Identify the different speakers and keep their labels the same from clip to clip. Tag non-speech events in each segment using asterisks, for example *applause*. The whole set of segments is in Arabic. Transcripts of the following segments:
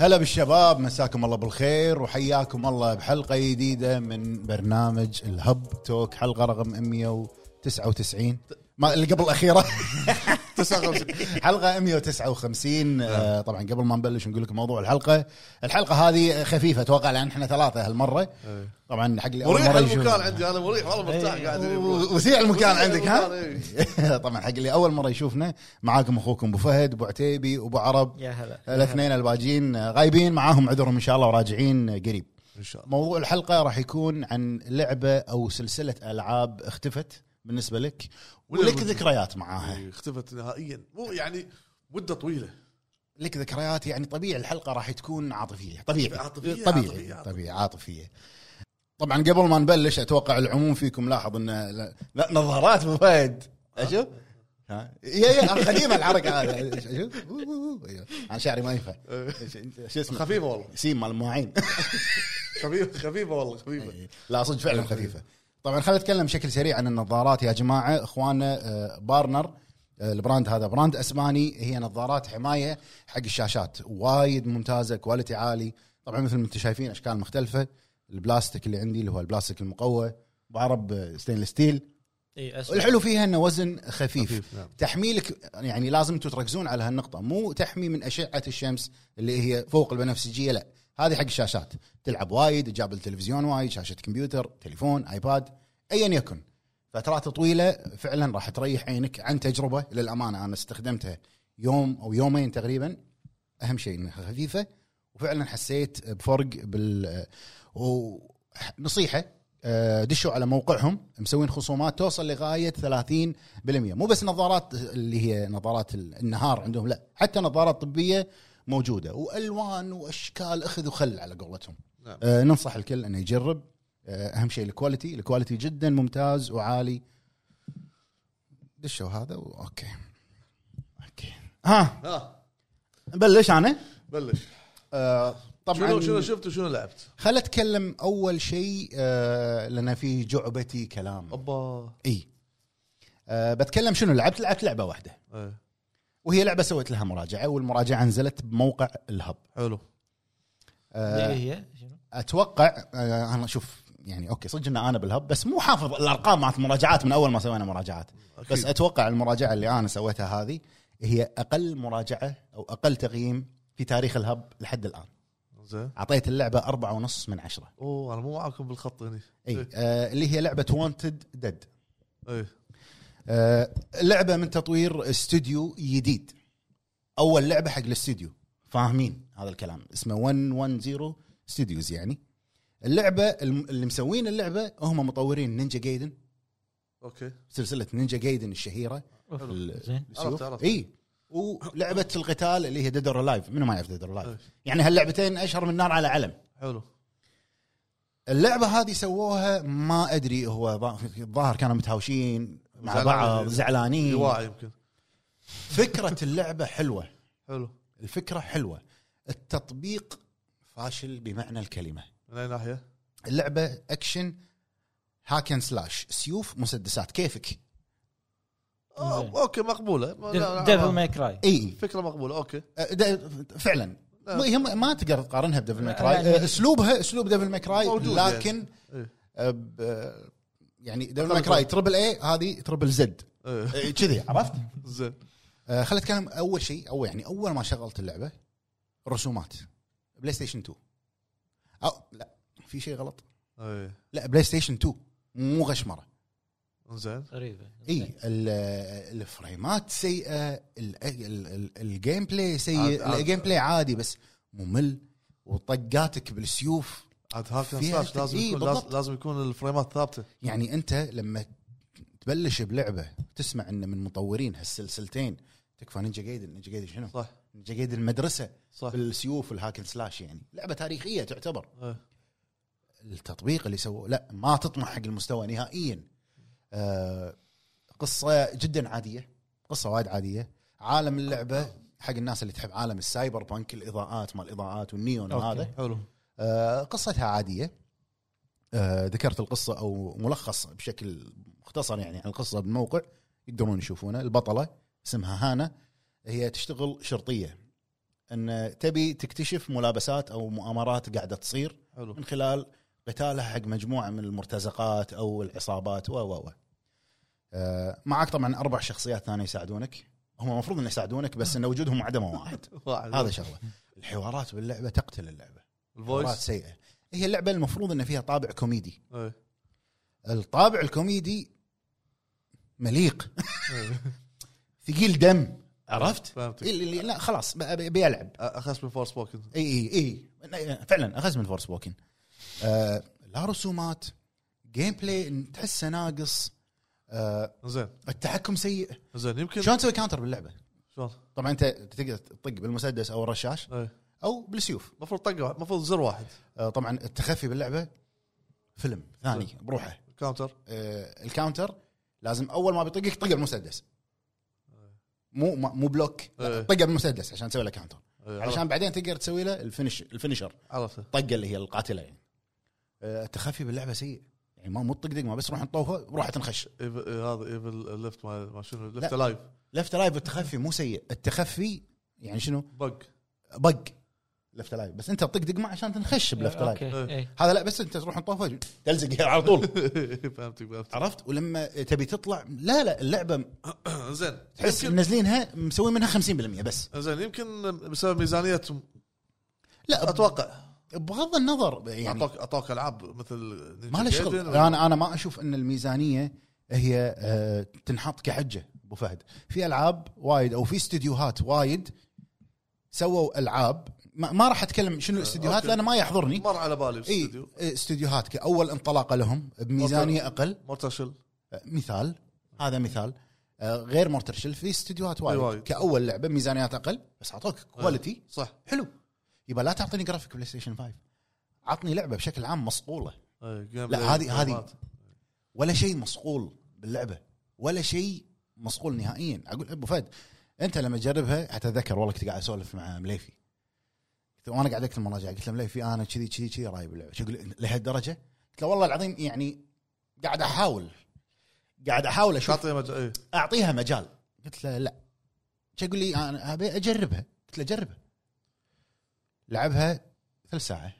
Speaker 1: هلا بالشباب مساكم الله بالخير وحياكم الله بحلقه جديده من برنامج الهب توك حلقه رقم 199 ما اللي قبل
Speaker 2: *laughs*
Speaker 1: الاخيره
Speaker 3: 59
Speaker 1: حلقه
Speaker 2: نعم.
Speaker 1: 159 آه، طبعا قبل ما نبلش نقول لكم موضوع الحلقه الحلقه هذه خفيفه اتوقع لان احنا ثلاثه هالمره
Speaker 2: إيه.
Speaker 1: طبعا حق اللي اول
Speaker 3: يعني مريح
Speaker 1: مره يشوف
Speaker 3: المكان عندي انا مريح والله مرتاح قاعد
Speaker 1: و- إيه، وسيع المكان
Speaker 3: وسيع
Speaker 1: عندك ها
Speaker 3: المكان، إيه.
Speaker 1: *laughs* طبعا حق اللي اول مره يشوفنا معاكم اخوكم ابو فهد ابو عتيبي ابو عرب
Speaker 2: يا هلا
Speaker 1: الاثنين الباجين غايبين معاهم عذرهم ان شاء الله وراجعين قريب
Speaker 3: ان شاء الله
Speaker 1: موضوع الحلقه راح يكون عن لعبه او سلسله العاب اختفت بالنسبه لك ولك
Speaker 3: ولا-
Speaker 1: ذكريات معاها
Speaker 3: إيه، اختفت نهائيا مو يعني مده طويله
Speaker 1: لك ذكريات يعني طبيعي الحلقه راح تكون عاطفيه طبيعي
Speaker 3: عاطفية،
Speaker 1: طبيعي
Speaker 3: عاطفية،
Speaker 1: طبيعي عاطفيه طبعا قبل ما نبلش اتوقع العموم فيكم لاحظ ان لا, لا نظارات ابو فهد اشوف ها يا يا قديمه الحركه هذه اشوف وو- وو- وو. أيوه. انا شعري ما
Speaker 3: *laughs*
Speaker 1: ينفع شو اسمه
Speaker 3: خفيفه والله
Speaker 1: سيم مال المواعين
Speaker 3: خفيفه خفيفه والله خفيفه
Speaker 1: لا صدق فعلا خفيفه طبعا خلينا نتكلم بشكل سريع عن النظارات يا جماعه اخواننا آه، بارنر آه، البراند هذا براند اسباني هي نظارات حمايه حق الشاشات وايد ممتازه كواليتي عالي طبعا مثل ما انتم شايفين اشكال مختلفه البلاستيك اللي عندي اللي هو البلاستيك المقوى بعرب ستينلس ستيل
Speaker 2: اي اسود
Speaker 1: الحلو فيها انه وزن خفيف, خفيف
Speaker 3: خفيف، نعم.
Speaker 1: تحميلك يعني لازم انتم تركزون على هالنقطه مو تحمي من اشعه الشمس اللي هي فوق البنفسجيه لا هذه حق الشاشات تلعب وايد جاب التلفزيون وايد شاشه كمبيوتر تليفون ايباد ايا يكن فترات طويله فعلا راح تريح عينك عن تجربه للامانه انا استخدمتها يوم او يومين تقريبا اهم شيء انها خفيفه وفعلا حسيت بفرق بال ونصيحه آه، دشوا على موقعهم مسوين خصومات توصل لغايه 30% مو بس نظارات اللي هي نظارات ال- النهار عندهم لا حتى نظارات طبيه موجوده والوان واشكال اخذ وخل على قولتهم
Speaker 3: نعم.
Speaker 1: آه، ننصح الكل انه يجرب آه، اهم شيء الكواليتي الكواليتي جدا ممتاز وعالي دشوا هذا اوكي اوكي ها
Speaker 3: ها
Speaker 1: نبلش انا
Speaker 3: بلش
Speaker 1: آه،
Speaker 3: شنو شنو
Speaker 1: طبعا
Speaker 3: شفت وشنو لعبت؟
Speaker 1: خل اتكلم اول شيء آه، لان في جعبتي كلام
Speaker 3: اوبا
Speaker 1: اي أه بتكلم شنو لعبت لعبت لعبه واحده
Speaker 3: إيه،
Speaker 1: وهي لعبه سويت لها مراجعه والمراجعه نزلت بموقع الهب
Speaker 3: حلو
Speaker 1: أه
Speaker 2: اللي هي إيه، شنو؟
Speaker 1: اتوقع أه انا شوف يعني اوكي صدق ان انا بالهب بس مو حافظ الارقام مالت المراجعات من اول ما سوينا مراجعات
Speaker 3: أكيد.
Speaker 1: بس اتوقع المراجعه اللي انا سويتها هذه هي اقل مراجعه او اقل تقييم في تاريخ الهب لحد الان
Speaker 3: زين
Speaker 1: اعطيت اللعبه أربعة ونص من عشرة
Speaker 3: اوه انا مو معاكم بالخط هنا
Speaker 1: اي أه اللي هي لعبه وانتد ديد
Speaker 3: اي
Speaker 1: آه، لعبه من تطوير استوديو جديد اول لعبه حق الاستوديو فاهمين هذا الكلام اسمه 110 ستوديوز يعني اللعبه الم- اللي مسوين اللعبه هم مطورين نينجا جايدن
Speaker 3: اوكي
Speaker 1: سلسله نينجا جايدن الشهيره
Speaker 2: أوف،
Speaker 1: ال-
Speaker 2: زين
Speaker 3: عرفت- عرفت.
Speaker 1: اي ولعبه القتال اللي هي ديد اور لايف منو ما يعرف ديد اور
Speaker 3: إيه.
Speaker 1: لايف يعني هاللعبتين اشهر من نار على علم
Speaker 3: حلو
Speaker 1: اللعبه هذه سووها ما ادري هو ظا- الظاهر كانوا متهاوشين مع
Speaker 3: زعلانين.
Speaker 1: بعض زعلانين
Speaker 3: يواعي يمكن
Speaker 1: فكره اللعبه حلوه
Speaker 3: حلو
Speaker 1: الفكره حلوه التطبيق فاشل بمعنى الكلمه
Speaker 3: من اي ناحيه؟
Speaker 1: اللعبه اكشن هاكن سلاش سيوف مسدسات كيفك
Speaker 3: آه،
Speaker 2: زين.
Speaker 3: اوكي مقبوله ما- لا- آه، لا-
Speaker 2: ديفل ماي كراي
Speaker 1: اي
Speaker 3: فكره مقبوله اوكي
Speaker 1: أه، ده- فعلا
Speaker 3: لا.
Speaker 1: ما- هي ما ما تقدر تقارنها بديفل
Speaker 2: لا،
Speaker 1: ماكراي
Speaker 2: لا.
Speaker 1: أه، اسلوبها اسلوب ديفل ماكراي
Speaker 3: موجود يعني.
Speaker 1: لكن
Speaker 3: إيه.
Speaker 1: أه، ب- أه، يعني ديفل
Speaker 3: أقل
Speaker 1: ماكراي
Speaker 3: فرق.
Speaker 1: تربل اي هذه تربل زد
Speaker 3: إيه،
Speaker 1: أه، كذي عرفت؟
Speaker 3: *laughs* زين
Speaker 1: أه، خليني اتكلم اول شيء اول يعني اول ما شغلت اللعبه الرسومات بلاي ستيشن 2 او لا في شيء غلط
Speaker 3: ايه
Speaker 1: لا بلاي ستيشن 2 مو غشمره
Speaker 3: زين
Speaker 2: غريبه
Speaker 1: اي ال- الفريمات سيئه ال- ال- ال- الجيم بلاي
Speaker 3: عاد-
Speaker 1: سيء
Speaker 3: عاد.
Speaker 1: الجيم بلاي عادي بس ممل وطقاتك بالسيوف
Speaker 3: عاد هاك أند
Speaker 1: فيها
Speaker 3: سلاش لازم
Speaker 1: إيه،
Speaker 3: يكون
Speaker 1: بالضبط.
Speaker 3: لازم, لازم يكون الفريمات ثابته
Speaker 1: يعني انت لما تبلش بلعبه تسمع انه من مطورين هالسلسلتين تكفى نينجا جايدن نينجا جايدن شنو؟
Speaker 3: صح
Speaker 1: نينجا جايدن المدرسه
Speaker 3: صح
Speaker 1: بالسيوف والهاكن سلاش يعني لعبه تاريخيه تعتبر
Speaker 3: إيه.
Speaker 1: التطبيق اللي سووه لا ما تطمح حق المستوى نهائيا آه قصه جدا عاديه قصه وايد عاديه عالم اللعبه حق الناس اللي تحب عالم السايبر بانك الاضاءات ما الاضاءات والنيون
Speaker 2: أوكي.
Speaker 1: وهذا
Speaker 3: إيه، حلو
Speaker 1: آه قصتها عاديه آه ذكرت القصه او ملخص بشكل مختصر يعني عن القصه بالموقع يقدرون يشوفونه البطله اسمها هانا هي تشتغل شرطيه ان تبي تكتشف ملابسات او مؤامرات قاعده تصير *laughs*
Speaker 3: حلو
Speaker 1: من خلال قتالها حق مجموعه من المرتزقات او العصابات و و و آه، معك طبعا اربع شخصيات ثانيه يساعدونك هم المفروض انه يساعدونك بس ان وجودهم عدمه واحد
Speaker 3: واحد
Speaker 1: هذا شغله الحوارات باللعبه تقتل اللعبه حوارات
Speaker 3: الفويس
Speaker 1: سيئه هي اللعبه المفروض ان فيها طابع كوميدي
Speaker 3: إيه.
Speaker 1: الطابع الكوميدي مليق ثقيل دم عرفت؟
Speaker 3: فهمتك.
Speaker 1: اللي اللي- لا خلاص ب- ب- بيلعب
Speaker 3: اخس من فور سبوكن
Speaker 1: اي اي اي فعلا اخذ من فورس ووكن آه لا رسومات جيم بلاي تحسه ناقص آه
Speaker 3: زين
Speaker 1: التحكم سيء
Speaker 3: زين يمكن
Speaker 1: شلون تسوي كاونتر باللعبه؟
Speaker 3: شلون؟
Speaker 1: طبعا انت تقدر تطق بالمسدس او الرشاش
Speaker 3: إيه.
Speaker 1: او بالسيوف
Speaker 3: المفروض طقه واحد المفروض زر واحد
Speaker 1: آه طبعا التخفي باللعبه فيلم ثاني بروحه
Speaker 3: كاونتر
Speaker 1: آه، الكاونتر لازم اول ما بيطقك طقه بالمسدس مو ما- مو بلوك لا،
Speaker 3: إيه.
Speaker 1: طقه بالمسدس عشان تسوي له كاونتر
Speaker 3: إيه.
Speaker 1: علشان بعدين تقدر تسوي له الفينش الفينشر
Speaker 3: عرفته
Speaker 1: الطقه اللي هي القاتله يعني آه، التخفي باللعبه سيء يعني ما مو تطقدق ما بس روح نطوفه وروح تنخش
Speaker 3: إيفل- إيه، هذا ايفل ليفت ما ما شنو ليفت
Speaker 1: لا.
Speaker 3: لايف
Speaker 1: لفت لايف التخفي مو سيء التخفي يعني شنو
Speaker 3: بق *laughs*
Speaker 1: بق لفت لايف بس انت تطقدق معه عشان
Speaker 2: آه،
Speaker 1: تنخش بلفت لايف
Speaker 3: إيه.
Speaker 2: اوكي إيه.
Speaker 1: هذا لا بس انت تروح نطوفه تلزق على طول
Speaker 3: فهمتك فهمتك
Speaker 1: *laughs*
Speaker 3: *clears throat*
Speaker 1: عرفت ولما تبي تطلع لا لا اللعبه
Speaker 3: زين
Speaker 1: تحس
Speaker 3: يمكن-
Speaker 1: منزلينها مسوي منها 50% بس
Speaker 3: زين يمكن بسبب ميزانيتهم
Speaker 1: لا
Speaker 3: اتوقع
Speaker 1: بغض النظر يعني
Speaker 3: اعطوك اعطوك العاب مثل
Speaker 1: ما له شغل انا انا ما اشوف ان الميزانيه هي آه، تنحط كحجه ابو فهد في العاب وايد او في استديوهات وايد سووا العاب ما, ما راح اتكلم شنو الاستديوهات
Speaker 3: آه، أوكي.
Speaker 1: لان ما يحضرني
Speaker 3: مر على بالي
Speaker 1: اي
Speaker 3: بالاستديو
Speaker 1: استديوهات كاول انطلاقه لهم بميزانيه اقل
Speaker 3: مرتشل
Speaker 1: آه، مثال هذا مثال آه، غير مورتر شيل في استديوهات وايد,
Speaker 3: وايد. آه.
Speaker 1: كاول لعبه ميزانيات اقل بس اعطوك كواليتي
Speaker 3: إيه، صح
Speaker 1: حلو يبقى لا تعطيني جرافيك بلاي ستيشن 5 عطني لعبه بشكل عام مصقوله
Speaker 3: إيه، جيم
Speaker 1: لا،
Speaker 3: بلاي،
Speaker 1: هذه-
Speaker 3: فورمات.
Speaker 1: ولا شيء مصقول باللعبه ولا شيء مصقول نهائيا اقول ابو فهد انت لما تجربها اتذكر والله كنت قاعد اسولف مع مليفي قلت له- وانا قاعد اكتب المراجعه قلت له مليفي انا كذي كذي كذي رايب اللعبه شو يقول لهالدرجه؟ قلت له والله العظيم يعني قاعد احاول قاعد احاول اشوف
Speaker 3: تعطي مج- إيه. *laughs*
Speaker 1: اعطيها مجال قلت له لا شو يقول لي انا ابي اجربها قلت له جربها لعبها ثلث ساعه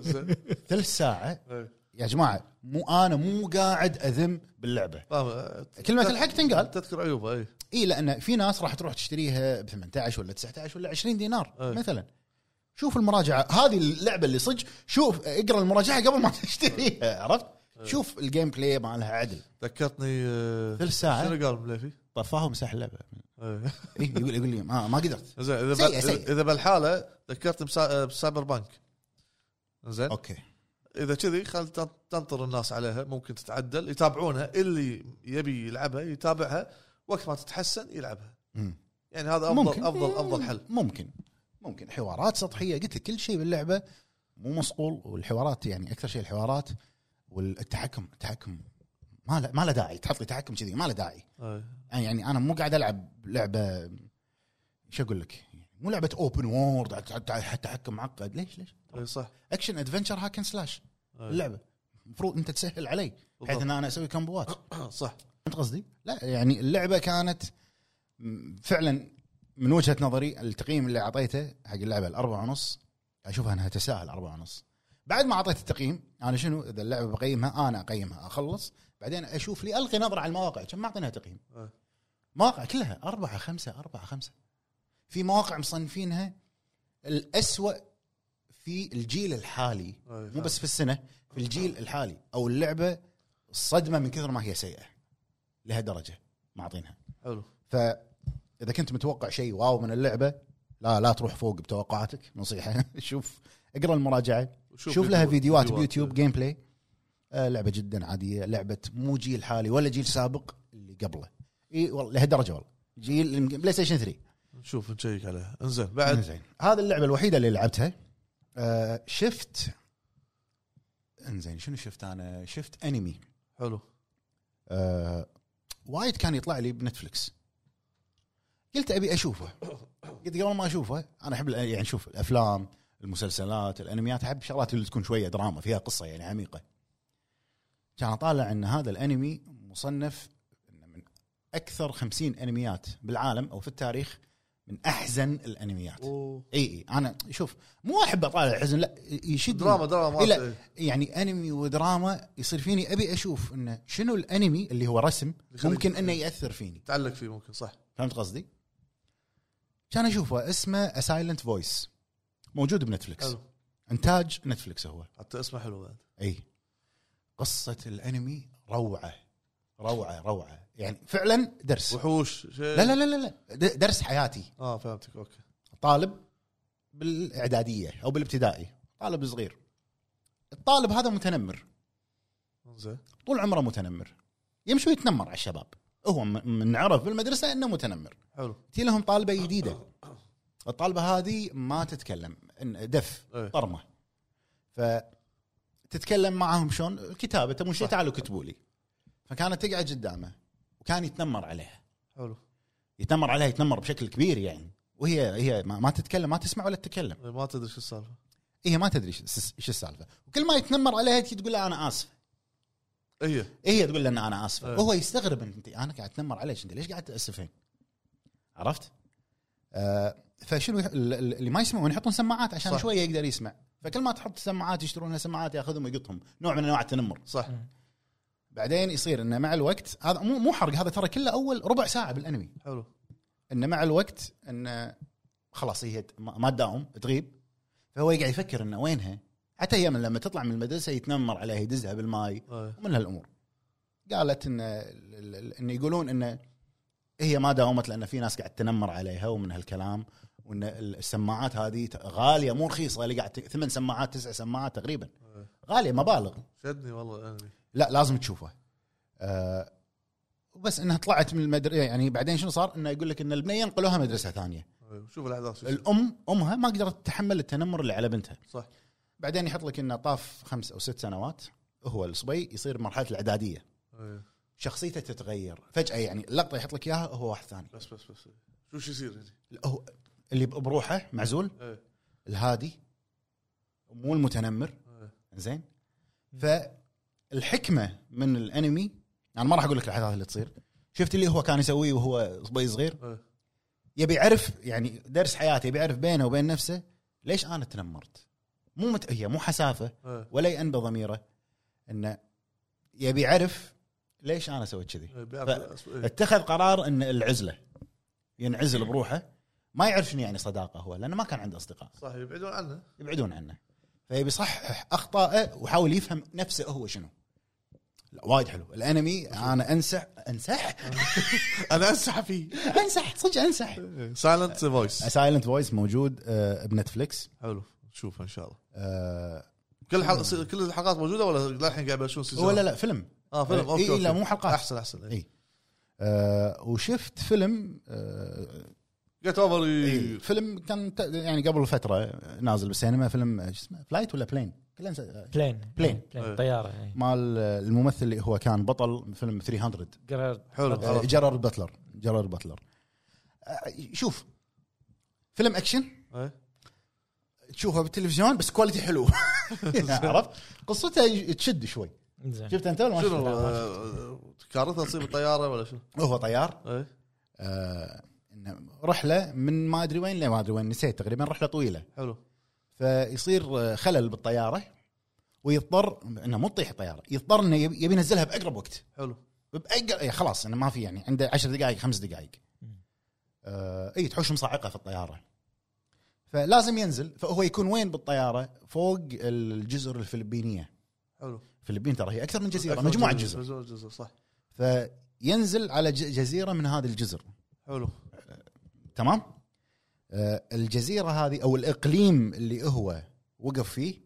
Speaker 3: زين.
Speaker 1: ثلث ساعه
Speaker 3: إيه.
Speaker 1: يا جماعه مو انا مو قاعد اذم باللعبه
Speaker 3: فاهم إيه.
Speaker 1: كلمه الحق تنقال
Speaker 3: تذكر إيه. عيوبه اي
Speaker 1: اي لان في ناس راح تروح تشتريها ب 18 ولا 19 ولا 20 دينار
Speaker 3: أي.
Speaker 1: مثلا شوف المراجعه هذه اللعبه اللي صدق شوف اقرا المراجعه قبل ما *laughs* تشتريها عرفت شوف الجيم بلاي مالها عدل
Speaker 3: ذكرتني آه،
Speaker 1: ثلث ساعه
Speaker 3: شنو قال مليفي؟
Speaker 1: طفاها ومسح اللعبه
Speaker 3: إيه.
Speaker 1: إيه يقول يقول لي ما, ما
Speaker 3: *laughs*
Speaker 1: قدرت
Speaker 3: زين اذا
Speaker 1: سيئة،
Speaker 3: بال-
Speaker 1: سيئة.
Speaker 3: اذا بالحاله ذكرت بسا- إيه، بسايبر بانك زين
Speaker 1: اوكي
Speaker 3: اذا كذي خل تن- تنطر الناس عليها ممكن تتعدل يتابعونها اللي يبي يلعبها يتابعها وقت ما تتحسن يلعبها
Speaker 1: مم.
Speaker 3: يعني هذا افضل
Speaker 1: ممكن
Speaker 3: افضل افضل حل
Speaker 1: ممكن ممكن حوارات سطحيه قلت لك كل شيء باللعبه مو مصقول والحوارات يعني اكثر شيء الحوارات والتحكم التحكم ما له ما له داعي تحط لي تحكم كذي ما له داعي
Speaker 3: إيه.
Speaker 1: يعني انا مو قاعد العب لعبه شو اقول لك يعني مو لعبه اوبن وورد تحكم معقد ليش ليش
Speaker 3: اي إيه، صح
Speaker 1: اكشن ادفنشر هاكن سلاش
Speaker 3: إيه.
Speaker 1: اللعبه المفروض انت تسهل علي بحيث ان انا اسوي كمبوات
Speaker 3: *clears throat* صح
Speaker 1: فهمت قصدي؟ لا يعني اللعبه كانت م- فعلا من وجهه نظري التقييم اللي اعطيته حق اللعبه الأربعة ونص اشوفها انها تساهل أربعة ونص بعد ما اعطيت التقييم انا شنو اذا اللعبه بقيمها انا اقيمها اخلص بعدين اشوف لي القي نظره على المواقع كم معطينها تقييم
Speaker 3: إيه.
Speaker 1: مواقع كلها أربعة خمسة أربعة خمسة في مواقع مصنفينها الأسوأ في الجيل الحالي
Speaker 3: إيه،
Speaker 1: مو بس في السنه في الجيل الحالي او اللعبه الصدمه من كثر ما هي سيئه لهالدرجه معطينها
Speaker 3: حلو
Speaker 1: فاذا كنت متوقع شيء واو من اللعبه لا لا تروح فوق بتوقعاتك نصيحه *laughs* شوف اقرا المراجعه شوف, شوف لها فيديوهات بيوتيوب جيم بلاي آه لعبه جدا عاديه لعبه مو جيل حالي ولا جيل سابق اللي قبله اي والله لهالدرجه والله جيل بلاي ستيشن 3
Speaker 3: نشوف نشيك عليها انزين بعد
Speaker 1: زين آه، هذه اللعبه الوحيده اللي لعبتها آه شفت انزين شنو شفت انا شفت انمي
Speaker 3: حلو
Speaker 1: آه وايد كان يطلع لي بنتفلكس قلت ابي اشوفه قلت قبل ما اشوفه انا احب الأ- يعني شوف الافلام المسلسلات الانميات احب شغلات اللي تكون شويه دراما فيها قصه يعني عميقه كان اطالع ان هذا الانمي مصنف إنه من اكثر خمسين انميات بالعالم او في التاريخ من احزن الانميات
Speaker 3: أوه.
Speaker 1: اي اي انا شوف مو احب اطالع الحزن لا يشد
Speaker 3: دراما دراما
Speaker 1: إيه، لا
Speaker 3: مالته.
Speaker 1: يعني انمي ودراما يصير فيني ابي اشوف انه شنو الانمي اللي هو رسم
Speaker 3: يخليك-
Speaker 1: ممكن انه ياثر فيني
Speaker 3: تعلق فيه ممكن صح
Speaker 1: فهمت قصدي؟ كان اشوفه اسمه سايلنت فويس موجود بنتفلكس
Speaker 3: حلو
Speaker 1: انتاج نتفلكس هو
Speaker 3: حتى اسمه حلو بعد
Speaker 1: اي قصه الانمي روعه روعه روعه يعني فعلا درس
Speaker 3: وحوش شيء
Speaker 1: لا لا لا لا لا د- درس حياتي
Speaker 3: اه فهمتك اوكي
Speaker 1: طالب بالاعداديه او بالابتدائي طالب صغير الطالب هذا متنمر
Speaker 3: زين
Speaker 1: طول عمره متنمر يمشي ويتنمر على الشباب هو م- من عرف بالمدرسه انه متنمر
Speaker 3: حلو
Speaker 1: تي لهم طالبه جديده الطالبه هذه ما تتكلم إن- دف
Speaker 3: إيه.
Speaker 1: طرمه ف تتكلم معاهم شلون الكتابه تبون شيء تعالوا كتبوا لي فكانت تقعد قدامه وكان يتنمر عليها
Speaker 3: حلو
Speaker 1: يتنمر عليها يتنمر بشكل كبير يعني وهي هي ما ما تتكلم ما تسمع ولا تتكلم
Speaker 3: إيه، ما تدري شو السالفه
Speaker 1: هي إيه، ما تدري شو شو السالفه وكل ما يتنمر عليها تجي تقول لها انا اسفه
Speaker 3: هي
Speaker 1: إيه، هي تقول له ان انا اسفه
Speaker 3: أي.
Speaker 1: وهو يستغرب انت انا قاعد اتنمر عليك انت ليش قاعد تاسفين؟ عرفت؟ آه فشنو يح- ال- ال- اللي ما يسمعون يحطون سماعات عشان
Speaker 3: صح.
Speaker 1: شويه يقدر يسمع فكل ما تحط سماعات يشترون لها سماعات ياخذهم ويقطهم نوع من انواع التنمر
Speaker 3: صح
Speaker 1: بعدين يصير انه مع الوقت هذا مو مو حرق هذا ترى كله اول ربع ساعه بالانمي
Speaker 3: حلو
Speaker 1: انه مع الوقت انه خلاص هي ت- ما ما تداوم تغيب فهو يقعد يفكر انه وينها حتى هي من لما تطلع من المدرسه يتنمر عليها يدزها بالماي
Speaker 3: إيه.
Speaker 1: ومن هالامور قالت ان ال- ال- ان يقولون ان هي ما داومت لان في ناس قاعد تنمر عليها ومن هالكلام وان ال- السماعات هذه ت- غاليه مو رخيصه اللي قاعد ت- ثمان سماعات تسع سماعات تقريبا
Speaker 3: إيه.
Speaker 1: غاليه مبالغ
Speaker 3: شدني والله الانمي
Speaker 1: لا لازم تشوفه آه بس انها طلعت من المدرسه يعني بعدين شنو صار؟ انه يقول لك ان البنيه نقلوها مدرسه ثانيه،
Speaker 3: إيه، شوف الاحداث شو يصير.
Speaker 1: الام امها ما قدرت تتحمل التنمر اللي على بنتها،
Speaker 3: صح
Speaker 1: بعدين يحط لك انه طاف خمس او ست سنوات هو الصبي يصير مرحله الاعداديه
Speaker 3: إيه.
Speaker 1: شخصيته تتغير فجاه يعني اللقطه يحط لك اياها هو واحد ثاني
Speaker 3: بس بس بس إيه. شو شو يصير هنا
Speaker 1: هو اللي بروحه معزول
Speaker 3: إيه.
Speaker 1: الهادي مو المتنمر
Speaker 3: إيه.
Speaker 1: زين فالحكمه من الانمي انا ما راح اقول لك الاحداث اللي تصير شفت اللي هو كان يسويه وهو صبي صغير
Speaker 3: إيه.
Speaker 1: يبي يعرف يعني درس حياته يبي يعرف بينه وبين نفسه ليش انا تنمرت مو مت... هي مو حسافه
Speaker 3: إيه.
Speaker 1: ولا يأنبى ضميره انه يبي يعرف ليش انا سويت كذي
Speaker 3: إيه، بيعرف- إيه.
Speaker 1: اتخذ قرار ان العزله ينعزل بروحه ما يعرف شنو يعني صداقه هو لانه ما كان عنده اصدقاء
Speaker 3: صح يبعدون عنه
Speaker 1: يبعدون عنه فيبي يصحح اخطائه ويحاول يفهم نفسه هو شنو لا وايد حلو الانمي انا انسح *laughs* انسح
Speaker 3: انا انسح فيه
Speaker 1: انسح صدق انسح
Speaker 3: سايلنت فويس
Speaker 1: سايلنت فويس موجود آه، بنتفلكس
Speaker 3: حلو نشوفه ان شاء الله
Speaker 1: آه،
Speaker 3: كل حلقه كل الحلقات موجوده ولا للحين قاعد يبلشون سيزون
Speaker 1: هو لا إيه، لا فيلم
Speaker 3: اه فيلم اوكي
Speaker 1: إي- إي، لا،
Speaker 3: أوكي.
Speaker 1: مو حلقات.
Speaker 3: احسن احسن إيه.
Speaker 1: إي. آه، وشفت فيلم آه،
Speaker 3: جيت اوفر
Speaker 1: إيه،
Speaker 3: ي-
Speaker 1: فيلم كان ت- يعني قبل فتره نازل بالسينما فيلم آه، شو اسمه فلايت ولا بلين؟ كله نسى-
Speaker 2: بلين
Speaker 1: بلين.
Speaker 2: بلين
Speaker 3: إيه.
Speaker 2: طياره إيه.
Speaker 1: مال آه، الممثل اللي هو كان بطل فيلم 300
Speaker 2: قرر
Speaker 3: حلو
Speaker 1: آه،
Speaker 3: عرفت.
Speaker 1: جيرارد باتلر جيرارد باتلر آه، شوف فيلم اكشن
Speaker 3: إيه.
Speaker 1: تشوفه بالتلفزيون بس كواليتي حلو *laughs* عرفت قصته ي- تشد شوي
Speaker 2: زين
Speaker 1: شفت انت ولا ما
Speaker 3: شنو
Speaker 1: شفته؟
Speaker 3: آه، كارثه تصيب الطياره ولا شنو؟
Speaker 1: هو طيار
Speaker 3: ايه
Speaker 1: آه، إنه رحله من ما ادري وين لما ادري وين نسيت تقريبا رحله طويله
Speaker 3: حلو
Speaker 1: فيصير آه، خلل بالطياره ويضطر انه مو تطيح الطياره يضطر انه يبي يبي ينزلها باقرب وقت
Speaker 3: حلو
Speaker 1: بأقل إيه خلاص انه ما في يعني عنده 10 دقائق خمس دقائق
Speaker 2: مم.
Speaker 1: آه اي تحوش مصعقه في الطياره فلازم ينزل فهو يكون وين بالطياره فوق الجزر الفلبينيه
Speaker 3: حلو
Speaker 1: الفلبين ترى هي اكثر من جزيره
Speaker 3: أكثر
Speaker 1: مجموعه
Speaker 3: جزر.
Speaker 1: جزر
Speaker 3: مجموعه جزر صح
Speaker 1: فينزل على ج- جزيره من هذه الجزر
Speaker 3: حلو
Speaker 1: تمام آه الجزيره هذه او الاقليم اللي هو وقف فيه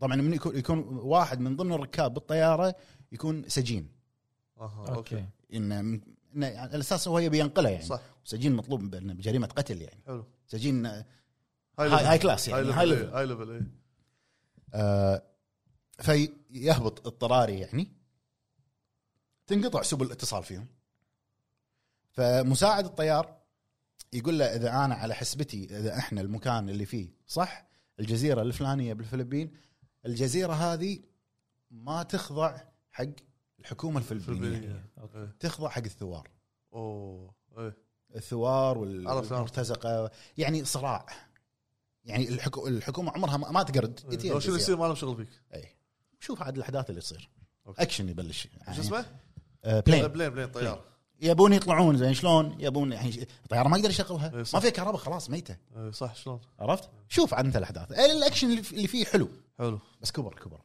Speaker 1: طبعا من يكون, يكون واحد من ضمن الركاب بالطياره يكون سجين
Speaker 3: اها
Speaker 2: اوكي
Speaker 3: اوكي
Speaker 1: انه انه يعني على اساس هو يبي ينقله يعني
Speaker 3: صح
Speaker 1: سجين مطلوب بأنه بجريمه قتل يعني
Speaker 3: حلو
Speaker 1: سجين هاي,
Speaker 3: ليفل.
Speaker 1: هاي كلاس
Speaker 3: هاي
Speaker 1: يعني
Speaker 3: ليفل
Speaker 1: هاي
Speaker 3: إيه،
Speaker 1: ليفل
Speaker 3: هاي ليفل ايه
Speaker 1: آه فيهبط اضطراري يعني تنقطع سبل الاتصال فيهم فمساعد الطيار يقول له اذا انا على حسبتي اذا احنا المكان اللي فيه صح الجزيره الفلانيه بالفلبين الجزيره هذه ما تخضع حق الحكومه الفلبينيه
Speaker 3: فلبينية.
Speaker 2: أوكي.
Speaker 3: إيه.
Speaker 1: تخضع حق الثوار
Speaker 3: اوه ايه
Speaker 1: الثوار
Speaker 3: عرفت.
Speaker 1: والمرتزقه يعني صراع يعني الحكو الحكومه عمرها ما ما تقرد
Speaker 3: إيه. لو شنو طيب، يصير ما لهم شغل فيك
Speaker 1: أي. شوف عاد الاحداث اللي تصير
Speaker 3: أوكي.
Speaker 1: اكشن يبلش يعني
Speaker 3: شو اسمه؟ طيب، إيه،
Speaker 1: آه، بلين
Speaker 3: بلين بلين طياره
Speaker 1: يبون يطلعون زين شلون يبون يعني ش- الطياره ما يقدر يشغلها
Speaker 3: إيه،
Speaker 1: ما
Speaker 3: صح.
Speaker 1: فيها كهرباء خلاص ميته
Speaker 3: إيه، صح شلون؟
Speaker 1: عرفت شوف عن الاحداث آه، الاكشن اللي في- اللي فيه حلو
Speaker 3: حلو
Speaker 1: بس كبر كبر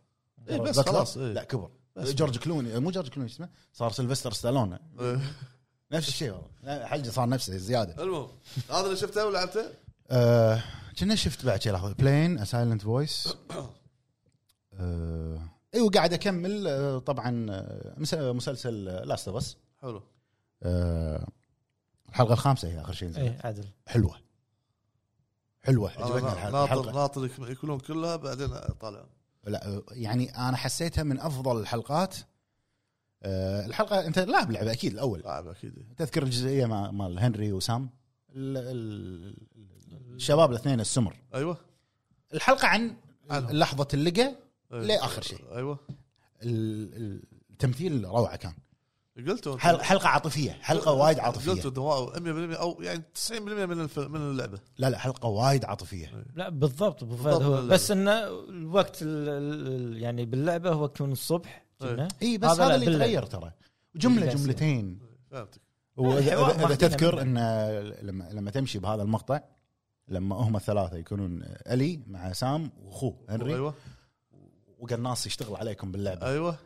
Speaker 3: إيه، بس
Speaker 1: باتلر،
Speaker 3: خلاص، إيه.
Speaker 1: لا كبر
Speaker 3: بس.
Speaker 1: جورج كلوني آه، مو جورج كلوني شو اسمه صار سيلفستر ستالون
Speaker 3: إيه.
Speaker 1: *laughs* نفس الشيء والله لا، حلجه صار نفسه زياده
Speaker 3: المهم هذا اللي شفته ولعبته
Speaker 1: آه، كنا شفت بعد شيء لحظه بلين سايلنت فويس اي وقاعد اكمل أيوة، آه، طبعا آه، مس- مسلسل لاست اوف اس
Speaker 3: حلو
Speaker 1: الحلقه الخامسه آه، هي اخر شيء نزلت.
Speaker 2: اي إيه، عدل
Speaker 1: حلوه حلوه عجبتني
Speaker 3: أنا
Speaker 1: الح-
Speaker 3: ناطر
Speaker 1: الحلقه
Speaker 3: ناطر يك- يكونون كلها بعدين طالع
Speaker 1: لا آه، يعني انا حسيتها من افضل الحلقات آه، الحلقه انت لاعب لعبه اكيد الاول
Speaker 3: لاعب اكيد
Speaker 1: تذكر الجزئيه مع مال هنري وسام ال- ال- الشباب الاثنين السمر
Speaker 3: ايوه
Speaker 1: الحلقه عن
Speaker 3: عنهم.
Speaker 1: لحظه اللقاء
Speaker 3: أيوة.
Speaker 1: ليه آخر شيء؟
Speaker 3: ايوه
Speaker 1: ال- التمثيل روعه كان
Speaker 3: قلتوا
Speaker 1: حل- حلقه عاطفيه حلقه وايد عاطفيه
Speaker 3: قلتوا 100% او يعني 90% من الف... من اللعبه
Speaker 1: لا لا حلقه وايد عاطفيه
Speaker 2: لا بالضبط ابو
Speaker 3: بالضبط
Speaker 2: فهد هو
Speaker 3: باللعبة.
Speaker 2: بس انه الوقت ال- ال- يعني باللعبه هو كان الصبح كنا.
Speaker 1: اي بس
Speaker 2: هذا
Speaker 1: هذا
Speaker 2: لا،
Speaker 1: اللي
Speaker 2: بالله.
Speaker 1: تغير ترى جمله
Speaker 2: بالله.
Speaker 1: جملتين
Speaker 3: فهمتك
Speaker 1: واذا
Speaker 2: الحوار
Speaker 1: إذا-
Speaker 2: ما
Speaker 1: إذا
Speaker 2: فينا
Speaker 1: تذكر ان
Speaker 2: منه.
Speaker 1: لما لما تمشي بهذا المقطع لما هم الثلاثه يكونون الي مع سام واخوه
Speaker 2: أيوه.
Speaker 1: هنري
Speaker 3: ايوه
Speaker 1: وقناص يشتغل عليكم باللعبه
Speaker 3: ايوه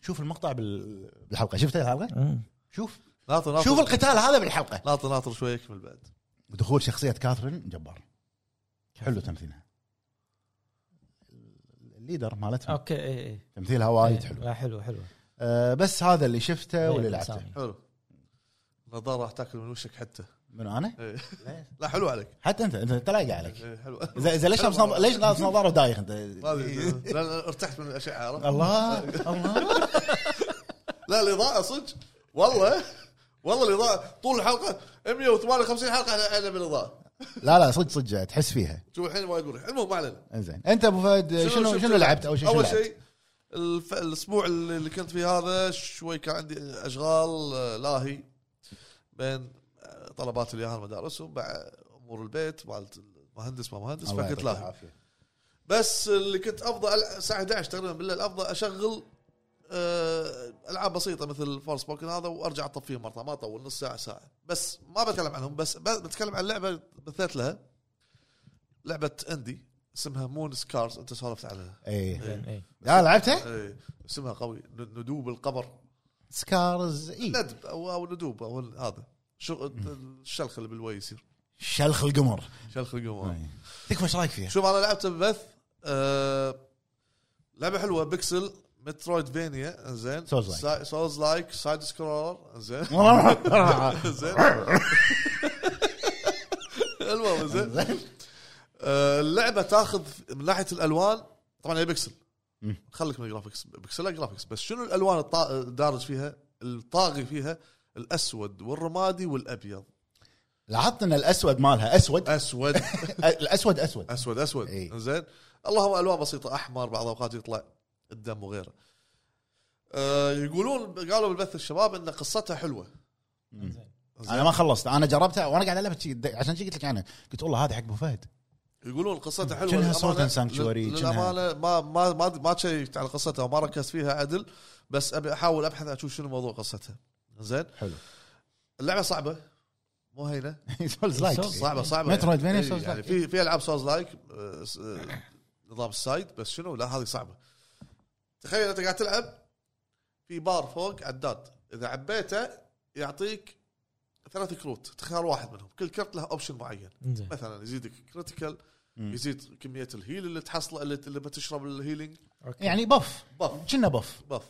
Speaker 1: شوف المقطع بال- بالحلقه شفت الحلقه
Speaker 2: مم.
Speaker 1: شوف
Speaker 3: ناطر ناطر
Speaker 1: شوف القتال هذا بالحلقه
Speaker 3: ناطر ناطر شوي يكمل بعد
Speaker 1: ودخول شخصيه كاثرين جبار حلو تمثيلها الليدر مالتها
Speaker 2: اوكي اي اي
Speaker 1: تمثيلها وايد
Speaker 2: إي.
Speaker 1: حلو
Speaker 2: إيه، لا حلوه حلوه
Speaker 1: أه بس هذا اللي شفته واللي
Speaker 2: إي،
Speaker 1: لعبته
Speaker 2: سامي.
Speaker 3: حلو النظاره راح تاكل من وشك حتى
Speaker 1: من
Speaker 3: *laughs*
Speaker 1: انا
Speaker 3: إيه. لا حلو عليك
Speaker 1: حتى انت انت أنت لايق عليك
Speaker 3: إيه، حلو
Speaker 1: اذا إذا ليش لابس نظ- ليش لابس نظاره ودايخ انت
Speaker 3: ما أدري،
Speaker 1: إيه.
Speaker 3: لأن ارتحت من الاشعه عرفت؟
Speaker 1: الله الله
Speaker 3: لا الاضاءه صدق والله والله الاضاءه طول الحلقه 158 حلقه انا انا بالاضاءه
Speaker 1: لا لا صدق صدق تحس فيها
Speaker 3: شوف الحين وايد مريح المهم ما علينا
Speaker 1: انزين انت ابو فهد شنو شنو لعبت اول شيء شنو
Speaker 3: اول
Speaker 1: لعبت؟
Speaker 3: شيء الف... الاسبوع اللي اللي كنت فيه هذا شوي كان عندي اشغال آه، لاهي بين آه، طلبات الياهل المدارس ومع امور البيت مع مهندس ما مهندس
Speaker 1: الله
Speaker 3: فكنت
Speaker 1: يعطيك
Speaker 3: لاهي
Speaker 1: العافية.
Speaker 3: بس اللي كنت افضل ألع- الساعه 11 تقريبا بالليل افضل اشغل آه، العاب بسيطه مثل فور سبوكن هذا وارجع اطفيه مره ما اطول نص ساعه ساعه بس ما بتكلم عنهم بس ب- بتكلم عن لعبه بثيت لها لعبه اندي اسمها مون سكارز انت سولفت عنها
Speaker 1: اي
Speaker 2: زين، إي.
Speaker 1: إيه. لا لعبتها
Speaker 3: إيه، اسمها قوي ن- ندوب القبر
Speaker 1: سكارز اي
Speaker 3: ندب او او ندوب او ال- هذا شو الشلخ اللي بالوي يصير
Speaker 1: شلخ القمر
Speaker 3: شلخ القمر
Speaker 1: إي. تكفى ايش رايك *laughs* فيها؟
Speaker 3: شوف انا لعبت ببث آه لعبه حلوه بيكسل مترويد فينيا زين
Speaker 1: Souls like.
Speaker 3: سولز لايك سايد سكرولر زين *laughs* زين المهم زين آه، اللعبه تاخذ من ناحيه الالوان طبعا هي بيكسل
Speaker 1: مم.
Speaker 3: خليك من الجرافكس بيكسل جرافكس بس شنو الالوان الطا- الدارج فيها الطاغي فيها الاسود والرمادي والابيض
Speaker 1: لاحظت ان الاسود مالها اسود
Speaker 3: *laughs* اسود
Speaker 1: الاسود اسود
Speaker 3: اسود اسود
Speaker 1: إي.
Speaker 3: زين اللهم الوان بسيطه احمر بعض الاوقات يطلع الدم وغيره آه يقولون قالوا بالبث الشباب ان قصتها حلوه
Speaker 2: زين.
Speaker 1: انا ما خلصت انا جربتها وانا قاعد العبها شي- عشان شي قلت لك عنها قلت والله هذا حق ابو فهد
Speaker 3: يقولون قصتها حلوه
Speaker 1: كأنها
Speaker 3: للأمانة-
Speaker 1: Salt and Sanctuary،
Speaker 3: لل-
Speaker 1: كأنها-
Speaker 3: للامانه ما ما ما ما شيكت على قصتها وما ركزت فيها عدل بس ابي احاول ابحث اشوف شنو موضوع قصتها زين
Speaker 1: *laughs* حلو
Speaker 3: اللعبه صعبه مو هينه
Speaker 1: سولز لايك
Speaker 2: Souls.
Speaker 3: صعبه صعبه
Speaker 1: مترويد
Speaker 3: يعني.
Speaker 1: فينيا Souls
Speaker 3: يعني
Speaker 1: like.
Speaker 3: في في العاب سولز لايك آه، س- آه، نظام السايد بس شنو لا هذه صعبه تخيل انت قاعد تلعب في بار فوق عداد اذا عبيته يعطيك ثلاث كروت تختار واحد منهم كل كرت له اوبشن معين
Speaker 2: زين.
Speaker 3: مثلا يزيدك كريتيكال يزيد كميه الهيل اللي تحصله اللي اللي بتشرب الهيلينج
Speaker 2: أوكي.
Speaker 1: يعني بف
Speaker 3: بف
Speaker 1: كنا بف
Speaker 3: بف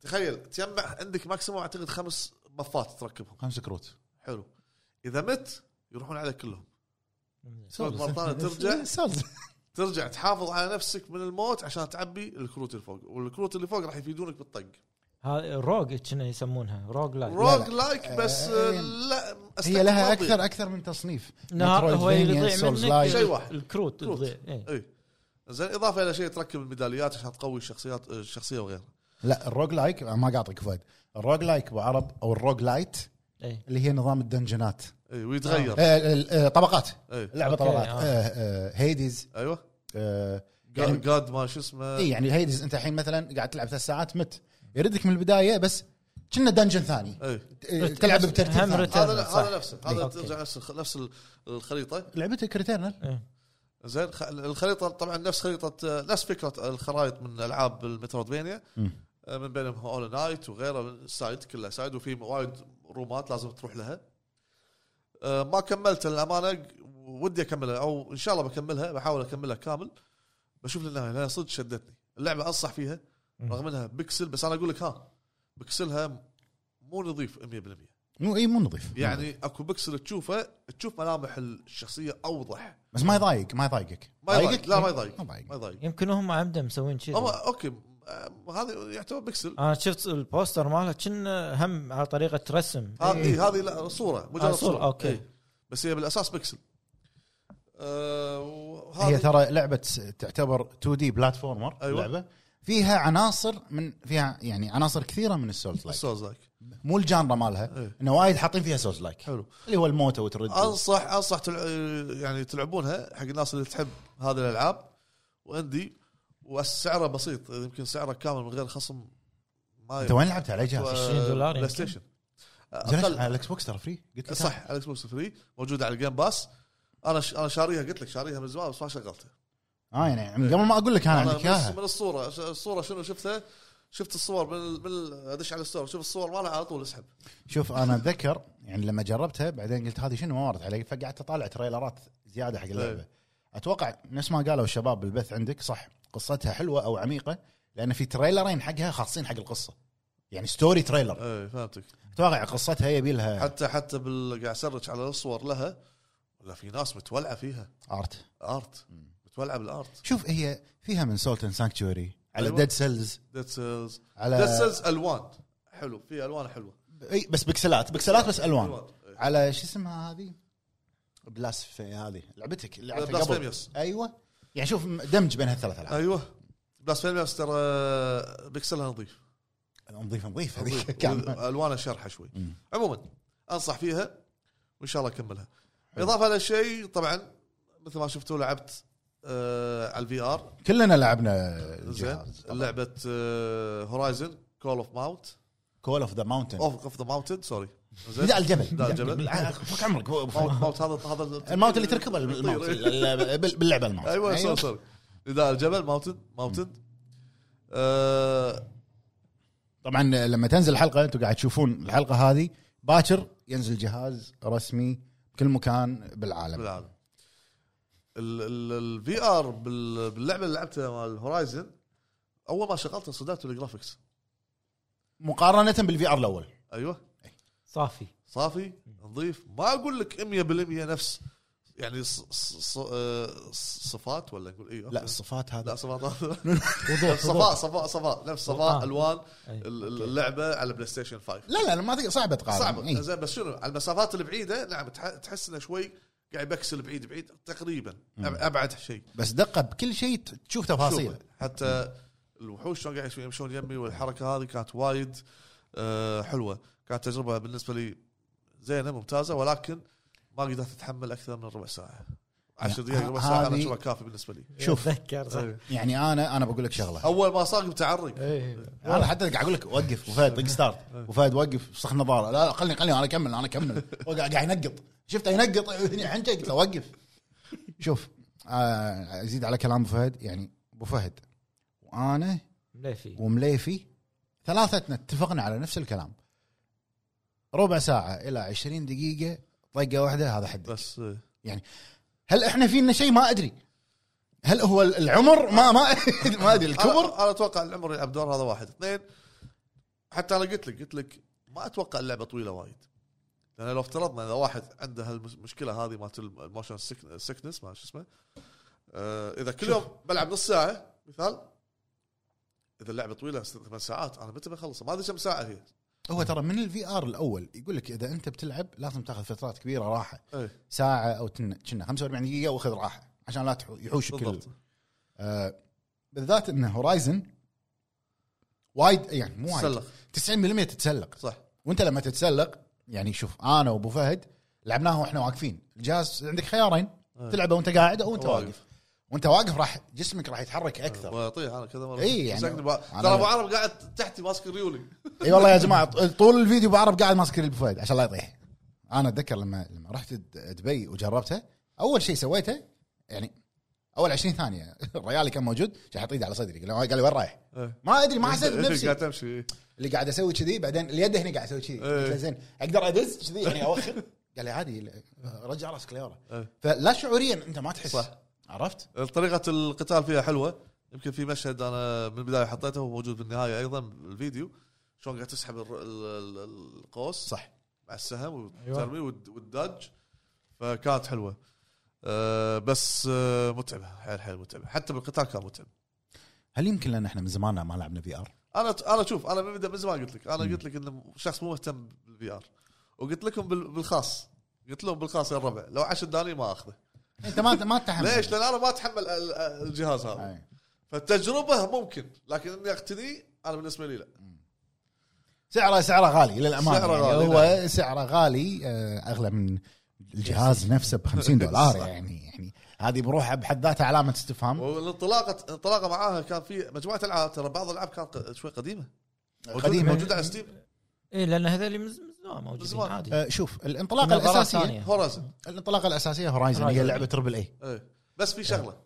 Speaker 3: تخيل تجمع عندك ماكسيموم اعتقد خمس بفات تركبهم
Speaker 1: خمس كروت
Speaker 3: حلو اذا مت يروحون عليك كلهم
Speaker 2: زين.
Speaker 3: مرة ثانية آه، ترجع.
Speaker 1: سولز
Speaker 3: ترجع تحافظ على نفسك من الموت عشان تعبي الكروت اللي فوق والكروت اللي فوق راح يفيدونك بالطق
Speaker 2: هذا روج كنا يسمونها روج لايك
Speaker 3: روج لايك بس
Speaker 1: آه،
Speaker 3: آه، لا
Speaker 1: هي لها اكثر اكثر من تصنيف
Speaker 2: نهار هو اللي
Speaker 1: Metroidvania,
Speaker 2: يضيع
Speaker 1: Souls
Speaker 2: منك
Speaker 1: like.
Speaker 3: شيء واحد.
Speaker 2: الكروت
Speaker 3: كروت.
Speaker 2: تضيع إيه.
Speaker 3: اي زين اضافه الى شيء تركب الميداليات عشان تقوي الشخصيات آه، الشخصيه وغيرها
Speaker 1: لا الروج لايك ما قاطعك فهد الروج لايك ابو عرب او الروج لايت
Speaker 2: اي
Speaker 1: اللي هي نظام الدنجنات
Speaker 3: اي إيه، ويتغير إيه.
Speaker 1: آه، آه، آه، طبقات
Speaker 3: اي
Speaker 1: اللعبه
Speaker 2: أوكي،
Speaker 1: طبقات
Speaker 2: آه.
Speaker 1: آه، آه، هيديز
Speaker 3: ايوه
Speaker 1: آه، يعني-
Speaker 3: جاد ما شو اسمه
Speaker 1: اي يعني هيديز انت الحين مثلا قاعد تلعب ثلاث ساعات مت يردك من البدايه بس كنا دنجن ثاني
Speaker 3: اي
Speaker 1: آه، تلعب بترتيب
Speaker 2: هم
Speaker 1: ثاني.
Speaker 2: رت-
Speaker 3: هذا
Speaker 2: صح.
Speaker 3: هذا نفسه هذا
Speaker 2: أوكي.
Speaker 3: ترجع نفس الخ- نفس ال- الخريطه
Speaker 1: لعبتك ريتيرنال
Speaker 3: زين خ- الخريطه طبعا نفس خريطه نفس فكره الخرائط من العاب المترويدفينيا من بينهم هول نايت وغيره سايد كلها سايد وفي وايد رومات لازم تروح لها أه، ما كملت للامانه ودي اكملها او ان شاء الله بكملها بحاول اكملها كامل بشوف للنهايه لانها صدق شدتني اللعبه انصح فيها رغم انها بكسل بس انا اقول لك ها بكسلها مو نظيف 100%
Speaker 1: مو اي مو نظيف
Speaker 3: يعني اكو بكسل تشوفه تشوف ملامح الشخصيه اوضح
Speaker 1: بس ما يضايق ما يضايقك
Speaker 3: ما يضايق
Speaker 1: ضايقك؟ إيه.
Speaker 3: لا ما يضايق
Speaker 1: ما يضايق
Speaker 3: ما يضايق
Speaker 2: يمكن هم عمدهم مسوين شيء
Speaker 3: أما اوكي أه، هذا يعتبر بكسل
Speaker 2: انا شفت البوستر ماله كنا هم على طريقه رسم
Speaker 3: هذه إيه. هذه لا صوره مجرد
Speaker 2: آه، صورة،
Speaker 3: صوره
Speaker 2: أوكي.
Speaker 3: بس هي بالاساس بكسل آه
Speaker 1: هي
Speaker 3: وهذه
Speaker 1: ترى لعبه س- تعتبر 2 دي بلاتفورمر
Speaker 3: أيوة.
Speaker 1: لعبه فيها عناصر من فيها يعني عناصر كثيره من السولز لايك
Speaker 3: السولز لايك
Speaker 1: مو الجانرا مالها
Speaker 3: أيوة.
Speaker 1: انه وايد حاطين فيها سولز لايك
Speaker 3: حلو
Speaker 1: اللي هو الموتى وترد
Speaker 3: انصح انصح تلع... يعني تلعبونها حق الناس اللي تحب هذه الالعاب واندي وسعره بسيط يمكن سعره كامل من غير خصم ما
Speaker 1: انت وين لعبتها على جهاز؟
Speaker 2: 20 دولار
Speaker 3: بلاي
Speaker 2: يمكن.
Speaker 3: ستيشن
Speaker 1: زين ليش
Speaker 3: آه، أقل-
Speaker 1: على الاكس بوكس ترى فري قلت لك
Speaker 3: صح على اكس بوكس فري موجوده على الجيم باس انا ش... انا شاريها قلت لك شاريها من زمان بس ما شغلتها
Speaker 1: اه يعني قبل ما اقول لك انا
Speaker 3: انا
Speaker 1: عندك
Speaker 3: من,
Speaker 1: اياها
Speaker 3: من الصوره ش- الصوره شنو شفتها شفت الصور من ال- من ال- ادش على الصور شوف الصور مالها على طول اسحب
Speaker 1: شوف انا اتذكر يعني لما جربتها بعدين قلت هذه شنو ما مرت علي فقعدت اطالع تريلرات زياده حق اللعبه
Speaker 3: إيه.
Speaker 1: اتوقع نفس ما قالوا الشباب بالبث عندك صح قصتها حلوه او عميقه لان في تريلرين حقها خاصين حق القصه يعني ستوري تريلر
Speaker 3: اي فهمتك
Speaker 1: اتوقع قصتها يبي لها
Speaker 3: حتى حتى بال قاعد اسرج على الصور لها ولا في ناس متولعه فيها
Speaker 1: ارت
Speaker 3: ارت متولعه بالارت
Speaker 1: شوف هي فيها من سولتن سانكتوري على
Speaker 3: أيوة.
Speaker 1: ديد سيلز
Speaker 3: ديد سيلز ديد
Speaker 1: على
Speaker 3: سيلز الوان حلو في الوان حلوه
Speaker 1: اي بس بكسلات بكسلات بس الوان
Speaker 3: ألوان.
Speaker 1: على شو اسمها هذه بلاس هذه لعبتك اللي لعبتها قبل
Speaker 3: بلاسفيميوس
Speaker 1: ايوه يعني شوف دمج بين هالثلاث العاب
Speaker 3: ايوه بلاسفيميوس ترى بكسلها نظيف
Speaker 1: نظيف نظيف
Speaker 3: نظيف.
Speaker 1: هذيك *laughs* كان
Speaker 3: والوانها شرحه شوي
Speaker 1: مم.
Speaker 3: عموما انصح فيها وان شاء الله اكملها اضافه لشيء طبعا مثل ما شفتوا لعبت آه على الفي ار
Speaker 1: كلنا لعبنا
Speaker 3: زين آه، لعبه هورايزن كول اوف ماونت
Speaker 1: كول اوف ذا ماونتن
Speaker 3: اوف اوف ذا ماونتن سوري زين
Speaker 1: لا الجبل
Speaker 3: لا، الجبل.
Speaker 1: ع- فك *laughs* عمرك بو- بو-
Speaker 3: ماونت ماونت هذا
Speaker 1: *laughs*
Speaker 3: هذا
Speaker 1: الماونت اللي
Speaker 3: *laughs*
Speaker 1: تركبه الماونت
Speaker 3: يطير.
Speaker 1: ال- بال- أيوة. باللعبه الماونت
Speaker 3: ايوه سوري سوري نداء الجبل ماونتن ماونتن آه
Speaker 1: طبعا لما تنزل الحلقه انتم قاعد تشوفون الحلقه هذه باكر ينزل جهاز رسمي بكل مكان بالعالم
Speaker 3: بالعالم الفي ار باللعبه اللي لعبتها مال هورايزن اول ما شغلتها صدمت بالجرافكس
Speaker 1: مقارنه بالفي ار الاول
Speaker 3: ايوه
Speaker 2: صافي
Speaker 3: صافي نظيف ما اقول لك 100% نفس يعني ص- ص- ص- آه، صفات ولا نقول اي
Speaker 1: لا الصفات
Speaker 3: لا
Speaker 1: هذا
Speaker 3: صفات
Speaker 1: *laughs*
Speaker 2: وضوح
Speaker 3: صفاء صفاء صفاء نفس صفاء
Speaker 2: آه.
Speaker 3: الوان
Speaker 2: أي.
Speaker 3: ال- ال- اللعبه على بلاي ستيشن 5
Speaker 1: لا لا لا، ما أدري، صعبه تقارن
Speaker 3: صعبه
Speaker 1: إيه.
Speaker 3: زين بس شنو على المسافات البعيده نعم تح- تحس انه شوي قاعد بكسل بعيد بعيد تقريبا أب- ابعد شيء
Speaker 1: بس دقه بكل شيء ت- تشوف تفاصيل
Speaker 3: شوفه. حتى الوحوش شلون قاعد يمشون يمي والحركه هذه كانت وايد آه، حلوه كانت تجربه بالنسبه لي زينه ممتازه ولكن ما قدرت اتحمل اكثر من ربع ساعه 10 دقائق ربع ساعه انا
Speaker 1: هذه-
Speaker 3: اشوفها كافي بالنسبه لي
Speaker 1: شوف.
Speaker 2: اتذكر صح
Speaker 3: أيوه.
Speaker 1: يعني انا انا بقول لك شغله
Speaker 3: اول ما صار قمت اعرق
Speaker 2: إيه.
Speaker 1: انا حتى قاعد اقول لك وقف وفهد طق ستارت وفهد وقف سخ نظاره لا لا خلني خلني انا اكمل انا اكمل هو قاعد قاعد ينقط شفته ينقط هني عن شيء قلت له وقف شوف آه، ازيد على كلام ابو فهد يعني ابو فهد وانا
Speaker 2: مليفي
Speaker 1: ومليفي ثلاثتنا اتفقنا على نفس الكلام ربع ساعه الى 20 دقيقه طقه واحده هذا حد
Speaker 3: بس آه،
Speaker 1: هل احنا فينا شيء ما ادري هل هو العمر ما ما *laughs* ما ادري الكبر
Speaker 3: انا, أنا اتوقع العمر يلعب دور هذا واحد اثنين حتى انا قلت لك قلت لك ما اتوقع اللعبه طويله وايد لان لو افترضنا اذا واحد عنده هالمشكله هذه مالت الموشن سكنس ما شو اسمه آه اذا كل يوم بلعب نص ساعه مثال اذا اللعبه طويله ست- ثمان ساعات انا متى بخلصها ما ادري كم ساعه هي
Speaker 1: هو ترى من الفي ار الاول يقول لك اذا انت بتلعب لازم تاخذ فترات كبيره راحه
Speaker 3: ايه
Speaker 1: ساعه او تن- كنا 45 دقيقه واخذ راحه عشان لا تحو- يحوشك ال-
Speaker 3: بالضبط
Speaker 1: آه بالذات ان هورايزن وايد يعني مو وايد
Speaker 3: تسلق
Speaker 1: 90% تتسلق
Speaker 3: صح
Speaker 1: وانت لما تتسلق يعني شوف انا وابو فهد لعبناها واحنا واقفين الجهاز عندك خيارين
Speaker 3: أي.
Speaker 1: تلعبه وانت قاعد او وانت
Speaker 3: إيه. واقف.
Speaker 1: واقف وانت واقف راح جسمك راح يتحرك اكثر
Speaker 3: واطيح انا طيب، كذا مره
Speaker 1: إي يعني-
Speaker 3: بس أكتب-
Speaker 1: أنا-
Speaker 3: ترى ابو عرب قاعد تحتي ماسك ريولي
Speaker 1: اي والله يا جماعه طول الفيديو بعرف قاعد ماسك ابو فهد عشان لا يطيح انا اتذكر لما لما رحت د- دبي وجربتها اول شيء سويته يعني اول 20 *laughs* ثانيه الريالي كان موجود شحط ايده على صدري قال لي- قال لي وين رايح؟
Speaker 3: إيه.
Speaker 1: ما ادري ما حسيت بنفسي
Speaker 3: قاعد إيه. تمشي إيه.
Speaker 1: اللي قاعد اسوي كذي بعدين اليد هنا قاعد اسوي كذي قلت له زين اقدر ادز كذي يعني
Speaker 3: *laughs*
Speaker 1: اوخر قال لي عادي لا، رجع راسك لورا
Speaker 3: إيه.
Speaker 1: فلا شعوريا انت ما تحس
Speaker 3: صح.
Speaker 1: عرفت؟
Speaker 3: طريقه القتال فيها حلوه يمكن في مشهد انا من البدايه حطيته وموجود بالنهايه ايضا بالفيديو شلون قاعد تسحب الر- ال- ال- القوس
Speaker 1: صح.
Speaker 3: مع السهم
Speaker 2: أيوة.
Speaker 3: وترمي والد- والدج فكانت حلوه أه بس أه متعبه حيل حيل متعبه حتى بالقتال كان متعب
Speaker 1: هل يمكن لان احنا من زمان ما لعبنا في ار؟
Speaker 3: انا انا شوف انا من من زمان قلت لك انا قلت لك ان شخص مو مهتم بالفي ار وقلت لكم بال- بالخاص قلت لهم بالخاص يا الربع لو 10 دنانير ما اخذه
Speaker 1: انت ما ما إيه. تتحمل
Speaker 3: ليش؟ لان انا ما اتحمل ال- ال- الجهاز هذا
Speaker 1: أي.
Speaker 3: فالتجربه ممكن لكن اني اقتني انا بالنسبه لي لا
Speaker 1: سعره سعره غالي للامانه
Speaker 3: سعره
Speaker 1: سعره يعني
Speaker 3: غالي، نعم.
Speaker 1: غالي هو سعره غالي آه، اغلى من الجهاز نفسه ب 50
Speaker 3: *laughs*
Speaker 1: دولار
Speaker 3: صح.
Speaker 1: يعني يعني هذه بروحها بحد ذاتها علامه استفهام
Speaker 3: والانطلاقه الانطلاقه معاها كان في مجموعه العاب ترى بعض الالعاب كانت ق- شوي قديمه موجودة-
Speaker 1: قديمه
Speaker 3: موجوده على ستيم
Speaker 2: اي لان إيه، هذول من زمان موجودين
Speaker 3: زمان.
Speaker 2: عادي
Speaker 1: آه، شوف الانطلاقه
Speaker 2: نظارات
Speaker 1: الاساسيه
Speaker 2: ثانية.
Speaker 3: هورايزن
Speaker 1: الانطلاقه الاساسيه هورايزن هي
Speaker 2: هورايزن.
Speaker 1: لعبه تربل اي
Speaker 3: ايه بس
Speaker 1: آه.
Speaker 3: في شغله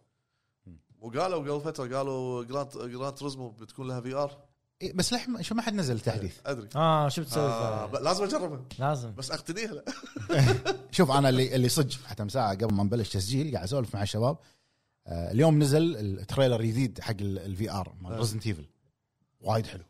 Speaker 3: وقالوا قبل فتره قالوا جراند جراند تريزمو بتكون لها في ار
Speaker 1: إي، إيه، بس لح- شو ما حد نزل تحديث
Speaker 3: ادري
Speaker 2: اه شو بتسوي
Speaker 3: آه
Speaker 2: آه
Speaker 3: ب- لازم اجربها
Speaker 2: لازم
Speaker 3: بس اقتنيها لا إيه.
Speaker 1: شوف انا اللي اللي صدق حتى من ساعه قبل ما نبلش تسجيل قاعد اسولف مع الشباب آه، اليوم نزل التريلر الجديد حق الفي ار
Speaker 3: إيه.
Speaker 1: مال ريزنت ايفل وايد حلو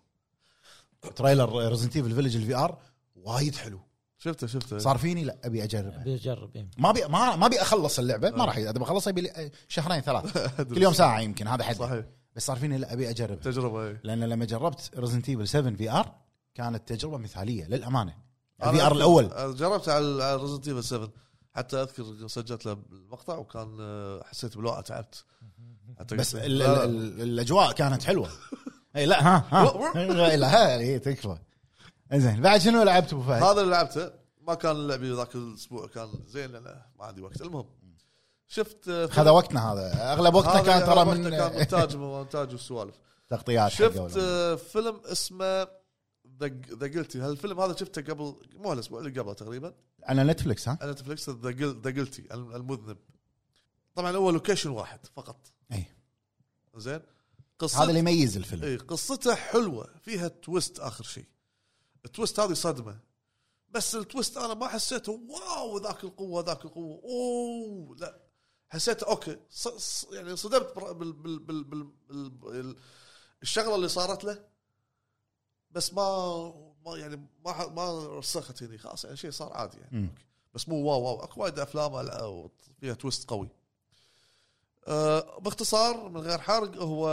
Speaker 1: تريلر ريزنت ايفل فيلج الفي ار وايد حلو
Speaker 3: شفته شفته
Speaker 1: صار فيني لا ابي اجربه
Speaker 2: بيجرب إيه.
Speaker 1: ما بي ما ما بي اخلص اللعبه
Speaker 3: آه.
Speaker 1: ما راح اذا بخلصها يبي لي آه، شهرين
Speaker 3: *laughs*
Speaker 1: ثلاث كل يوم ساعه يمكن هذا حد
Speaker 3: صحيح
Speaker 1: بس صار فيني لا ابي اجربها
Speaker 3: تجربه ايه
Speaker 1: لان لما جربت ريزنت ايفل 7 في ار كانت تجربه مثاليه للامانه
Speaker 3: أنا
Speaker 1: الفي ار الاول
Speaker 3: أنا جربت على على ريزنت ايفل 7 حتى اذكر سجلت له المقطع وكان آه، حسيت بلوعه تعبت حتى
Speaker 1: بس
Speaker 3: قلت-
Speaker 1: ال
Speaker 3: لا، لا.
Speaker 1: ال ال الاجواء كانت
Speaker 3: *laughs*
Speaker 1: حلوه اي لا ها ها لا ها هي تكفى زين بعد شنو لعبت ابو فهد؟
Speaker 3: هذا اللي لعبته ما كان لعبي ذاك الاسبوع كان زين لان ما عندي وقت المهم شفت آه،
Speaker 1: هذا وقتنا هذا اغلب وقتنا
Speaker 3: هذا
Speaker 1: كان ترى
Speaker 3: وقته كان
Speaker 1: *laughs* من
Speaker 3: مونتاج
Speaker 1: *laughs*
Speaker 3: مونتاج والسوالف
Speaker 1: تغطيات حق
Speaker 3: شفت
Speaker 1: أول.
Speaker 3: آه، فيلم اسمه ذا قلتي هالفيلم هذا شفته قبل مو هالاسبوع اللي قبله تقريبا
Speaker 1: على نتفلكس ها؟
Speaker 3: على نتفلكس ذا قلتي المذنب طبعا هو لوكيشن واحد فقط
Speaker 1: إي.
Speaker 3: زين
Speaker 1: هذا
Speaker 3: قصته
Speaker 1: اللي يميز الفيلم
Speaker 3: اي قصته حلوه فيها تويست اخر شيء التويست هذه صدمه بس التويست انا ما حسيته واو ذاك القوه ذاك القوه اوه لا حسيت اوكي ص ص يعني انصدمت بر- بال بال بال بال بال ال- الشغله اللي صارت له بس ما ما يعني ما ح- ما رسخت هني خلاص يعني شيء صار عادي يعني
Speaker 1: مم.
Speaker 3: أوكي. بس مو واو واو اكو وايد افلام لا، أو فيها تويست قوي أه باختصار من غير حرق هو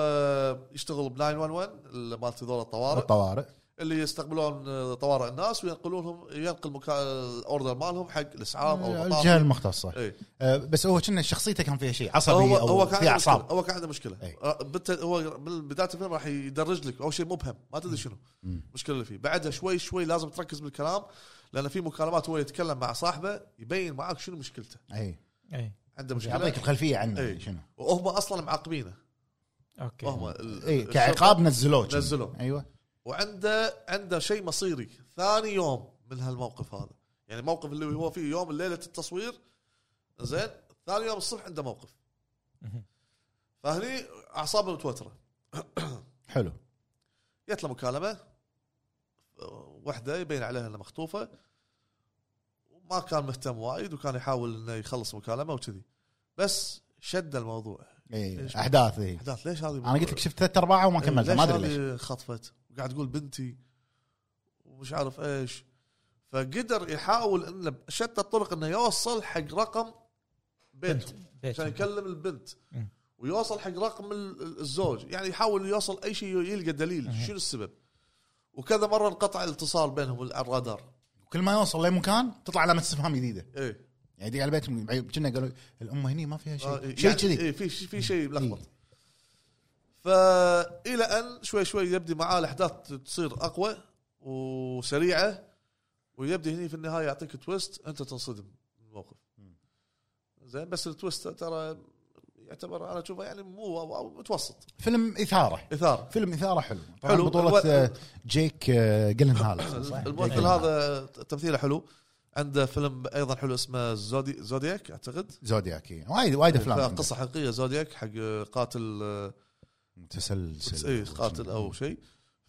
Speaker 3: يشتغل ب 911 اللي مالت هذول الطوارئ
Speaker 1: الطوارئ
Speaker 3: اللي يستقبلون آه، طوارئ الناس وينقلونهم ينقل مكان الاوردر مالهم حق الاسعاف او
Speaker 1: الجهه المختصه
Speaker 3: اي
Speaker 1: أه، بس هو كنا شخصيته كان فيها شيء عصبي
Speaker 3: هو
Speaker 1: او
Speaker 3: هو كان
Speaker 1: في إيه.
Speaker 3: عنده مشكله
Speaker 1: اعصاب
Speaker 3: هو كان عنده مشكله
Speaker 1: إي.
Speaker 3: آه، بالت... هو من بدايه الفيلم راح يدرج لك اول شيء مبهم ما تدري شنو
Speaker 1: مم.
Speaker 3: المشكله اللي فيه بعدها شوي شوي لازم تركز بالكلام لان في مكالمات هو يتكلم مع صاحبه يبين معاك شنو مشكلته
Speaker 1: اي
Speaker 2: اي
Speaker 3: عنده مشكله
Speaker 1: يعطيك الخلفيه عنه
Speaker 3: إي.
Speaker 1: شنو
Speaker 3: وهم اصلا معاقبينه
Speaker 2: اوكي
Speaker 3: وهم ال-
Speaker 1: اي إيه،
Speaker 3: الشرطة-
Speaker 1: كعقاب نزلوه كنا.
Speaker 3: نزلوه.
Speaker 1: ايوه
Speaker 3: وعنده عنده شيء مصيري ثاني يوم من هالموقف هذا يعني موقف اللي هو فيه يوم ليله التصوير زين ثاني يوم الصبح عنده موقف
Speaker 2: مهم.
Speaker 3: فهني اعصابه متوتره
Speaker 1: حلو
Speaker 3: جت له مكالمه أه، وحده يبين عليها انها مخطوفه وما كان مهتم وايد وكان يحاول انه يخلص مكالمه وكذي بس شد الموضوع
Speaker 1: اي
Speaker 3: ليش؟
Speaker 1: احداث اي
Speaker 3: احداث ليش هذه
Speaker 1: انا إيه. قلت لك شفت ثلاث ارباعه وما كملتها ما ادري ليش
Speaker 3: إيه، هذه خطفت وقاعد تقول بنتي ومش عارف ايش فقدر يحاول انه بشتى الطرق انه يوصل حق رقم بيته
Speaker 2: بيت
Speaker 1: إيه.
Speaker 3: عشان يكلم البنت
Speaker 2: مم.
Speaker 3: ويوصل حق رقم ال- ال- الزوج يعني يحاول يوصل اي شيء يلقى دليل
Speaker 1: إيه.
Speaker 3: شنو السبب وكذا مره انقطع الاتصال بينهم على الرادار
Speaker 1: كل ما يوصل لمكان تطلع علامه استفهام جديده
Speaker 3: ايه
Speaker 1: يعني دي على بيتهم كنا قالوا الام هني ما فيها
Speaker 3: آه،
Speaker 1: شيء
Speaker 3: يعني-
Speaker 1: شيء كذي إيه.
Speaker 3: ايه في في شيء ملخبط فالى ان شوي شوي يبدي معاه الاحداث تصير اقوى وسريعه ويبدي هني في النهايه يعطيك تويست انت تنصدم من الموقف
Speaker 1: مم.
Speaker 3: زين بس التويست ترى يعتبر انا اشوفه يعني مو واو أو متوسط
Speaker 1: فيلم اثاره
Speaker 3: اثاره
Speaker 1: فيلم اثاره حلو طبعا
Speaker 3: حلو.
Speaker 1: بطوله
Speaker 3: الو-
Speaker 1: آه، جيك آه،
Speaker 3: *laughs*
Speaker 1: جيلنهال صح؟ جيك
Speaker 3: الممثل
Speaker 1: جيلنهال.
Speaker 3: هذا تمثيله حلو عنده فيلم ايضا حلو اسمه زودي زودياك اعتقد
Speaker 1: زودياك وايد وايد افلام عنده.
Speaker 3: قصه حقيقيه يعني زودياك حق قاتل
Speaker 1: تسلسل
Speaker 3: اي إيه، قاتل او شيء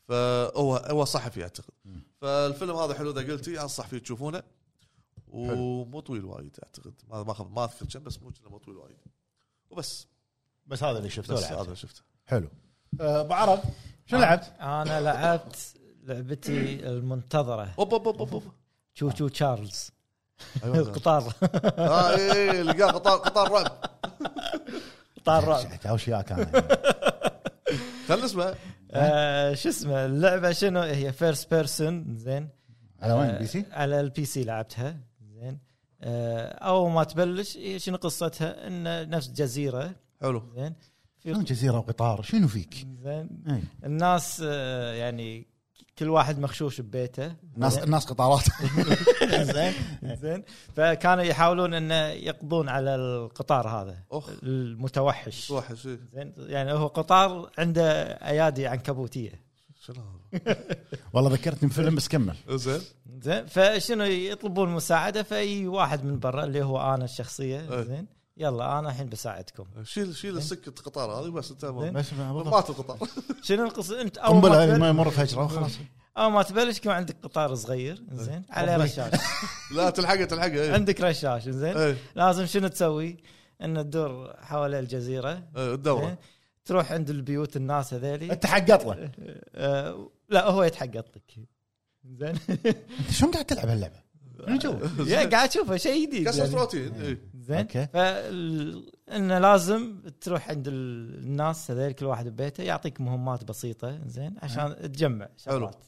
Speaker 3: فهو هو صحفي اعتقد
Speaker 1: مم.
Speaker 3: فالفيلم هذا حلو اذا قلتي انصح فيه تشوفونه
Speaker 1: حلو.
Speaker 3: ومو طويل وايد اعتقد ما ما أخذ- ما اذكر كم بس مو كنا مو طويل وايد وبس
Speaker 4: بس هذا اللي
Speaker 3: بس
Speaker 4: شفته لعبته.
Speaker 3: هذا شفته
Speaker 1: حلو
Speaker 4: آه، ابو عرب شو لعبت؟
Speaker 2: انا لعبت لعبتي المنتظره
Speaker 3: اوب اوب اوب اوب
Speaker 1: *laughs*
Speaker 3: أوب.
Speaker 2: تشو تشو تشارلز
Speaker 3: أيوة.
Speaker 2: القطار
Speaker 3: آه، إي، إي، لقاه قطار قطار رعب
Speaker 2: قطار رعب
Speaker 4: تعوش وياك انا
Speaker 3: خلنا اسمه
Speaker 2: آه، شو اسمه اللعبه شنو هي فيرست بيرسون زين
Speaker 1: على وين
Speaker 2: آه،
Speaker 1: بي سي؟
Speaker 2: على البي سي لعبتها زين آه، اول ما تبلش هي شنو قصتها ان نفس جزيره
Speaker 3: حلو
Speaker 2: زين
Speaker 1: شلون جزيره وقطار شنو فيك؟
Speaker 2: زين
Speaker 1: إي.
Speaker 2: الناس آه، يعني كل واحد مخشوش ببيته
Speaker 1: ناس ناس قطارات
Speaker 4: زين
Speaker 2: زين فكانوا يحاولون انه يقضون على القطار هذا
Speaker 3: اخ
Speaker 2: المتوحش
Speaker 3: وحش إي.
Speaker 2: زين يعني هو قطار عنده ايادي عنكبوتيه
Speaker 3: شنو هذا
Speaker 1: والله ذكرتني بفيلم بس كمل
Speaker 3: زين
Speaker 2: زين فشنو يطلبون مساعده فاي واحد من برا اللي هو انا الشخصيه
Speaker 3: أي.
Speaker 2: زين يلا انا الحين بساعدكم
Speaker 3: شيل شيل السكه قطار هذه بس انت
Speaker 2: زين.
Speaker 3: ما-
Speaker 4: بس بالضبط.
Speaker 3: مات
Speaker 2: *laughs*
Speaker 3: القطار
Speaker 2: شنو القصه انت اول ما
Speaker 1: قنبله ما
Speaker 2: تبلش
Speaker 1: يمر فجره وخلاص
Speaker 2: اول ما تبلش يكون عندك قطار صغير زين على
Speaker 4: ربي.
Speaker 2: رشاش
Speaker 3: لا إيه. تلحقه تلحقه إي.
Speaker 2: عندك رشاش زين
Speaker 3: إي،
Speaker 2: لازم شنو تسوي؟ ان تدور حوالي الجزيره
Speaker 3: إي، الدوره
Speaker 2: زين؟ تروح عند البيوت الناس هذيلي
Speaker 4: انت حقط له
Speaker 2: آه، لا هو يتحقط لك زين
Speaker 1: انت شلون قاعد تلعب هاللعبه؟ شنو جو؟
Speaker 2: يا قاعد اشوفه شيء جديد
Speaker 3: كسرت
Speaker 2: يعني.
Speaker 3: روتين إي.
Speaker 2: زين
Speaker 1: اوكي.
Speaker 2: فال... انه لازم تروح عند ال- الناس هذول كل واحد ببيته يعطيك مهمات بسيطه زين عشان تجمع شغلات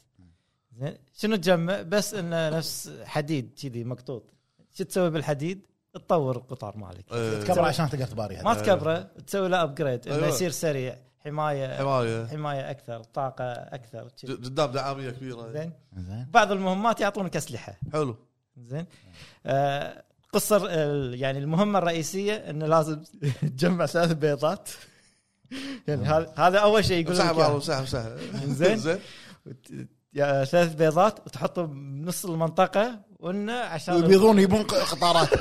Speaker 2: زين شنو تجمع بس انه نفس حديد كذي مقطوط شو تسوي بالحديد؟ تطور القطار مالك
Speaker 3: إي.
Speaker 1: تكبر عشان تقدر تباريها
Speaker 2: ما تكبره تسوي له ابجريد انه
Speaker 3: أيوة.
Speaker 2: يصير سريع حمايه
Speaker 3: حمايه
Speaker 2: حمايه اكثر طاقه اكثر
Speaker 3: ج-
Speaker 2: كذي.
Speaker 3: إيه. قدام دعاميه كبيره
Speaker 2: زين
Speaker 1: زين
Speaker 2: بعض المهمات يعطونك اسلحه
Speaker 3: حلو
Speaker 2: زين آه، قصة ال- يعني المهمة الرئيسية انه لازم تجمع ثلاث بيضات *laughs* يعني هذا هذا اول شيء يقول
Speaker 3: مساحه
Speaker 2: لك
Speaker 3: بارو
Speaker 2: إياه.
Speaker 3: مساحه مساحه
Speaker 2: *laughs* زين.
Speaker 3: زين
Speaker 2: وت- يا ثلاث بيضات وتحطهم بنص المنطقة وانه عشان
Speaker 1: يبيضون يبون ق- قطارات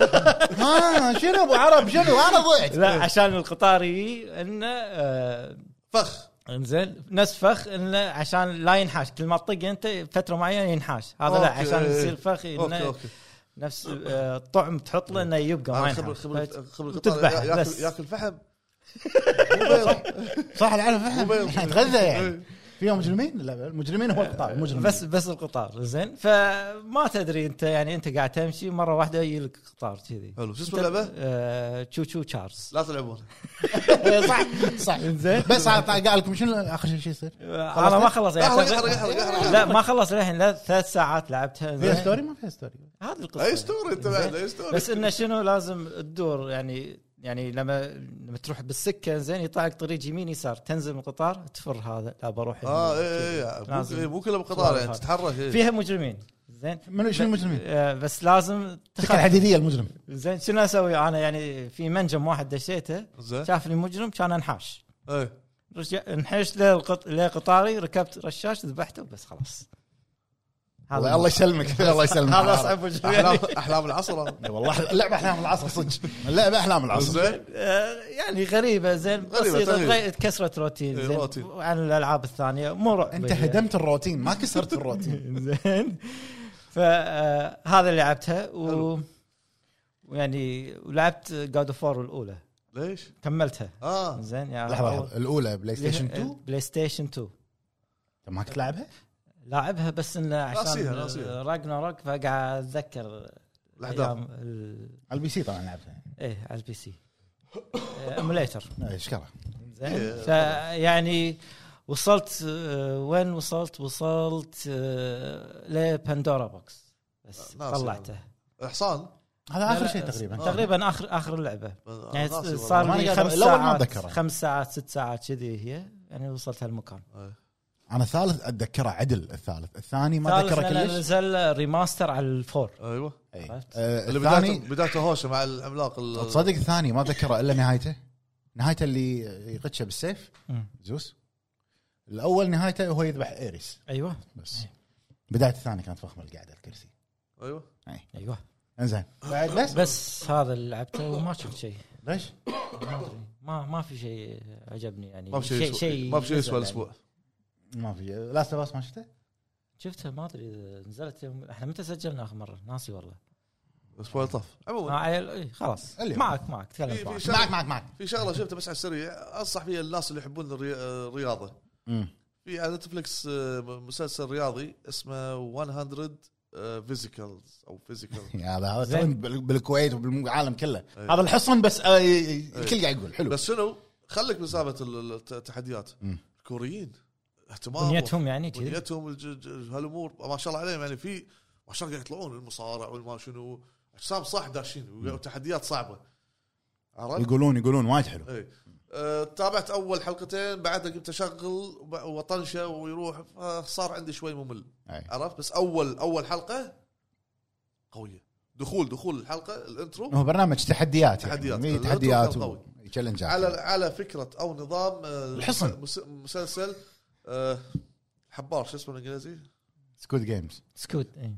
Speaker 1: ها شنو ابو عرب شنو انا ضعت
Speaker 2: لا عشان القطار يجي انه آه،
Speaker 3: فخ
Speaker 2: انزين نفس فخ انه عشان لا ينحاش كل ما تطق انت فترة معينة ينحاش هذا لا
Speaker 3: أوكي.
Speaker 2: عشان يصير فخ
Speaker 3: اوكي
Speaker 2: انه
Speaker 3: اوكي
Speaker 2: نفس آه، الطعم تحط له انه يبقى ما
Speaker 3: أنا خبر
Speaker 2: ينحاش
Speaker 3: خبر خبر
Speaker 2: وتذبح،
Speaker 3: القطار يا-
Speaker 2: بس.
Speaker 3: ياكل ياكل
Speaker 2: *laughs*
Speaker 3: فحم مو
Speaker 1: صح العالم فهم
Speaker 3: بيض.
Speaker 1: إحنا نتغذى يعني
Speaker 3: بيض.
Speaker 1: فيهم مجرمين لا المجرمين هو القطار المجرمين
Speaker 2: بس بس القطار زين فما تدري انت يعني انت قاعد تمشي مره واحده يجي لك قطار كذي
Speaker 3: حلو شو اسم اللعبه؟
Speaker 2: آه، تشو تشو تشارلز
Speaker 3: لا تلعبون
Speaker 1: صح صح
Speaker 2: زين
Speaker 1: *laughs* بس على- قال لكم شنو اخر شيء شي يصير؟
Speaker 2: آه، انا ما خلص
Speaker 3: لا،
Speaker 2: يعني
Speaker 3: حرق- حرق- حرق- حرق- حرق.
Speaker 2: لا ما خلص الحين لا ثلاث ساعات لعبتها
Speaker 1: فيها
Speaker 2: زين.
Speaker 1: ستوري ما فيها ستوري
Speaker 2: هذه القصه
Speaker 3: اي ستوري انت بعد
Speaker 2: زين.
Speaker 3: اي ستوري
Speaker 2: بس انه شنو لازم تدور يعني يعني لما لما تروح بالسكه زين يطلع لك طريق يمين يسار تنزل من القطار تفر هذا لا بروح
Speaker 3: اه
Speaker 2: هنا.
Speaker 3: اي اي مو-
Speaker 2: لازم.
Speaker 3: إي، مو كلهم قطار يعني تتحرك إي.
Speaker 2: فيها مجرمين زين
Speaker 1: منو شنو المجرمين؟
Speaker 2: آه، بس لازم
Speaker 1: السكه الحديديه المجرم
Speaker 2: زين شنو اسوي انا يعني في منجم واحد دشيته
Speaker 3: زين إيه.
Speaker 2: شافني مجرم كان انحاش
Speaker 3: إي.
Speaker 2: رجع انحش للقط... لقطاري ركبت رشاش ذبحته بس خلاص
Speaker 1: الله الله يسلمك *laughs* الله يسلمك
Speaker 2: هذا اصعب مجرم يعني,
Speaker 3: احلام احلام العصر
Speaker 1: إي والله اللعبه احلام العصر صدق اللعبه احلام العصر
Speaker 3: زين
Speaker 2: آه، *laughs* يعني غريبه زين
Speaker 3: غريبة،
Speaker 2: بسيطه
Speaker 3: تغيير.
Speaker 2: تغي- كسرت روتين
Speaker 3: إيه،
Speaker 2: زين
Speaker 3: روتين.
Speaker 2: عن الالعاب الثانيه مو رعب يعني.
Speaker 1: انت هدمت الروتين ما كسرت الروتين
Speaker 2: *laughs* زين فهذا اللي لعبتها و... يعني
Speaker 3: حلو.
Speaker 2: ويعني ولعبت جاد اوف الاولى
Speaker 3: ليش؟
Speaker 2: كملتها
Speaker 3: اه
Speaker 2: زين يعني آه،
Speaker 1: لحظه لحظه الاولى بلاي ستيشن 2
Speaker 2: بلاي ستيشن 2
Speaker 1: أنت ما كنت لعبها؟
Speaker 2: لاعبها بس انه
Speaker 3: ناسيها-
Speaker 2: عشان
Speaker 3: ناسيها.
Speaker 2: راجناروك فقاعد اتذكر
Speaker 3: الاحداث
Speaker 2: ال...
Speaker 1: على البي سي طبعا لعبتها
Speaker 2: ايه على البي
Speaker 3: *coughs*
Speaker 2: سي ايموليتر
Speaker 1: إي، اشكره
Speaker 3: إيه.
Speaker 2: زين فيعني وصلت آه، وين وصلت؟ وصلت آه، لبندورا بوكس بس
Speaker 3: ناسي
Speaker 2: طلعته
Speaker 3: حصان
Speaker 1: هذا اخر
Speaker 2: لا،
Speaker 1: شيء
Speaker 2: لا،
Speaker 1: تقريبا
Speaker 2: تقريبا اخر اخر لعبه
Speaker 3: آه،
Speaker 2: يعني
Speaker 3: ناسي والله.
Speaker 2: صار
Speaker 1: ما أنا
Speaker 2: لي
Speaker 1: قادر-
Speaker 2: خمس
Speaker 1: الأول ما
Speaker 2: ساعات
Speaker 1: أتذكرها.
Speaker 2: خمس ساعات ست ساعات كذي هي يعني وصلت هالمكان
Speaker 3: إي.
Speaker 1: انا الثالث اتذكره عدل الثالث الثاني ما
Speaker 2: ثالث
Speaker 1: اتذكره
Speaker 2: لأن
Speaker 1: كلش
Speaker 2: نزل ريماستر على الفور
Speaker 3: ايوه
Speaker 1: إي.
Speaker 2: عرفت.
Speaker 1: آه،
Speaker 3: اللي
Speaker 1: الثاني
Speaker 3: بدايته بدايته هوشه مع العملاق ال-
Speaker 1: تصدق الثاني ما اتذكره الا نهايته نهايته اللي يقتشه بالسيف
Speaker 2: مم.
Speaker 1: زوس الاول نهايته هو يذبح ايريس
Speaker 2: ايوه
Speaker 1: بس بدايه الثاني كانت فخمه القعده على الكرسي
Speaker 3: ايوه
Speaker 2: ايوه
Speaker 1: انزين بعد بس
Speaker 2: بس هذا اللي لعبته وما شفت شيء
Speaker 1: ليش؟
Speaker 2: ما أدري. ما ما في شيء عجبني يعني
Speaker 3: ما في شيء يسوى- ما في شيء
Speaker 2: نزل
Speaker 3: يسوى
Speaker 2: يعني.
Speaker 3: الاسبوع
Speaker 1: ما في لاست باس ما شفته؟
Speaker 2: شفتها ما ادري إذا نزلت يوم احنا متى سجلنا اخر مره ناسي والله
Speaker 3: الاسبوع اللي طاف
Speaker 2: آه،
Speaker 3: عموما
Speaker 2: عيل- إيه، خلاص
Speaker 1: اليوم.
Speaker 2: معك معك
Speaker 3: في-
Speaker 2: تكلم
Speaker 3: في
Speaker 2: معك
Speaker 3: شغلة-
Speaker 1: معك معك معك
Speaker 3: في شغله شفتها بس على السريع انصح فيها الناس اللي يحبون الري- الرياضه
Speaker 1: مم.
Speaker 3: في على نتفلكس آه، مسلسل رياضي اسمه آه، 100 فيزيكالز او فيزيكال
Speaker 1: يا هذا هذا
Speaker 2: زين.
Speaker 1: بال- بالكويت وبالعالم كله
Speaker 3: أي.
Speaker 1: هذا الحصن بس آه، الكل قاعد يقول *laughs* حلو
Speaker 3: إيه. بس شنو خليك من سالفه ال- الت- التحديات
Speaker 1: مم.
Speaker 3: الكوريين اهتمام
Speaker 2: بنيتهم يعني كذي
Speaker 3: بنيتهم الج- ج- هالامور ما شاء الله عليهم يعني في ما شاء الله قاعد يطلعون المصارع والما شنو اجسام صح داشين وتحديات صعبه عرفت؟
Speaker 1: يقولون يقولون وايد حلو
Speaker 3: اي أه، تابعت اول حلقتين بعدها قمت اشغل وب- وطنشه ويروح فصار عندي شوي ممل
Speaker 1: أي.
Speaker 3: عرفت بس اول اول حلقه قويه دخول دخول الحلقه الانترو
Speaker 1: هو برنامج تحديات
Speaker 3: تحديات.
Speaker 1: يعني. إي،
Speaker 3: الأردن
Speaker 1: تحديات
Speaker 3: كان
Speaker 1: و- تشالنجات
Speaker 3: على على فكره او نظام آه،
Speaker 1: الحصن.
Speaker 3: مس- مسلسل آه، حبار شو اسمه بالانجليزي؟
Speaker 1: سكوت جيمز
Speaker 2: سكوت إيه.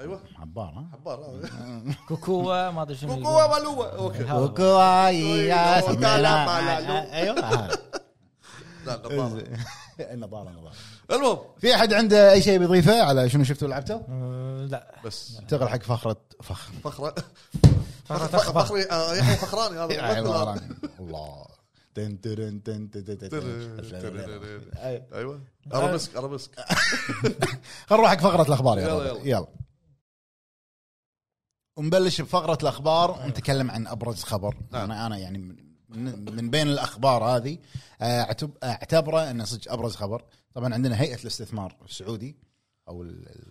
Speaker 3: ايوه
Speaker 1: عبار ها
Speaker 3: حبار آه، هذا.
Speaker 1: *laughs*
Speaker 2: كوكوا ما ادري شنو
Speaker 3: كوكوا
Speaker 2: يقول.
Speaker 3: مالوة اوكي
Speaker 2: هذا.
Speaker 1: وكواي يا
Speaker 3: ولا
Speaker 1: سملا.
Speaker 3: بلالو.
Speaker 1: ايوه هذا.
Speaker 3: لا نظارة.
Speaker 1: النظاره النظاره
Speaker 3: المهم
Speaker 1: في احد عنده اي شيء بيضيفه على شنو شفته ولعبته؟
Speaker 2: آه،
Speaker 3: *laughs*
Speaker 2: لا
Speaker 3: بس
Speaker 1: انتقل حق فخره فخر
Speaker 3: فخره
Speaker 2: فقط
Speaker 3: فخ-
Speaker 2: أخبار.
Speaker 3: فخري آه، يحيى فخراني *laughs*
Speaker 1: يا
Speaker 3: هذا
Speaker 1: عبارة. الله تن ترن تن تن تن تن
Speaker 3: *laughs*
Speaker 1: تن. أي.
Speaker 3: ايوه ارابسك ارابسك
Speaker 1: خلينا نروح حق فقره الاخبار يلا
Speaker 3: يلا،
Speaker 1: يلا, يلا. ونبلش بفقره الاخبار ونتكلم عن ابرز خبر
Speaker 3: نعم.
Speaker 1: انا انا يعني من, من بين الاخبار هذه آه، أعتب- اعتبره انه صدق ابرز خبر طبعا عندنا هيئه الاستثمار السعودي او ال- ال-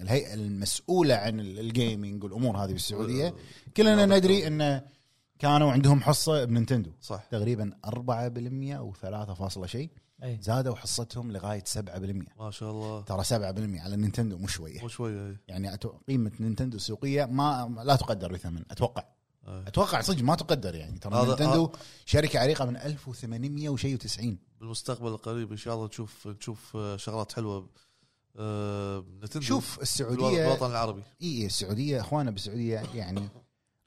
Speaker 1: الهيئه المسؤوله عن ال- الجيمنج والامور هذه بالسعوديه كلنا
Speaker 3: نعم.
Speaker 1: ندري انه كانوا عندهم حصه بنينتندو
Speaker 3: صح
Speaker 1: تقريبا 4% او 3 فاصلة شيء
Speaker 2: إيه.
Speaker 1: زادوا حصتهم لغايه 7%
Speaker 3: ما شاء الله
Speaker 1: ترى 7% على النينتندو مو شويه
Speaker 3: مو إيه. شويه أي.
Speaker 1: يعني أتو- قيمه نينتندو السوقيه ما لا تقدر بثمن اتوقع
Speaker 3: أي.
Speaker 1: اتوقع صدق ما تقدر يعني ترى
Speaker 3: آه. هذا- آه.
Speaker 1: نينتندو شركه عريقه من 1800 وشيء و90
Speaker 3: بالمستقبل القريب ان شاء الله نشوف نشوف آه، شغلات حلوه آه، نتندو
Speaker 1: شوف
Speaker 3: بالوطن-
Speaker 1: السعوديه
Speaker 3: بالوطن العربي
Speaker 1: اي إي، السعوديه اخوانا بالسعوديه يعني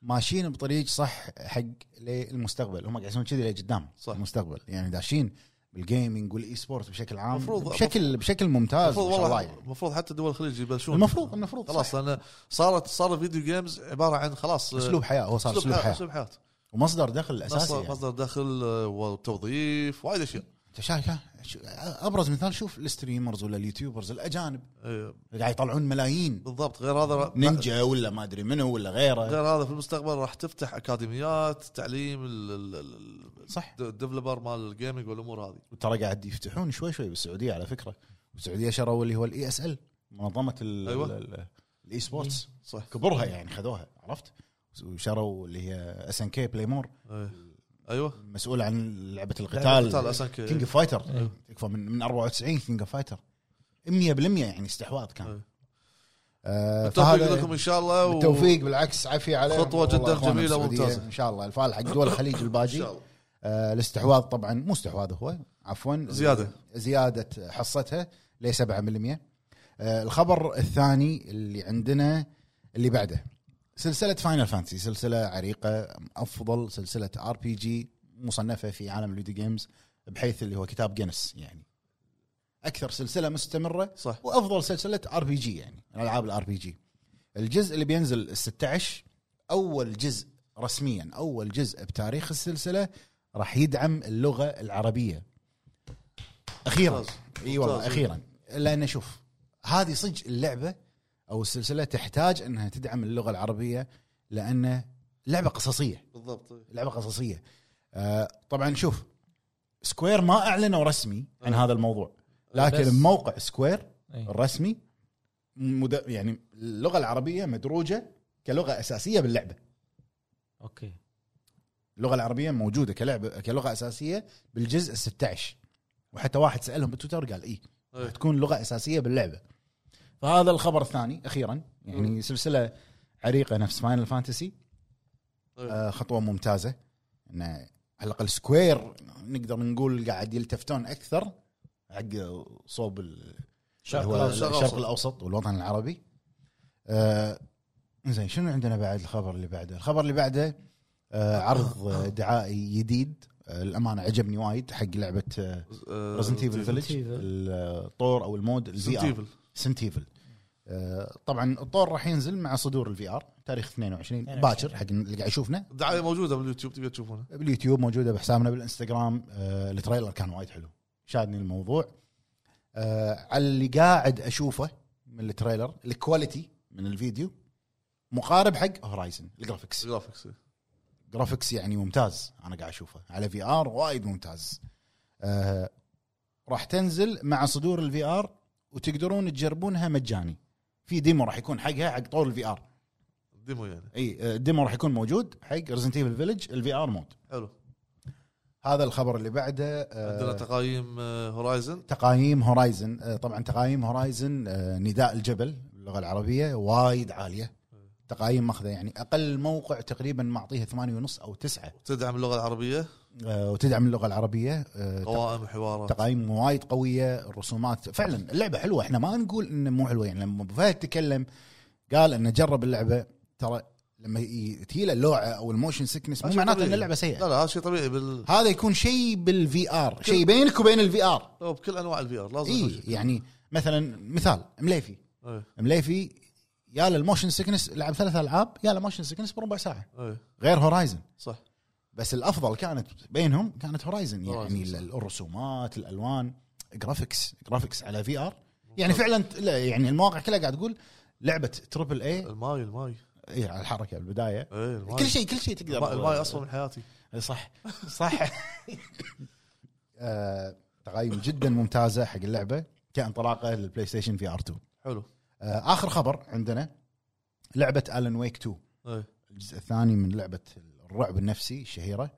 Speaker 1: ماشيين بطريق صح حق للمستقبل هم قاعد يسوون كذي لقدام
Speaker 3: صح.
Speaker 1: المستقبل يعني داشين بالجيمنج والاي سبورت بشكل عام
Speaker 3: مفروض-
Speaker 1: بشكل بشكل ممتاز
Speaker 3: المفروض
Speaker 1: ما شاء الله
Speaker 3: والله
Speaker 1: يعني.
Speaker 3: المفروض حتى دول الخليج يبلشون
Speaker 1: المفروض المفروض
Speaker 3: خلاص
Speaker 1: خلاص
Speaker 3: لان صارت صار الفيديو جيمز عباره عن خلاص آه،
Speaker 1: اسلوب حياه هو صار اسلوب حياه
Speaker 3: اسلوب حياه
Speaker 1: ومصدر دخل اساسي
Speaker 3: مصدر,
Speaker 1: يعني.
Speaker 3: مصدر دخل آه، وتوظيف وايد اشياء
Speaker 1: انت شايف ها؟ شو- ابرز مثال شوف الستريمرز ولا اليوتيوبرز الاجانب
Speaker 3: آه،
Speaker 1: قاعد يطلعون ملايين
Speaker 3: بالضبط غير هذا
Speaker 1: نينجا ولا ما ادري منو ولا غيره
Speaker 3: غير هذا في المستقبل راح تفتح اكاديميات تعليم ال- ال- ال-
Speaker 1: صح.
Speaker 3: الديفلوبر مال الجيمنج والامور هذه
Speaker 1: ترى قاعد يفتحون شوي شوي بالسعوديه على فكره السعوديه شروا اللي هو الاي اس ال E منظمه
Speaker 3: أيوة.
Speaker 1: الاي سبورتس
Speaker 3: صح
Speaker 1: كبرها يعني خذوها عرفت وشروا اللي هي اس ان كي بلاي مور
Speaker 3: إيه. ايوه
Speaker 1: المسؤوله عن لعبه
Speaker 3: قتال
Speaker 1: القتال
Speaker 3: أصلاً أيوة.
Speaker 1: كينج
Speaker 3: ك-
Speaker 1: اوف فايتر تكفى من من 94 كينج اوف فايتر 100% يعني استحواذ كان
Speaker 3: أيوة.
Speaker 1: آه،
Speaker 3: بالتوفيق
Speaker 1: فهذا-
Speaker 3: لكم ان شاء الله و-
Speaker 1: بالتوفيق بالعكس عافيه عليهم
Speaker 3: خطوة
Speaker 1: والله
Speaker 3: جداً
Speaker 1: أخوانا
Speaker 3: جميلة
Speaker 1: بالسعودية
Speaker 3: وممتازة.
Speaker 1: ان شاء الله الفعال حق دول
Speaker 3: *laughs*
Speaker 1: الخليج
Speaker 3: ان
Speaker 1: الباجي
Speaker 3: شاء الله
Speaker 1: آه الاستحواذ طبعا مو استحواذ هو عفوا
Speaker 3: زيادة.
Speaker 1: زياده حصتها ل 7% آه الخبر الثاني اللي عندنا اللي بعده سلسله فاينل فانتسي سلسله عريقه افضل سلسله ار بي جي مصنفه في عالم الفيديو جيمز بحيث اللي هو كتاب جينيس يعني اكثر سلسله مستمره
Speaker 3: صح
Speaker 1: وافضل سلسله ار بي جي يعني العاب الار بي جي الجزء اللي بينزل ال 16 اول جزء رسميا اول جزء بتاريخ السلسله راح يدعم اللغه العربيه اخيرا
Speaker 3: ممتاز.
Speaker 1: اي والله
Speaker 3: ممتاز.
Speaker 1: اخيرا لان شوف هذه صدق اللعبه او السلسله تحتاج انها تدعم اللغه العربيه لان لعبه قصصيه
Speaker 3: بالضبط إيه.
Speaker 1: لعبه قصصيه آه طبعا شوف سكوير ما اعلنوا رسمي عن هذا الموضوع
Speaker 2: بس-
Speaker 1: لكن بموقع سكوير
Speaker 2: إيه.
Speaker 1: الرسمي مد... يعني اللغه العربيه مدروجه كلغه اساسيه باللعبه
Speaker 2: اوكي
Speaker 1: اللغه العربيه موجوده كلعبه كلغه اساسيه بالجزء 16 وحتى واحد سالهم بالتويتر قال اي
Speaker 3: إيه.
Speaker 1: تكون لغه اساسيه باللعبه فهذا الخبر الثاني اخيرا يعني سلسله عريقه نفس فاينل فانتسي
Speaker 3: إيه.
Speaker 1: آه، خطوه ممتازه انه على الاقل سكوير نقدر نقول قاعد يلتفتون اكثر حق صوب ال-
Speaker 4: الشرق
Speaker 1: هو
Speaker 3: الأوسط.
Speaker 1: الشرق الاوسط والوطن العربي آه، زين شنو عندنا بعد الخبر اللي بعده الخبر اللي بعده آه، عرض آه، دعائي جديد آه، الامانه عجبني وايد حق لعبه آه،
Speaker 3: آه،
Speaker 1: ريزنت ايفل فيلج
Speaker 2: Evil.
Speaker 1: الطور او المود الفي
Speaker 3: Resident
Speaker 1: ار
Speaker 3: Evil.
Speaker 1: سنت ايفل طبعا آه، الطور راح ينزل مع صدور الفي ار تاريخ 22 باكر حق اللي قاعد يشوفنا
Speaker 3: الدعايه موجوده باليوتيوب تبي تشوفونها
Speaker 1: باليوتيوب موجوده بحسابنا بالانستغرام آه، التريلر كان وايد حلو شادني الموضوع آه، على اللي قاعد اشوفه من التريلر الكواليتي من الفيديو مقارب حق هورايزن الجرافكس
Speaker 3: جرافكس
Speaker 1: جرافكس يعني ممتاز انا قاعد اشوفه على في ار وايد ممتاز آه راح تنزل مع صدور الفي ار وتقدرون تجربونها مجاني في ديمو راح يكون حقها حق طور الفي ار
Speaker 3: ديمو يعني
Speaker 1: اي آه، الديمو راح يكون موجود حق ريزنت ايفل فيلج الفي ار مود
Speaker 3: حلو
Speaker 1: هذا الخبر اللي بعده
Speaker 3: عندنا
Speaker 1: آه
Speaker 3: تقايم آه، هورايزن
Speaker 1: تقايم هورايزن آه طبعا تقايم هورايزن آه نداء الجبل باللغه العربيه وايد عاليه تقايم ماخذه يعني اقل موقع تقريبا معطيها ثمانية ونص او تسعة
Speaker 3: تدعم اللغه العربيه
Speaker 1: آه وتدعم اللغه العربيه آه
Speaker 3: قوائم حوارات
Speaker 1: تقايم وايد قويه الرسومات فعلا اللعبه حلوه احنا ما نقول انه مو حلوه يعني لما ابو فهد تكلم قال انه جرب اللعبه ترى لما ي- تجي له اللوعه او الموشن سكنس مو
Speaker 3: شيء
Speaker 1: معناته ان
Speaker 3: طبيعي.
Speaker 1: اللعبه
Speaker 3: لا
Speaker 1: سيئه
Speaker 3: لا هذا شيء طبيعي بال
Speaker 1: هذا يكون شيء بالفي ار شيء بينك وبين الفي ار
Speaker 3: أو بكل انواع الفي ار لازم يكون
Speaker 1: اي
Speaker 3: شيء.
Speaker 1: يعني مثلا مثال مليفي
Speaker 3: إيه،
Speaker 1: مليفي يا له الموشن سكنس لعب ثلاث العاب يا له موشن سكنس بربع ساعه
Speaker 3: إيه،
Speaker 1: غير هورايزن
Speaker 3: صح
Speaker 1: بس الافضل كانت بينهم كانت هورايزن يعني
Speaker 3: هورايزن، صح.
Speaker 1: ال- الرسومات الالوان جرافيكس جرافيكس على في ار يعني فعلا ت- لا، يعني المواقع كلها قاعد تقول لعبه تربل اي
Speaker 3: الماي الماي
Speaker 1: إيه، على الحركه بالبدايه
Speaker 3: ايه الماي
Speaker 1: كل شيء كل شيء تقدر
Speaker 3: الماي- الماي اصلا من حياتي
Speaker 1: إيه، صح صح *laughs* آه، تقايم جدا ممتازه حق اللعبه كانطلاقه للبلاي ستيشن في ار 2
Speaker 3: حلو
Speaker 1: آه، اخر خبر عندنا لعبه الن ويك 2
Speaker 3: ايه
Speaker 1: الجزء الثاني من لعبه الرعب النفسي الشهيره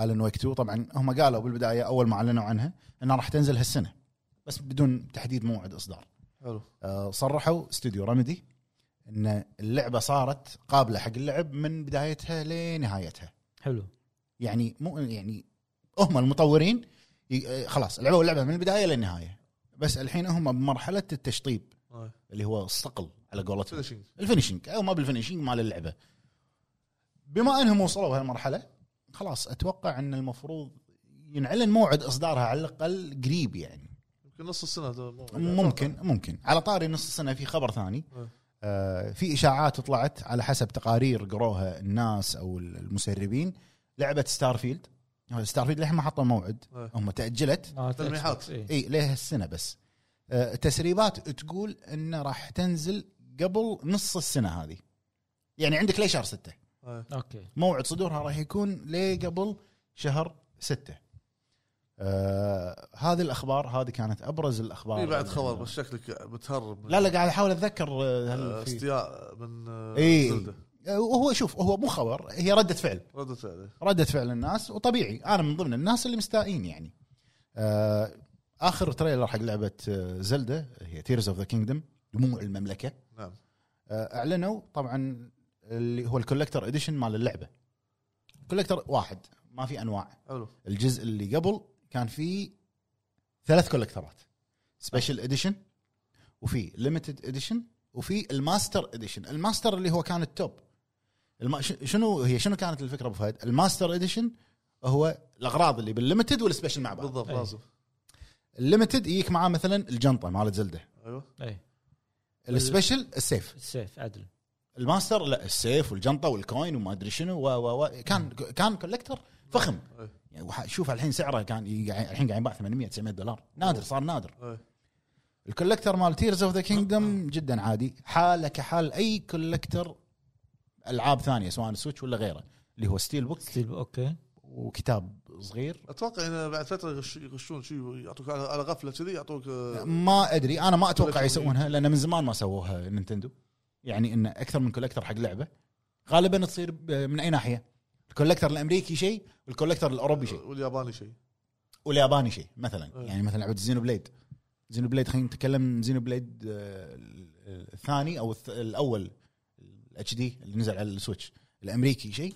Speaker 1: الن ويك 2 طبعا هم قالوا بالبدايه اول ما اعلنوا عنها انها راح تنزل هالسنه بس بدون تحديد موعد اصدار
Speaker 3: حلو
Speaker 1: آه، صرحوا استوديو رمدي ان اللعبه صارت قابله حق اللعب من بدايتها لنهايتها
Speaker 2: حلو آه،
Speaker 1: يعني مو يعني هم المطورين ي- آه، خلاص لعبوا اللعبه من البدايه للنهايه بس الحين هم بمرحله التشطيب
Speaker 3: إيه.
Speaker 1: اللي هو الصقل على قولتهم
Speaker 3: فينشينج
Speaker 1: الفينشنج او ما بالفينشنج مال اللعبه بما انهم وصلوا هالمرحله خلاص اتوقع ان المفروض ينعلن موعد اصدارها على الاقل قريب يعني
Speaker 3: يمكن نص السنه ده مو-
Speaker 1: ممكن ممكن على طاري نص السنه في خبر ثاني
Speaker 3: إيه.
Speaker 1: آه في اشاعات طلعت على حسب تقارير قروها الناس او المسربين لعبه ستار فيلد ستار فيلد للحين ما حطوا موعد
Speaker 3: إيه.
Speaker 1: هم تاجلت
Speaker 3: تلميحات.
Speaker 2: إيه.
Speaker 1: اي ليه السنه بس آه، تسريبات تقول انه راح تنزل قبل نص السنه هذه يعني عندك ليه شهر ستة
Speaker 3: إيه.
Speaker 2: اوكي
Speaker 1: موعد صدورها راح يكون ليه قبل شهر ستة آه هذه الاخبار هذه كانت ابرز الاخبار
Speaker 3: في بعد
Speaker 1: اللي
Speaker 3: خبر
Speaker 1: عندنا.
Speaker 3: بس شكلك بتهرب من
Speaker 1: لا لا قاعد احاول اتذكر آه،
Speaker 3: آه،
Speaker 1: هل في-
Speaker 3: استياء من آه،
Speaker 1: إيه.
Speaker 3: زلدة.
Speaker 1: آه، وهو شوف هو مو خبر هي رده فعل
Speaker 3: ردة فعله
Speaker 1: ردة فعل الناس وطبيعي انا من ضمن الناس اللي مستائين يعني آه اخر تريلر حق لعبه آه، زلدة هي تيرز اوف ذا كينجدم دموع المملكه
Speaker 3: نعم
Speaker 1: آه اعلنوا طبعا اللي هو الكولكتر اديشن مال اللعبه كولكتر واحد ما في انواع
Speaker 3: حلو
Speaker 1: الجزء اللي قبل كان فيه ثلاث كولكترات سبيشل اديشن وفي ليمتد اديشن وفي الماستر اديشن الماستر اللي هو كان التوب الما ش- شنو هي شنو كانت الفكره ابو فهد الماستر اديشن هو الاغراض اللي بالليمتد والسبيشل مع بعض
Speaker 3: بالضبط
Speaker 2: إيه.
Speaker 3: لازم
Speaker 1: الليمتد يجيك معاه مثلا الجنطه مالت زلده
Speaker 3: ايوه
Speaker 2: ايه
Speaker 1: السبيشل السيف
Speaker 2: السيف عدل
Speaker 1: الماستر لا السيف والجنطه والكوين وما ادري شنو و و و كان كان كولكتر فخم
Speaker 3: إيه.
Speaker 1: يعني وح- شوف الحين سعره كان ي- يعني الحين قاعد ينباع 800 900 دولار نادر صار نادر
Speaker 3: إيه.
Speaker 1: الكولكتر مال تيرز اوف ذا كينجدم جدا عادي حاله كحال اي كولكتر العاب ثانيه سواء سويتش ولا غيره اللي هو ستيل بوك
Speaker 2: ستيل اوكي
Speaker 1: وكتاب صغير
Speaker 3: اتوقع انه بعد فتره يغش- يغشون شيء يعطوك على على غفله كذي يعطوك آه،
Speaker 1: ما ادري انا ما اتوقع
Speaker 3: كولكتر
Speaker 1: يسوونها لان من زمان ما سووها نينتندو يعني ان اكثر من كولكتر حق لعبه غالبا تصير ب- من اي ناحيه الكولكتر الامريكي شيء والكولكتر الاوروبي شيء
Speaker 3: والياباني شيء
Speaker 1: والياباني شيء مثلا
Speaker 2: إيه.
Speaker 3: أي.
Speaker 1: يعني مثلا لعبه زينو بليد زينو بليد خلينا نتكلم زينو بليد آه، الثاني او الث- الاول الاتش دي اللي نزل على السويتش الامريكي شيء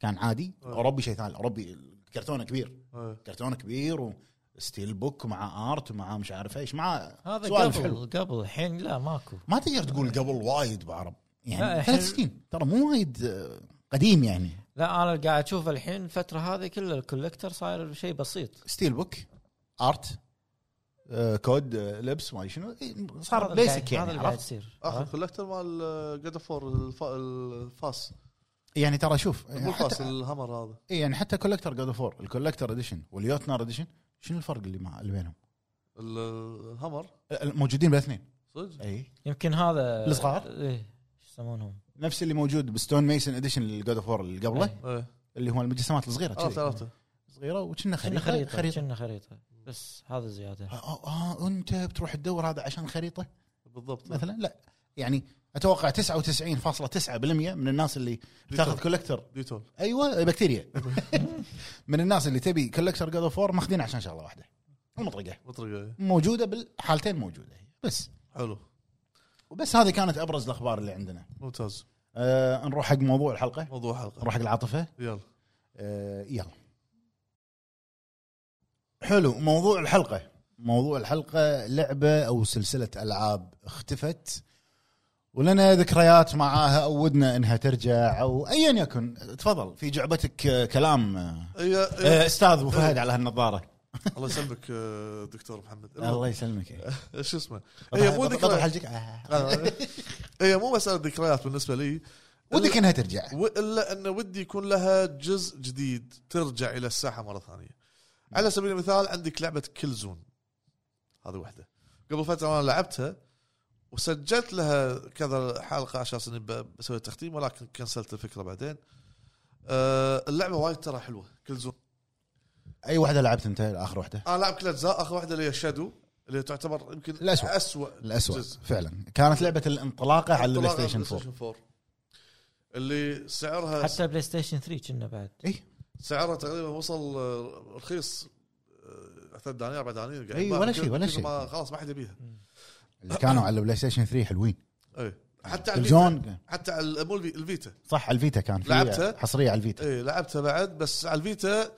Speaker 1: كان عادي
Speaker 2: إيه.
Speaker 3: آه.
Speaker 1: الاوروبي شيء ثاني الاوروبي كرتونه كبير
Speaker 3: إيه.
Speaker 1: كرتونه كبير وستيل بوك مع ارت ومع مش عارف ايش مع
Speaker 2: هذا
Speaker 1: سوالف
Speaker 2: قبل
Speaker 1: حلوة.
Speaker 2: قبل الحين لا ماكو
Speaker 1: ما تقدر تقول قبل وايد بعرب
Speaker 2: إيه. لا،
Speaker 1: يعني
Speaker 2: الحين-
Speaker 1: ثلاث سنين ترى مو وايد آه، قديم يعني
Speaker 2: لا انا قاعد اشوف الحين الفتره هذه كل الكوليكتر صاير شيء بسيط
Speaker 1: ستيل بوك ارت آه، كود آه، لبس ما أدري شنو إيه، صار
Speaker 2: هذا اللي
Speaker 1: بيسك
Speaker 2: قاعد- هذا
Speaker 1: يعني
Speaker 2: اللي قاعد
Speaker 1: عرفت
Speaker 2: يصير
Speaker 3: اخر
Speaker 2: عرفت؟
Speaker 3: كولكتر مال آه، جاد فور الفاس
Speaker 1: يعني ترى شوف
Speaker 3: مو الفاس
Speaker 1: حتى
Speaker 3: الهمر هذا
Speaker 1: إيه، يعني حتى كولكتر جاد فور الكولكتر اديشن واليوتنر اديشن شنو الفرق اللي مع اللي بينهم؟
Speaker 3: ال- الهمر
Speaker 1: آه، موجودين بالاثنين
Speaker 3: صدق
Speaker 1: اي
Speaker 2: يمكن هذا
Speaker 1: الصغار؟
Speaker 2: ايه شو يسمونهم
Speaker 1: نفس اللي موجود بستون ميسن اديشن للجود اوف وور اللي قبله
Speaker 2: إيه.
Speaker 3: ايه
Speaker 1: اللي هو المجسمات الصغيره
Speaker 3: عرفت
Speaker 1: كذي.
Speaker 3: عرفته
Speaker 1: صغيره وكنا
Speaker 2: كنا
Speaker 1: خريطه
Speaker 2: خريطه كنا خريطه بس هذا زياده
Speaker 1: آه, اه انت بتروح تدور هذا عشان خريطه
Speaker 3: بالضبط
Speaker 1: مثلا لا يعني اتوقع 99.9% من الناس اللي تاخذ كولكتر
Speaker 3: ديتول
Speaker 1: ايوه بكتيريا من الناس اللي تبي كولكتر جود اوف ماخذين عشان شغله واحده المطرقه
Speaker 3: مطرقه إيه.
Speaker 1: موجوده بالحالتين موجوده هي. بس
Speaker 3: حلو
Speaker 1: وبس هذه كانت ابرز الاخبار اللي عندنا
Speaker 3: ممتاز
Speaker 1: أه نروح حق موضوع الحلقه
Speaker 3: موضوع حلقه
Speaker 1: نروح حق العاطفه
Speaker 3: يلا
Speaker 1: أه يلا حلو موضوع الحلقه موضوع الحلقه لعبه او سلسله العاب اختفت ولنا ذكريات معاها او ودنا انها ترجع او ايا يكن تفضل في جعبتك آه، كلام آه،
Speaker 3: إيه، إيه.
Speaker 1: آه، استاذ ابو فهد على هالنظاره
Speaker 3: الله يسلمك آه، دكتور محمد
Speaker 1: الله يسلمك
Speaker 3: شو اسمه هي مو
Speaker 1: بطل
Speaker 3: ذكريات
Speaker 1: حلقك آه.
Speaker 3: آه. هي مو مساله ذكريات بالنسبه لي
Speaker 1: ودك انها ترجع
Speaker 3: و- الا انه ودي يكون لها جزء جديد ترجع الى الساحه مره ثانيه. على سبيل المثال عندك لعبه كل زون هذه واحده قبل فتره انا لعبتها وسجلت لها كذا حلقه عشان اني ب- بسوي تختيم ولكن كنسلت الفكره بعدين. أه اللعبه وايد ترى حلوه كل زون
Speaker 1: اي واحده لعبت انت اخر واحده
Speaker 3: انا لعب كل اجزاء اخر واحده اللي هي شادو اللي تعتبر يمكن
Speaker 1: الأسوأ.
Speaker 3: اسوء
Speaker 1: الاسوء
Speaker 3: جزء.
Speaker 1: فعلا كانت لعبه الانطلاقه على البلاي ستيشن 4
Speaker 3: اللي سعرها
Speaker 2: حتى بلاي ستيشن 3 كنا بعد
Speaker 1: إيه،
Speaker 3: سعرها تقريبا وصل آه، رخيص آه، ثلاث دنانير اربع دنانير قاعد
Speaker 1: أي،
Speaker 3: يباع.
Speaker 1: إيه، ولا
Speaker 3: كل-
Speaker 1: شيء، ولا
Speaker 3: كل
Speaker 1: شيء.
Speaker 3: ما خلاص ما حد يبيها
Speaker 1: اللي كانوا على البلاي ستيشن 3 حلوين
Speaker 3: اي
Speaker 1: إيه.
Speaker 3: حتى على الفيتا
Speaker 1: تلفزيون
Speaker 3: حتى على ال- مو الفي- الفيتا
Speaker 1: صح على الفيتا كان في
Speaker 3: لعبتها؟
Speaker 1: حصريه على الفيتا
Speaker 3: اي لعبتها بعد بس على الفيتا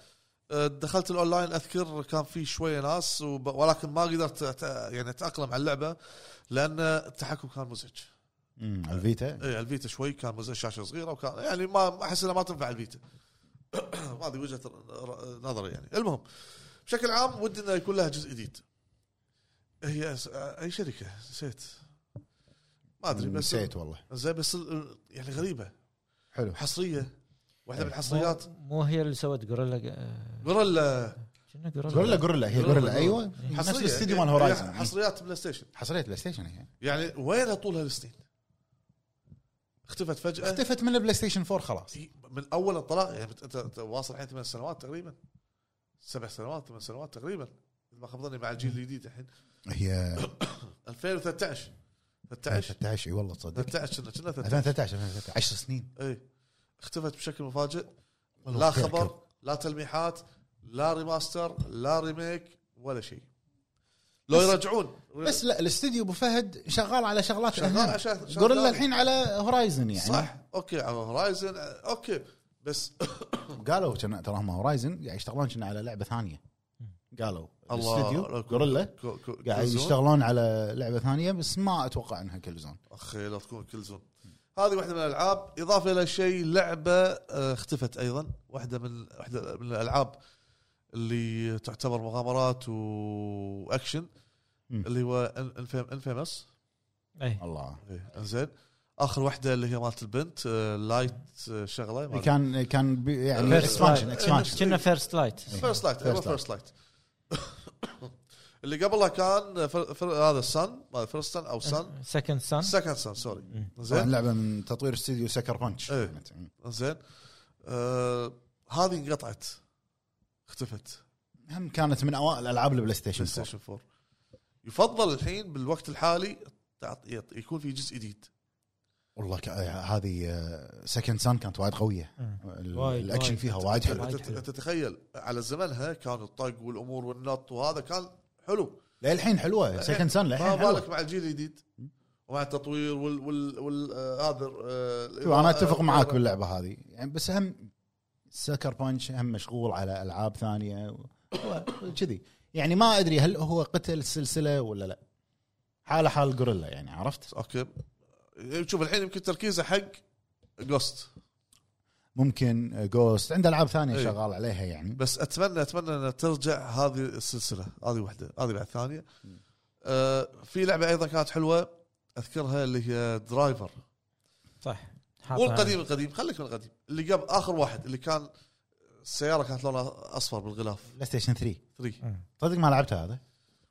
Speaker 3: آه، دخلت الاونلاين اذكر كان في شويه ناس وب... ولكن ما قدرت أت- يعني اتاقلم على اللعبه لان التحكم كان مزعج
Speaker 1: امم على الفيتا
Speaker 3: اي إيه، الفيتا شوي كان مزعج شاشه صغيره وكان يعني ما احس انها ما تنفع الفيتا *clears throat* ما ادري وجهه ر- نظري يعني المهم بشكل عام ودي انه يكون لها جزء جديد هي أس- اي شركه نسيت ما ادري بس
Speaker 1: نسيت والله
Speaker 3: زين بس ال- يعني غريبه
Speaker 1: حلو
Speaker 3: حصريه واحده من الحصريات
Speaker 2: مو- مو هي اللي سوت جوريلا
Speaker 3: غوريلا
Speaker 2: كنا جوريلا
Speaker 1: غوريلا غوريلا هي غوريلا ايوه نفس
Speaker 3: حصريه
Speaker 1: الاستديو
Speaker 3: يعني
Speaker 1: مال هورايزن
Speaker 3: حصريات بلاي ستيشن
Speaker 1: حصريه بلاي ستيشن هي
Speaker 3: يعني وين طول هالسنين اختفت فجاه
Speaker 1: اختفت من البلاي ستيشن 4 خلاص
Speaker 3: هي من اول انطلاق يعني أنت- انت واصل الحين ثمان سنوات تقريبا سبع سنوات ثمان سنوات تقريبا اذا ما خاب ظني مع الجيل الجديد الحين
Speaker 1: هي
Speaker 3: 2013 13
Speaker 1: 13 اي والله تصدق
Speaker 3: 13 كنا كنا 13
Speaker 1: 2013 2013 10 سنين
Speaker 3: اي إيه. اختفت بشكل مفاجئ
Speaker 1: والله
Speaker 3: لا
Speaker 1: خير
Speaker 3: خبر لا تلميحات لا ريماستر لا ريميك ولا شيء لو
Speaker 1: بس-
Speaker 3: يرجعون
Speaker 1: بس لا الاستديو ابو فهد شغال على شغلات
Speaker 3: شغال
Speaker 1: أهم.
Speaker 3: على شغ- شغلات.
Speaker 1: غوريلا الحين على هورايزن يعني
Speaker 3: صح اوكي على هورايزن اوكي بس
Speaker 1: قالوا كنا ترى هم هورايزن قاعد يشتغلون كنا على لعبه ثانيه قالوا الاستديو
Speaker 3: الله
Speaker 1: غوريلا
Speaker 3: كو- كو-
Speaker 1: قاعد
Speaker 3: كوزون.
Speaker 1: يشتغلون على لعبه ثانيه بس ما اتوقع انها كل زون
Speaker 3: اخي لا تكون كل زون هذه واحده من الالعاب اضافه الى شيء لعبه آه، اختفت ايضا واحده من واحده من الالعاب اللي تعتبر مغامرات واكشن
Speaker 1: مم.
Speaker 3: اللي هو انفيمس
Speaker 2: اي
Speaker 1: الله
Speaker 3: انزين اخر واحده اللي هي مالت البنت آه، لايت شغله ما أدري.
Speaker 1: إيه، كان كان بي- يعني
Speaker 3: First
Speaker 1: اكسبانشن
Speaker 3: Light.
Speaker 1: اكسبانشن
Speaker 2: كنا فيرست لايت
Speaker 3: فيرست لايت ايوه
Speaker 1: First Light.
Speaker 3: فيرست لايت *coughs* اللي قبلها كان فر... فر... هذا السن ما فيرست سن او سن
Speaker 2: سكند سان
Speaker 3: سكند سن سوري
Speaker 2: مم.
Speaker 1: طبعاً
Speaker 3: زين
Speaker 1: لعبه من تطوير استديو سكر بانش
Speaker 3: إيه.
Speaker 1: كانت. مم.
Speaker 3: زين آه... هذه انقطعت اختفت
Speaker 1: هم كانت من اوائل العاب البلاي ستيشن
Speaker 3: بلاي
Speaker 1: 4.
Speaker 3: ستيشن 4 يفضل الحين بالوقت الحالي تعط- يط- يكون في جزء جديد
Speaker 1: والله ك- هذه سكند سان كانت وايد قويه ال-
Speaker 2: وايد،
Speaker 1: الاكشن
Speaker 2: وايد.
Speaker 1: فيها وايد حلو
Speaker 2: وايد
Speaker 3: انت
Speaker 2: حلو.
Speaker 3: تتخيل على زمنها كان الطق والامور والنط وهذا كان حلو
Speaker 1: للحين حلوه سكند سن للحين
Speaker 3: ما
Speaker 1: حلوه
Speaker 3: بالك مع الجيل الجديد ومع التطوير وال وال وال آه، هذا آه،
Speaker 1: شوف انا اتفق
Speaker 3: آه،
Speaker 1: معاك
Speaker 3: آه،
Speaker 1: باللعبه هذه يعني بس هم سكر بانش هم مشغول على العاب ثانيه وكذي يعني ما ادري هل هو قتل السلسله ولا لا حاله حال غوريلا يعني عرفت
Speaker 3: اوكي آه، شوف الحين يمكن تركيزه حق جوست
Speaker 1: ممكن جوست عنده العاب ثانيه
Speaker 3: إيه.
Speaker 1: شغال عليها يعني
Speaker 3: بس اتمنى اتمنى انها ترجع هذه السلسله هذه واحده هذه بعد ثانيه آه في لعبه ايضا كانت حلوه اذكرها اللي هي درايفر
Speaker 1: آه،
Speaker 2: صح
Speaker 3: مو
Speaker 1: طيب.
Speaker 3: القديم القديم خليك من القديم اللي قبل اخر واحد اللي كان السياره كانت لونها اصفر بالغلاف
Speaker 1: بلاي ستيشن 3
Speaker 3: 3
Speaker 1: صدق ما لعبتها هذا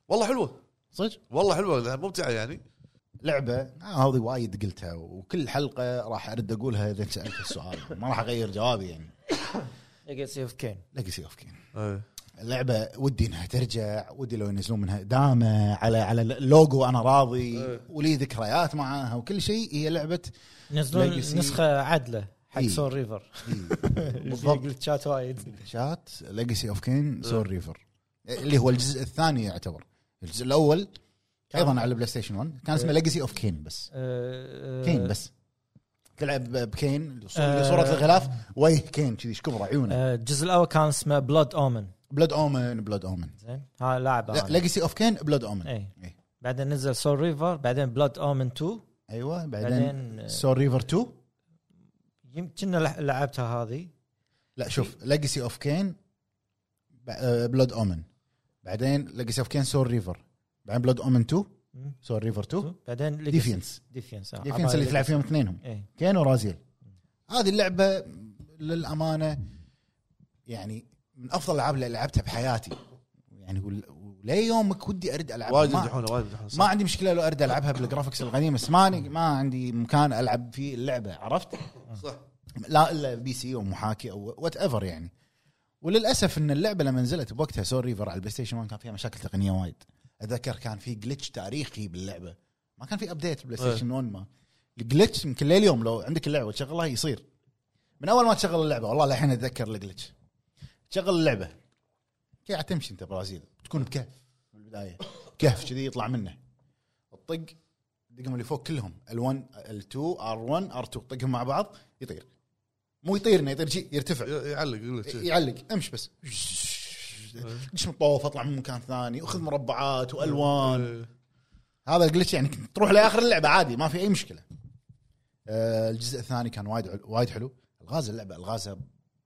Speaker 3: والله حلوه
Speaker 1: صدق
Speaker 3: والله حلوه لأنها ممتعه يعني
Speaker 1: لعبه آه هذه وايد قلتها وكل حلقه راح ارد اقولها اذا سالت السؤال ما راح اغير جوابي يعني
Speaker 2: ليجاسي اوف كين
Speaker 1: ليجسي اوف كين
Speaker 3: ايه
Speaker 1: اللعبه ودي انها ترجع ودي لو ينزلون منها دامه على على اللوجو انا راضي
Speaker 3: إيه.
Speaker 1: ولي ذكريات معاها وكل شيء هي لعبه
Speaker 2: ينزلون
Speaker 1: Legacy.
Speaker 2: نسخه عادله حق
Speaker 1: إيه.
Speaker 2: سول ريفر
Speaker 1: بالضبط
Speaker 2: شات وايد آه،
Speaker 1: شات ليجسي اوف كين سول ريفر اللي هو الجزء الثاني يعتبر الجزء الاول ايضا على البلاي ستيشن 1 كان اسمه ليجسي اوف كين بس كين بس تلعب بكين
Speaker 2: إيه. آه.
Speaker 1: صوره الغلاف وجه كين كذي ايش كبره عيونه
Speaker 2: آه، الجزء الاول كان اسمه بلود اومن
Speaker 1: بلاد اومن بلاد اومن
Speaker 2: زين ها لاعب أنا.
Speaker 1: ليجسي اوف كين بلاد اومن
Speaker 2: اي
Speaker 1: إيه.
Speaker 2: بعدين نزل سول ريفر بعدين بلود اومن 2
Speaker 1: ايوه بعدين
Speaker 2: بعدين آه،
Speaker 1: سول ريفر 2
Speaker 2: يمكن لع- لعبتها هذه
Speaker 1: لا شوف ليجسي اوف كين بلود اومن آه، بعدين ليجسي اوف كين سول ريفر بعدين بلود اومن 2
Speaker 2: مم. آه،
Speaker 1: سول ريفر 2
Speaker 2: بعدين
Speaker 1: ديفينس
Speaker 2: ديفينس
Speaker 1: ديفينس اللي تلعب فيهم اثنينهم
Speaker 2: اي
Speaker 1: كين ورازيل هذه اللعبه للامانه يعني من افضل الالعاب اللي لعبتها بحياتي يعني ول- ولي يومك ودي ارد العبها
Speaker 3: وايد
Speaker 1: ما,
Speaker 3: يمدحونه وايد يمدحونه
Speaker 1: ما عندي مشكله لو ارد العبها بالجرافكس القديم بس ماني ما عندي مكان العب فيه اللعبه عرفت؟
Speaker 3: صح
Speaker 1: لا الا بي سي او محاكي او وات ايفر يعني وللاسف ان اللعبه لما نزلت بوقتها سول ريفر على البلاي ستيشن 1 كان فيها مشاكل تقنيه وايد اتذكر كان في جلتش تاريخي باللعبه ما كان في ابديت بلاي ستيشن 1 ما الجلتش يمكن لليوم لو عندك اللعبه تشغلها يصير من اول ما تشغل اللعبه والله للحين اتذكر الجلتش تشغل اللعبه كي قاعد تمشي انت برازيل تكون بكهف بالبدايه كهف كذي يطلع منه الطق دقهم اللي فوق كلهم ال1 ال2 ار1 ار2 طقهم مع بعض يطير مو يطير إنه يطير شيء يرتفع
Speaker 3: يعلق يقول لك شيء.
Speaker 1: يعلق امش بس دش من الطوف اطلع من مكان ثاني وخذ مربعات والوان
Speaker 3: إيه.
Speaker 1: هذا الجلتش يعني كنت تروح لاخر اللعبه عادي ما في اي مشكله آه، الجزء الثاني كان وايد عل- وايد حلو الغاز اللعبه الغازها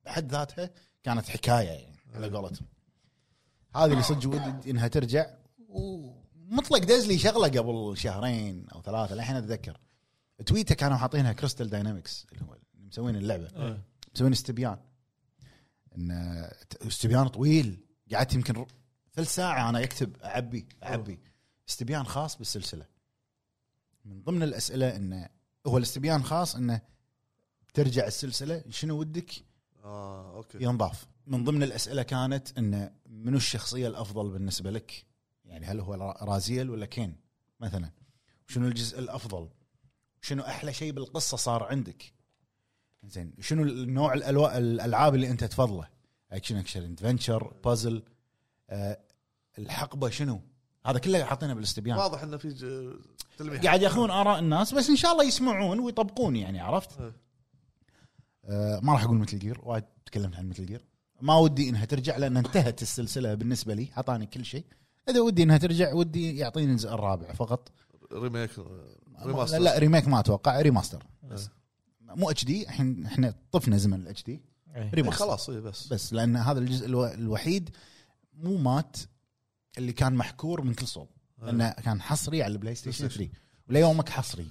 Speaker 1: بحد ذاتها كانت حكايه يعني على قولتهم هذه اللي صدق ودي انها ترجع ومطلق دز لي شغله قبل شهرين او ثلاثه الحين اتذكر تويته كانوا حاطينها كريستال داينامكس اللي هو اللي مسوين اللعبه
Speaker 3: إيه.
Speaker 1: مسوين استبيان ان آه، استبيان طويل قعدت يمكن ر- ثلث ساعه انا يكتب اعبي اعبي استبيان خاص بالسلسله من ضمن الاسئله انه هو الاستبيان خاص انه ترجع السلسله شنو ودك
Speaker 3: اه اوكي
Speaker 1: ينضاف من ضمن الاسئله كانت انه منو الشخصيه الافضل بالنسبه لك؟ يعني هل هو را- رازيل ولا كين مثلا؟ شنو الجزء الافضل؟ شنو احلى شيء بالقصه صار عندك؟ زين شنو النوع الألوا... الالعاب اللي انت تفضله؟ اكشن اكشن ادفنشر بازل آه الحقبه شنو؟ هذا كله حاطينه بالاستبيان
Speaker 3: واضح انه في ج- تلميح
Speaker 1: قاعد ياخذون اراء الناس بس ان شاء الله يسمعون ويطبقون يعني عرفت؟
Speaker 3: إيه.
Speaker 1: آه، ما راح اقول مثل جير وايد تكلمت عن مثل جير ما ودي انها ترجع لان انتهت السلسله بالنسبه لي اعطاني كل شيء اذا ودي انها ترجع ودي يعطيني الجزء الرابع فقط
Speaker 3: ريميك
Speaker 1: لا,
Speaker 3: ريماستر
Speaker 1: لا ريميك ما اتوقع ريماستر بس.
Speaker 3: إيه.
Speaker 1: مو اتش دي الحين احنا طفنا زمن الاتش دي
Speaker 3: إيه،
Speaker 1: ريماستر
Speaker 3: خلاص اي بس
Speaker 1: بس لان هذا الجزء الو- الوحيد مو مات اللي كان محكور من كل صوب
Speaker 3: إيه.
Speaker 1: لانه كان حصري على البلاي ستيشن 3 وليومك حصري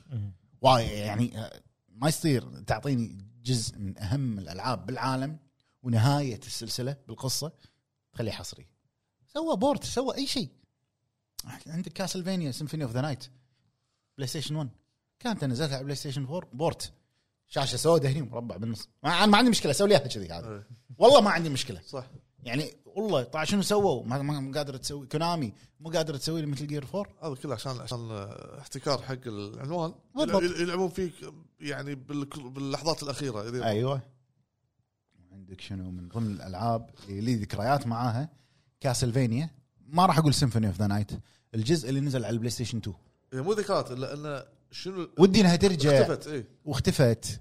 Speaker 1: واي يعني آه، ما يصير تعطيني جزء من اهم الالعاب بالعالم ونهايه السلسله بالقصه تخليه حصري سوى بورت سوى اي شيء عندك كاسلفينيا سيمفوني اوف ذا نايت بلاي ستيشن 1 كانت أنا نزلتها على بلاي ستيشن 4 بورت شاشه سوداء هني مربع بالنص ما, ما عندي مشكله سوي لي اياها كذي هذا
Speaker 3: إيه.
Speaker 1: والله ما عندي مشكله
Speaker 3: صح
Speaker 1: يعني والله طبعا شنو سووا ما- ما مو قادر تسوي كونامي مو قادر تسوي لي مثل جير 4
Speaker 3: هذا كله عشان عشان احتكار حق العنوان
Speaker 1: بالضبط.
Speaker 3: يلع- يلعبون فيك يعني بالك- باللحظات الاخيره إذا-
Speaker 1: ايوه عندك شنو من ضمن الالعاب اللي لي ذكريات معاها كاسلفينيا ما راح اقول سيمفوني اوف ذا نايت الجزء اللي نزل على البلاي ستيشن 2
Speaker 3: هي مو ذكريات الا انه شنو إيه.
Speaker 1: ودي انها ترجع
Speaker 3: اختفت اي
Speaker 1: واختفت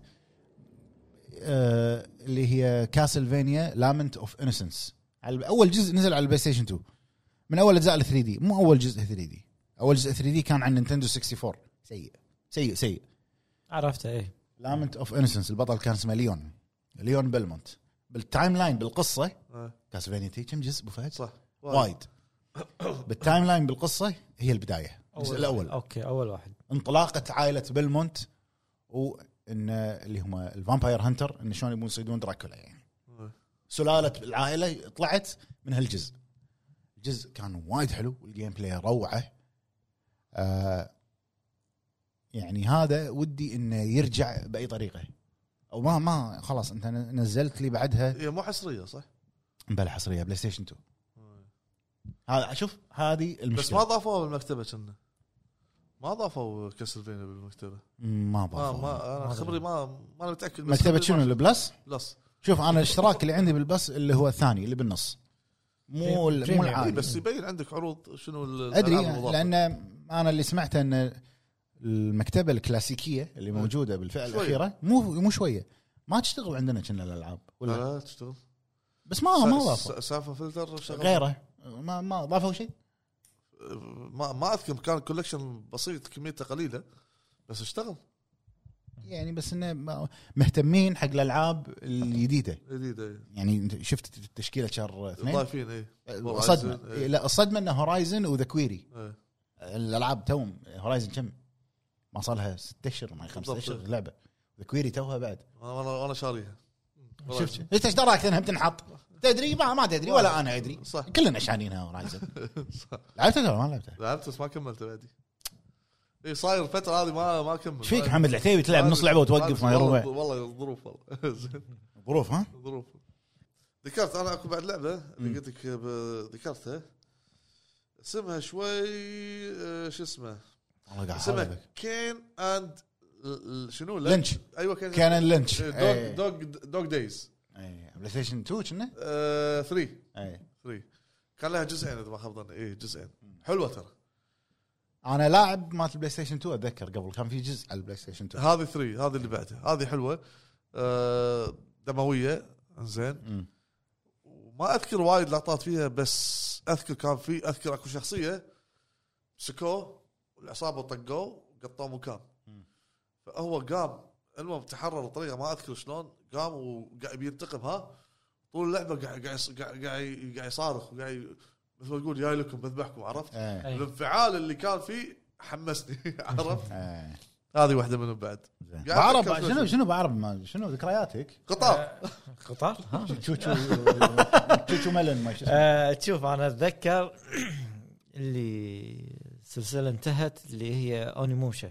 Speaker 1: آه اللي هي كاسلفينيا لامنت اوف انسنس اول جزء نزل على البلاي ستيشن 2 من اول اجزاء ال 3 دي مو اول جزء 3 دي اول جزء 3 دي كان عن نينتندو 64 سيء سيء سيء
Speaker 2: عرفته ايه
Speaker 1: لامنت اوف انسنس البطل كان اسمه ليون ليون بيلمونت بالتايم لاين بالقصه
Speaker 3: آه.
Speaker 1: كاسلفينيا تي كم جزء ابو فهد؟
Speaker 3: صح
Speaker 1: وايد بالتايم لاين بالقصه هي البدايه الجزء الاول
Speaker 2: اوكي اول واحد
Speaker 1: انطلاقه عائله بيلمونت وان اللي هم الفامباير هانتر ان شلون يبون يصيدون دراكولا يعني
Speaker 3: مم.
Speaker 1: سلاله العائله طلعت من هالجزء الجزء كان وايد حلو والجيم بلاي روعه آه يعني هذا ودي انه يرجع باي طريقه او ما ما خلاص انت نزلت لي بعدها
Speaker 3: هي إيه، مو حصريه صح؟
Speaker 1: بلا حصريه بلاي ستيشن 2 هذا شوف هذه
Speaker 3: بس ما
Speaker 1: المشكله
Speaker 3: ضافوها بالمكتبه كنا ما ضافوا كاسلفينيا بالمكتبه
Speaker 1: ما
Speaker 3: ما
Speaker 1: ما
Speaker 3: ما انا خبري ما ما انا متاكد بس
Speaker 1: مكتبه
Speaker 3: خبري
Speaker 1: شنو
Speaker 3: ما-
Speaker 1: البلس
Speaker 3: بلس
Speaker 1: شوف انا الاشتراك اللي عندي بالبس اللي هو الثاني اللي بالنص مو ال- مو
Speaker 2: بريميوم.
Speaker 3: اي
Speaker 1: العادي
Speaker 3: إيه، بس يبين عندك عروض شنو ال-
Speaker 1: ادري
Speaker 3: الألعاب المضافة.
Speaker 1: لان انا اللي سمعته ان المكتبه الكلاسيكيه اللي موجوده بالفئه
Speaker 3: شوية.
Speaker 1: الاخيره مو مو شويه ما تشتغل عندنا كنا الالعاب
Speaker 3: لا
Speaker 1: ولا
Speaker 3: لا آه، تشتغل
Speaker 1: بس ما آه، ما
Speaker 3: أه. س-
Speaker 1: ضافوا
Speaker 3: س- سالفه فلتر شغل
Speaker 1: غيره ما ما ضافوا شيء
Speaker 3: ما ما اذكر كان كولكشن بسيط كميته قليله بس اشتغل
Speaker 1: يعني بس انه ما- مهتمين حق الالعاب الجديده
Speaker 3: جديد اي
Speaker 1: يعني أنت شفت تشكيله شهر اثنين
Speaker 3: ضايفين اي
Speaker 1: صدمه
Speaker 3: أه، إيه.
Speaker 1: لا الصدمه انه هورايزن وذا كويري
Speaker 3: إيه.
Speaker 1: الالعاب توم هورايزن كم؟ ما صار لها ست اشهر ما هي خمسة
Speaker 3: بالضبط.
Speaker 1: اشهر لعبه كويري توها بعد
Speaker 3: انا انا انا شاريها
Speaker 1: شفت انت ايش دراك انها بتنحط؟ تدري ما ما تدري ولا انا ادري
Speaker 3: صح.
Speaker 1: كلنا شانينها هورايزن
Speaker 3: *laughs* صح.
Speaker 1: لعبتها ولا ما لعبتها؟
Speaker 3: لعبت بس ما كملت بعدي اي صاير الفتره هذه ما ما اكمل
Speaker 1: ايش فيك محمد العتيبي تلعب نص لعبه وتوقف ما
Speaker 3: والله-
Speaker 1: يروح
Speaker 3: والله ظروف والله *laughs* زين،
Speaker 1: ظروف ها؟
Speaker 3: ظروف ذكرت انا اكو بعد لعبه اللي قلت لك ب- ذكرتها اسمها شوي آه، شو اسمه
Speaker 1: والله قاعد
Speaker 3: اسمها
Speaker 1: أحاول.
Speaker 3: كين اند ل- ل- شنو لا؟
Speaker 1: لينش
Speaker 3: ايوه كان
Speaker 1: كان لينش
Speaker 3: دوج
Speaker 1: إيه.
Speaker 3: دوج دوج دايز
Speaker 1: إيه. بلاي ستيشن 2 كنا؟
Speaker 3: 3
Speaker 1: إيه.
Speaker 3: 3 آه، كان لها جزئين اذا ما خاب ظني اي جزئين حلوه ترى
Speaker 1: انا لاعب مالت البلاي ستيشن 2 اتذكر قبل كان في جزء على البلاي ستيشن 2
Speaker 3: هذه 3 هذه اللي بعدها هذه حلوه آه، دمويه زين
Speaker 1: مم.
Speaker 3: وما اذكر وايد لقطات فيها بس اذكر كان في اذكر اكو شخصيه سكوه العصابه طقوه قطوه مكان فهو قام المهم تحرر بطريقه ما اذكر شلون قام وقاعد بينتقم ها طول اللعبه قاعد قاعد قاعد قاعد- قاعد يصارخ وقاعد ي- مثل ما يقول جاي لكم بذبحكم عرفت؟
Speaker 1: إيه.
Speaker 2: أي.
Speaker 3: الانفعال اللي كان فيه حمسني *laughs* عرفت؟
Speaker 1: إيه.
Speaker 3: هذه واحده منهم بعد
Speaker 1: زين.
Speaker 3: قاعد
Speaker 1: بعرب
Speaker 3: أتذكر
Speaker 1: شنو
Speaker 3: شنو.
Speaker 1: شنو بعرب ما- شنو ذكرياتك؟
Speaker 3: قطار
Speaker 2: *laughs* قطار
Speaker 1: تشو تشو تشو ملن ما شو اسمه.
Speaker 2: آه، تشوف انا اتذكر *clears throat* اللي السلسله انتهت اللي هي اونيموشا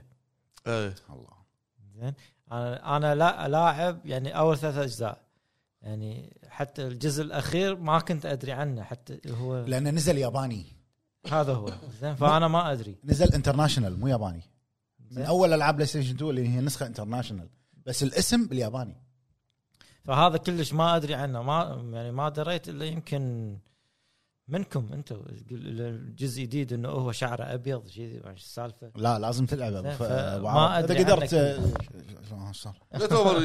Speaker 3: ايه
Speaker 1: الله
Speaker 2: زين انا انا لا لاعب يعني اول ثلاث اجزاء يعني حتى الجزء الاخير ما كنت ادري عنه حتى اللي هو
Speaker 1: لانه نزل ياباني
Speaker 2: هذا هو زين فانا ما ادري
Speaker 1: نزل انترناشونال مو ياباني من
Speaker 2: زين؟
Speaker 1: اول العاب بلاي ستيشن 2 اللي هي نسخه انترناشونال بس الاسم بالياباني
Speaker 2: فهذا كلش ما ادري عنه ما يعني ما دريت الا يمكن منكم انتم جزء جديد انه هو شعره ابيض شيء ما أدري شو السالفه
Speaker 1: لا لازم تلعب
Speaker 2: زين،
Speaker 1: ف...
Speaker 2: فما
Speaker 1: اذا
Speaker 2: أدري
Speaker 1: قدرت
Speaker 2: عنك.
Speaker 1: آه، صار
Speaker 3: جت اوفر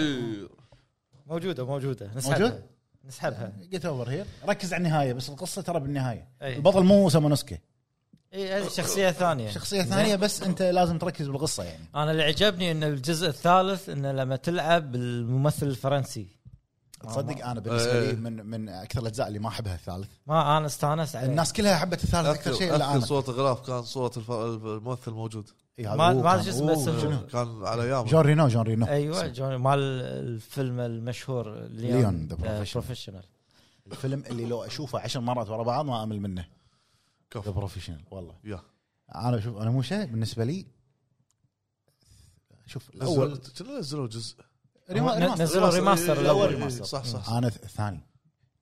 Speaker 2: موجوده موجوده نسحبها
Speaker 1: موجود؟ يعني
Speaker 2: نسحبها
Speaker 1: جيت اوفر هير ركز على النهايه بس القصه ترى بالنهايه
Speaker 2: أي.
Speaker 1: البطل مو سامونوسكي
Speaker 2: اي إيه. هذه شخصيه ثانيه
Speaker 1: شخصيه ثانيه بس انت لازم تركز بالقصه يعني
Speaker 2: انا اللي عجبني ان الجزء الثالث انه لما تلعب الممثل الفرنسي آه،
Speaker 1: تصدق انا بالنسبه
Speaker 3: إيه.
Speaker 1: لي من من اكثر الاجزاء اللي ما احبها الثالث
Speaker 2: ما انا استانست عليه
Speaker 1: الناس كلها حبت الثالث اكثر شيء الا انا
Speaker 3: صوت غلاف كان صوت الف- الممثل موجود
Speaker 1: إي، إيه، هذا
Speaker 2: ما-
Speaker 1: هو
Speaker 2: ما
Speaker 1: كان-
Speaker 2: أدري شو اسمه،
Speaker 1: أوه،
Speaker 2: بس هو-
Speaker 1: شنو؟
Speaker 3: كان على ايام
Speaker 1: جون رينو جون رينو
Speaker 2: ايوه جون مال الفيلم المشهور آه،
Speaker 1: ليون
Speaker 2: ليون
Speaker 1: ذا
Speaker 2: بروفيشنال
Speaker 1: الفيلم اللي لو اشوفه عشر مرات ورا بعض ما امل منه ذا
Speaker 3: كفو
Speaker 1: بروفيشنال والله
Speaker 3: يا
Speaker 1: انا شوف انا مو شيء بالنسبه لي شوف
Speaker 3: اول
Speaker 1: الاول
Speaker 3: شنو نزلوا جزء
Speaker 1: ريما- ريماستر.
Speaker 2: نزلوا
Speaker 3: ريماستر.
Speaker 2: ريماستر
Speaker 3: إيه،
Speaker 2: الاول
Speaker 3: إيه،
Speaker 2: ريماستر
Speaker 3: صح صح صح
Speaker 1: انا ث- الثاني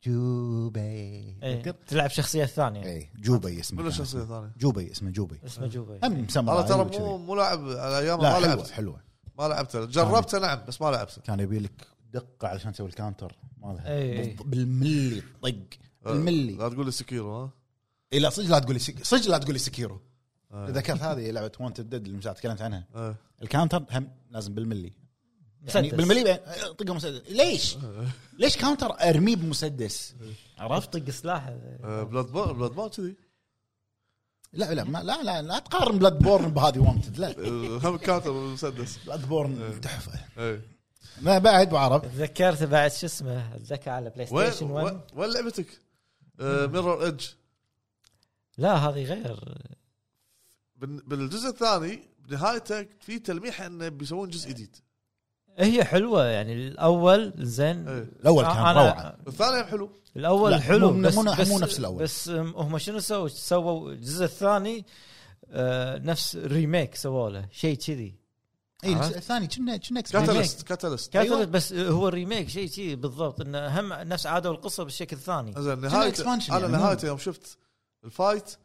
Speaker 1: جوبي
Speaker 2: إيه.
Speaker 1: تذكر؟ إيه.
Speaker 2: تلعب شخصيه ثانيه
Speaker 1: اي جوبي اسمه
Speaker 3: منو
Speaker 1: كان
Speaker 3: الشخصيه
Speaker 1: اسمه.
Speaker 3: الثانيه؟
Speaker 1: جوبي اسمه جوبي
Speaker 2: اسمه جوبي
Speaker 1: هم ساموراي
Speaker 3: انا ترى مو
Speaker 1: وكذي.
Speaker 3: مو لاعب على ايام
Speaker 1: لا
Speaker 3: ما
Speaker 1: حلوه
Speaker 3: لعبت
Speaker 1: حلوه
Speaker 3: ما لعبته جربته نعم بس ما لعبته
Speaker 1: كان يبي لك دقه علشان تسوي الكاونتر مالها
Speaker 2: إي، إي.
Speaker 1: بالض- بالملي طق
Speaker 3: آه،
Speaker 1: بالملي
Speaker 3: لا تقول لي سكيرو ها
Speaker 1: إي، لا صدق لا تقول لي سك- صدق لا تقول لي سكيرو ذكرت هذه لعبه وانتد ديد اللي من ساعة تكلمت عنها
Speaker 3: إيه.
Speaker 1: الكاونتر هم لازم بالملي يعني
Speaker 2: مسدس.
Speaker 1: بالملي بعدين طقه مسدس ليش؟ ليش كاونتر ارميه بمسدس؟ عرفت؟
Speaker 2: طق سلاح
Speaker 3: آه، بلاد بور بلاد بور كذي
Speaker 1: لا لا ما- لا لا, لا تقارن بلاد بورن بهذه وانتد لا
Speaker 3: آه، *laughs* هم كاتب مسدس
Speaker 1: بلاد بورن تحفه
Speaker 3: إيه.
Speaker 1: ما بعد بعرف
Speaker 2: تذكرت بعد شو اسمه اتذكر على بلاي
Speaker 3: وين
Speaker 2: ستيشن 1
Speaker 3: وين وين لعبتك؟ آه، ميرور ايدج
Speaker 2: لا هذه غير
Speaker 3: بالجزء الثاني بنهايته في تلميح انه بيسوون جزء جديد
Speaker 2: هي حلوه يعني الاول زين
Speaker 3: إيه.
Speaker 1: الاول كان
Speaker 2: أنا-
Speaker 1: روعه
Speaker 3: الثاني هم حلو
Speaker 2: الاول
Speaker 1: لا،
Speaker 2: حلو
Speaker 1: مو-
Speaker 2: بس
Speaker 1: مو-
Speaker 2: بس
Speaker 1: مو نفس الأول.
Speaker 2: بس أم، هم شنو سووا؟ سووا الجزء الثاني آه نفس ريميك سووا له شيء كذي
Speaker 1: اي
Speaker 2: عرفت؟
Speaker 1: إيه، الثاني كنا كنا
Speaker 3: كاتالست كاتالست
Speaker 2: كاتلت
Speaker 1: أيوة.
Speaker 2: بس هو الريميك شيء كذي بالضبط انه هم نفس عادوا القصه بالشكل الثاني
Speaker 3: زين
Speaker 1: expansion
Speaker 3: نهايته انا
Speaker 1: يعني، مو-
Speaker 3: نهايته يوم شفت الفايت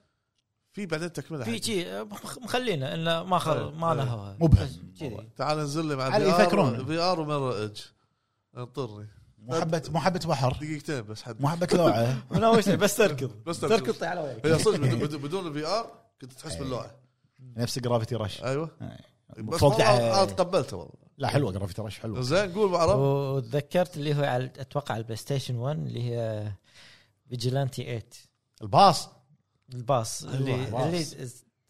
Speaker 3: في بعدين تكمله
Speaker 2: في
Speaker 3: حق.
Speaker 2: شيء مخلينا انه ما خل... ما
Speaker 3: إيه.
Speaker 2: لها
Speaker 1: مبهم.
Speaker 2: بس كذي
Speaker 3: تعال انزل لي مع
Speaker 1: على يفكرون.
Speaker 3: في ار وميرور ايدج انطرني
Speaker 1: محبه محبه بحر
Speaker 3: دقيقتين بس حد
Speaker 1: محبه لوعه
Speaker 2: من اول شيء بس تركض
Speaker 3: *laughs* بس تركض.
Speaker 2: تركض طيح على وجهك
Speaker 3: هي صدق بدون- بدون- بدون الفي ار كنت تحس باللوعه
Speaker 1: نفس جرافيتي رش
Speaker 3: ايوه بس
Speaker 1: إيه. فوق
Speaker 3: والله
Speaker 1: تحت.
Speaker 3: انا تقبلته والله
Speaker 1: لا حلوه جرافيتي رش حلوه
Speaker 3: زين قول بعرب
Speaker 2: وتذكرت اللي هو على اتوقع على البلاي ستيشن 1 اللي هي فيجيلانتي 8
Speaker 1: الباص
Speaker 2: الباص اللي
Speaker 1: الباص.
Speaker 2: اللي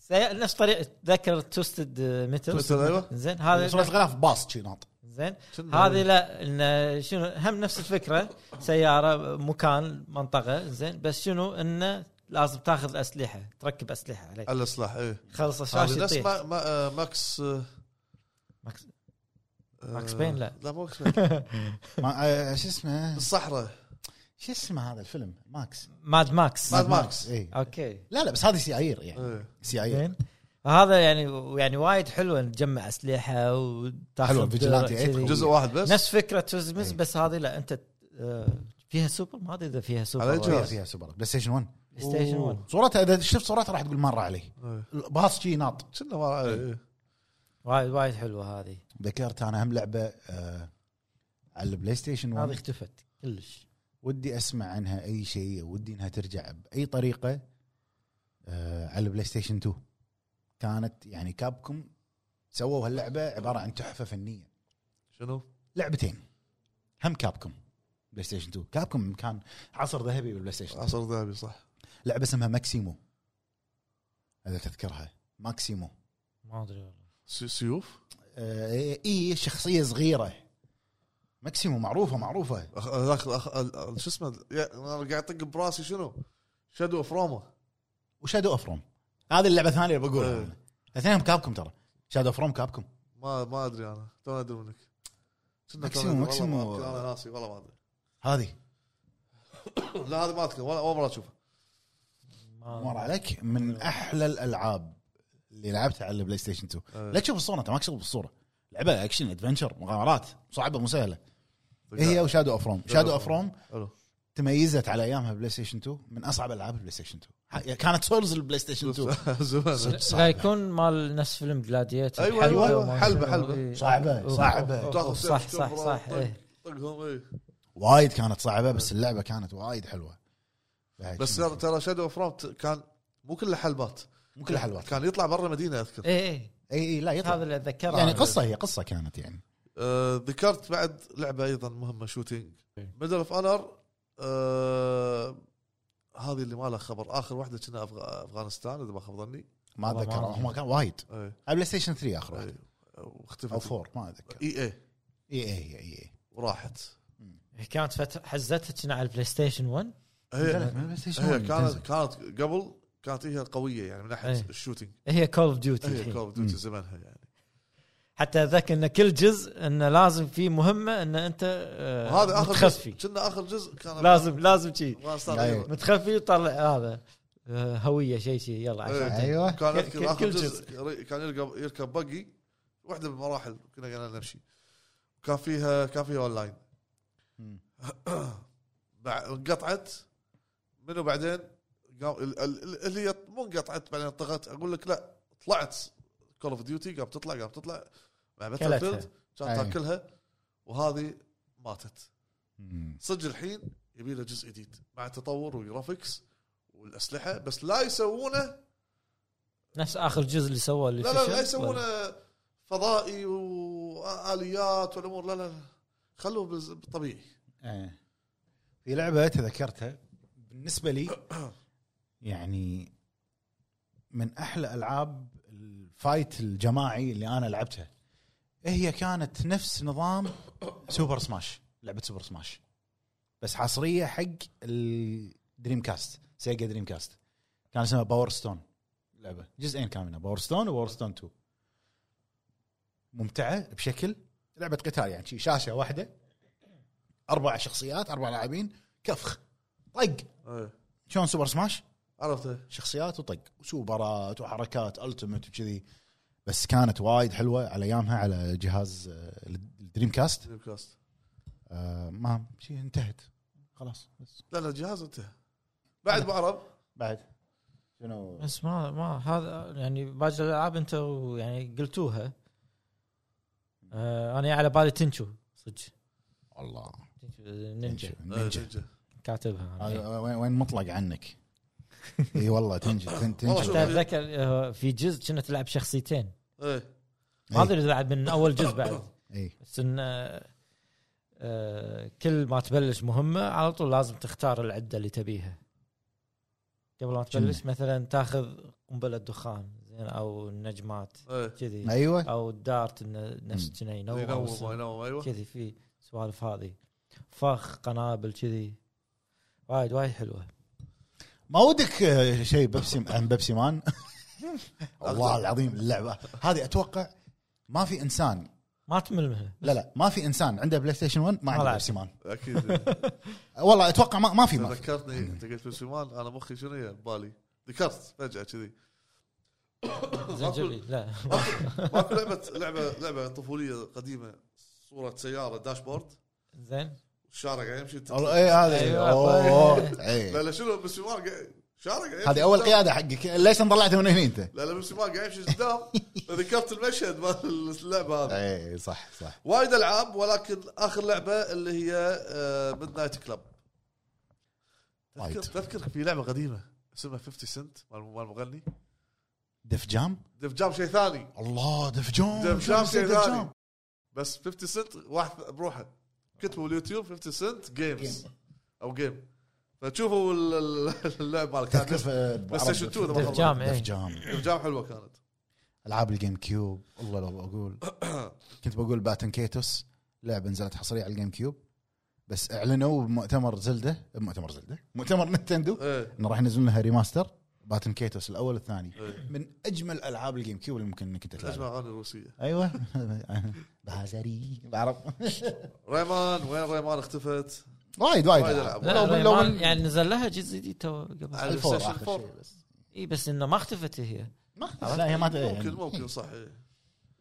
Speaker 2: زي- نفس طريقه تذكر توستد ميتل
Speaker 3: توستد، أيوة.
Speaker 2: زين
Speaker 1: صورة
Speaker 2: هذا
Speaker 1: الغلاف باص شي ناط
Speaker 2: زين
Speaker 3: شنو؟
Speaker 2: هذه لا انه شنو هم نفس الفكره سياره مكان منطقه زين بس شنو انه لازم تاخذ اسلحه تركب اسلحه عليك
Speaker 3: على السلاح ايه
Speaker 2: خلص الشاشه
Speaker 3: هذه نفس
Speaker 2: يطيح
Speaker 3: ما- ما- آه، ماكس آه،
Speaker 2: ماكس- ماكس بين لا.
Speaker 3: لا مو ماكس بين
Speaker 1: ما- آه، شو اسمه
Speaker 3: الصحراء
Speaker 1: شو اسمه هذا الفيلم ماكس
Speaker 2: ماد ماكس
Speaker 3: ماد ماكس.
Speaker 1: اي
Speaker 2: اوكي
Speaker 1: لا لا بس هذه سيايير يعني
Speaker 3: إيه.
Speaker 1: سيايير
Speaker 2: زين هذا يعني يعني وايد حلو إن تجمع اسلحه
Speaker 1: حلوة،
Speaker 2: وتاخذ
Speaker 1: فيجيلانتي
Speaker 2: درع
Speaker 1: إيت.
Speaker 2: كذي.
Speaker 3: جزء واحد بس
Speaker 2: إيه. نفس فكره توزمز
Speaker 3: أيوة.
Speaker 2: بس هذه لا انت آه، فيها سوبر ما ادري اذا فيها سوبر
Speaker 3: على
Speaker 2: ولا
Speaker 3: جهاز.
Speaker 2: لا.
Speaker 1: فيها- فيها سوبر بلاي ستيشن 1
Speaker 2: بلاي ستيشن 1
Speaker 1: صورتها اذا شفت صورتها راح تقول مره عليه
Speaker 3: إيه.
Speaker 1: الباص شي ناط
Speaker 3: كنا ما إيه.
Speaker 2: وايد وايد حلوه هذه
Speaker 1: ذكرت انا هم لعبه آه، على البلاي ستيشن
Speaker 2: هذه
Speaker 1: 1
Speaker 2: اختفت كلش
Speaker 1: ودي اسمع عنها اي شيء ودي انها ترجع باي طريقه آه، على البلاي ستيشن 2 كانت يعني كابكم سووا هاللعبه عباره عن تحفه فنيه
Speaker 3: شنو؟
Speaker 1: لعبتين هم كابكم بلاي ستيشن 2 كابكم كان عصر ذهبي بالبلاي ستيشن
Speaker 3: عصر ذهبي صح
Speaker 1: لعبه اسمها ماكسيمو اذا تذكرها ماكسيمو
Speaker 2: ما ادري والله
Speaker 3: سي- سيوف
Speaker 1: آه، اي شخصيه صغيره ماكسيمو معروفه معروفه
Speaker 3: أخ- هذاك الأخ- ال- ال- شو اسمه يا- انا قاعد اطق براسي شنو؟ شادو اوف روما
Speaker 1: وشادو اوف روم هذه اللعبه الثانيه اللي بقولها
Speaker 3: إيه.
Speaker 1: أنا. اثنينهم كابكم ترى شادو اوف روم كابكم
Speaker 3: ما ما ادري انا تو ادري منك كنا
Speaker 1: ماكسيمو-
Speaker 3: تو ندري، والله
Speaker 1: ماكسيمو.
Speaker 3: ما أذكر، انا ناسي والله ما ادري
Speaker 1: هذه
Speaker 3: لا هذا ما اذكر ولا اول مره اشوفه
Speaker 1: مر عليك من احلى الالعاب اللي لعبتها على البلاي ستيشن 2
Speaker 3: إيه.
Speaker 1: لا تشوف الصوره انت ما تشوف الصوره لعبه اكشن ادفنشر مغامرات صعبه مو سهله إيه، هي وشادو اوف روم شادو اوف روم
Speaker 3: حلو
Speaker 1: تميزت على ايامها بلاي ستيشن 2 من اصعب العاب البلاي ستيشن 2 ح- يعني كانت سولز البلاي ستيشن 2
Speaker 3: *laughs* زمان
Speaker 1: صدق
Speaker 2: لا
Speaker 1: صعبة.
Speaker 2: يكون مال نفس فيلم جلاديتر
Speaker 3: أيوة، أيوة، حلبة، حلبة.
Speaker 2: إيه.
Speaker 1: صعبة، صعبة.
Speaker 3: تاخذ سيف
Speaker 2: صح صح
Speaker 3: شكبرة
Speaker 2: صح
Speaker 3: وطق-
Speaker 2: إيه.
Speaker 3: طقهم ايه
Speaker 1: وايد كانت صعبه بس اللعبه كانت وايد حلوه بعد
Speaker 3: بس
Speaker 1: شنو؟
Speaker 3: ترى- ترى شادو اوف روما كان مو كله حلبات
Speaker 1: مو كل حلوات
Speaker 3: كان يطلع برا مدينه اذكر
Speaker 2: ايه ايه
Speaker 1: اي اي لا
Speaker 2: هذا
Speaker 1: يطلع
Speaker 2: اللي اتذكره
Speaker 1: يعني
Speaker 2: أنا.
Speaker 1: قصه هي قصه كانت يعني
Speaker 3: آه، ذكرت بعد لعبه ايضا مهمه شوتينج
Speaker 2: إيه.
Speaker 3: ميدل اوف انر آه، هذه اللي ما لها خبر اخر واحده كنا أفغ... افغانستان اذا ما خاب ظني
Speaker 1: ما
Speaker 2: والله ما
Speaker 1: اتذكر
Speaker 2: أعرف.
Speaker 1: هم كان وايد
Speaker 3: إيه،
Speaker 1: على بلاي ستيشن 3 اخر واحد
Speaker 3: إيه،
Speaker 1: او
Speaker 3: واختفت
Speaker 1: 4 ما اتذكر
Speaker 3: اي اي
Speaker 1: اي اي اي اي
Speaker 3: وراحت
Speaker 2: كانت فتح حزتها كنا على البلاي ستيشن 1
Speaker 3: هي
Speaker 1: نزلت من البلاي ستيشن
Speaker 3: هي
Speaker 1: 1
Speaker 3: كانت
Speaker 1: تنزل.
Speaker 3: كانت قبل كانت هي قويه يعني من ناحيه
Speaker 2: إيه.
Speaker 3: الشوتينج
Speaker 2: هي كول اوف ديوتي
Speaker 3: هي
Speaker 2: الحين
Speaker 3: كول دوتي زمانها يعني
Speaker 2: حتى ذاك ان كل جزء انه لازم في مهمه ان انت آه،
Speaker 3: وهذا اخر
Speaker 2: متخفي إيه.
Speaker 3: جزء كنا اخر جزء كان
Speaker 2: لازم لازم شي
Speaker 3: افغانستان
Speaker 1: أيوة.
Speaker 3: أيوة.
Speaker 2: متخفي وطلع هذا آه، هويه شيء شيء يلا عشان
Speaker 3: إيه.
Speaker 1: ايوه
Speaker 3: كان
Speaker 2: كل- كل-
Speaker 3: اذكر اخر
Speaker 2: كل
Speaker 3: جزء كان يركب يركب بقي واحده من المراحل كنا قاعدين نمشي كان فيها كان فيها اونلاين *clears throat*
Speaker 1: مم.
Speaker 3: بع- انقطعت منو بعدين قام ال- ال- ال- اللي هي مو انقطعت بعدين طغت اقول لك لا طلعت كول اوف ديوتي قام تطلع قام تطلع مع باتل
Speaker 2: كلتها.
Speaker 3: فيلد كان
Speaker 1: أي.
Speaker 3: تاكلها وهذه ماتت
Speaker 1: مم.
Speaker 3: صدق الحين يبي له جزء جديد مع تطور وجرافيكس والاسلحه بس لا يسوونه
Speaker 2: نفس اخر جزء اللي سووه اللي
Speaker 3: لا لا
Speaker 2: فشل؟
Speaker 3: لا يسوونه فضائي واليات والامور لا لا لا. خلوه بز- بالطبيعي
Speaker 1: إيه. في لعبه تذكرتها بالنسبه لي يعني من احلى العاب الفايت الجماعي اللي انا لعبتها هي كانت نفس نظام سوبر سماش لعبه سوبر سماش بس حصريه حق الدريم كاست سيجا دريم كاست كان اسمها باور ستون لعبه جزئين كانوا منها باور ستون وباور ستون 2 ممتعه بشكل لعبه قتال يعني شي شاشه واحده اربع شخصيات اربع لاعبين كفخ طق
Speaker 3: إيه.
Speaker 1: شلون سوبر سماش
Speaker 3: عرفته
Speaker 1: شخصيات وطق وسوبرات وحركات التمت وكذي بس كانت وايد حلوه على ايامها على جهاز آه، الدريم كاست
Speaker 3: دريم كاست
Speaker 1: آه، ما شي انتهت خلاص بس
Speaker 3: لا لا الجهاز انتهى بعد ابو عرب
Speaker 1: بعد شنو
Speaker 2: بس ما ما هذا يعني باقي الالعاب انت يعني قلتوها آه انا على بالي تنشو صدق
Speaker 1: الله
Speaker 2: تنشو نينجا
Speaker 3: نينجا.
Speaker 1: نينجا
Speaker 3: نينجا.
Speaker 2: كاتبها أنا.
Speaker 1: هذا وين- وين مطلق عنك اي والله تنجا تن-
Speaker 3: والله
Speaker 2: انت
Speaker 1: تنجا
Speaker 3: شوف.
Speaker 2: اتذكر آه، في جزء كنا تلعب شخصيتين
Speaker 3: ايه
Speaker 2: ما ادري اذا لعب من اول جزء بعد
Speaker 1: اي
Speaker 2: بس ان آه، آه، كل ما تبلش مهمه على طول لازم تختار العده اللي تبيها قبل ما تبلش مثلا تاخذ قنبله دخان زين او النجمات
Speaker 3: ايه
Speaker 2: كذي
Speaker 1: ايوه
Speaker 2: او الدارت إنه
Speaker 1: مم.
Speaker 2: نفس كنا
Speaker 3: إيه،
Speaker 2: ينور
Speaker 3: ينوم ينوم ايوه
Speaker 2: كذي في سوالف هذه فخ قنابل كذي وايد وايد حلوه
Speaker 1: ما ودك آه، شيء بيبسي عن بيبسي
Speaker 3: *laughs*
Speaker 1: مان والله العظيم اللعبه هذه اتوقع ما في انسان
Speaker 2: ما
Speaker 3: *laughs*
Speaker 2: تمل منها
Speaker 1: لا لا ما في انسان عنده بلاي ستيشن 1 ما عنده
Speaker 2: لعب.
Speaker 1: بيبسي مان
Speaker 3: اكيد
Speaker 1: والله اتوقع ما, ما *laughs* في إيه. ما في.
Speaker 3: تذكرتني انت قلت بالشمال انا مخي شنو هي ببالي ذكرت فجاه
Speaker 1: *coughs*
Speaker 3: كذي
Speaker 2: زنجبيل لا
Speaker 3: ماكو لعبه لعبه لعبه طفوليه قديمه صوره سياره داشبورد
Speaker 2: زين
Speaker 3: الشارع قاعد يمشي تت-
Speaker 1: والله اي هذه
Speaker 2: أيوة.
Speaker 1: أوه،
Speaker 3: لا
Speaker 1: إيه.
Speaker 3: لا شنو بالشمال قاعد- شارع قاعد يمشي
Speaker 1: هذه اول
Speaker 3: قدام.
Speaker 1: قياده حقك ليش أنا طلعتها من هنا انت؟
Speaker 3: لا لا بالشمال قاعد يمشي
Speaker 1: *laughs*
Speaker 3: قدام ذكرت المشهد مال اللعبه هذا
Speaker 1: اي إيه، صح صح
Speaker 3: وايد العاب ولكن اخر لعبه اللي هي آه، ميد نايت كلاب
Speaker 1: وايد.
Speaker 3: تذكر تذكر في لعبه قديمه اسمها 50 سنت مال مال المغني
Speaker 1: دف جام؟
Speaker 3: دف جام شيء ثاني
Speaker 1: الله دف جام
Speaker 3: دف جام شيء
Speaker 1: دف جام.
Speaker 3: ثاني بس 50 سنت واحد بروحه كتبوا باليوتيوب 50 سنت جيمز او جيم فتشوفوا ال- ال- *laughs* اللعب مالك
Speaker 1: تذكر
Speaker 3: دف
Speaker 1: في-
Speaker 3: بلاي ستيشن 2
Speaker 1: دف
Speaker 3: طبعاً.
Speaker 2: دف جام
Speaker 1: دف
Speaker 2: إيه.
Speaker 1: جام
Speaker 3: جام حلوه كانت
Speaker 1: العاب الجيم كيوب والله لو بقول *coughs* كنت بقول باتن كيتوس لعبه نزلت حصريه على الجيم كيوب بس اعلنوا بمؤتمر زلده بمؤتمر زلده مؤتمر نتندو
Speaker 3: ايه
Speaker 1: انه راح ينزلون لها ريماستر باتن كيتوس الاول والثاني
Speaker 3: إيه.
Speaker 1: من اجمل العاب الجيم كيوب اللي ممكن انك انت تلعبها
Speaker 3: اجمع اغاني روسيه
Speaker 1: *laughs* ايوه بازري بعرف
Speaker 3: ريمان وين ريمان اختفت؟
Speaker 1: وايد وايد
Speaker 3: وايد
Speaker 1: ألعاب.
Speaker 3: ألعاب.
Speaker 1: لو
Speaker 2: لا
Speaker 1: بال- لو
Speaker 2: ريمان
Speaker 1: بال-
Speaker 2: يعني نزل لها جزء جديد تو قبل
Speaker 3: على
Speaker 1: الفور
Speaker 3: السيشن
Speaker 1: آخر
Speaker 3: فور.
Speaker 1: شيء بس.
Speaker 2: اي بس انه ما اختفت هي
Speaker 1: ما لا هي ما يعني.
Speaker 3: ممكن ممكن صح إيه.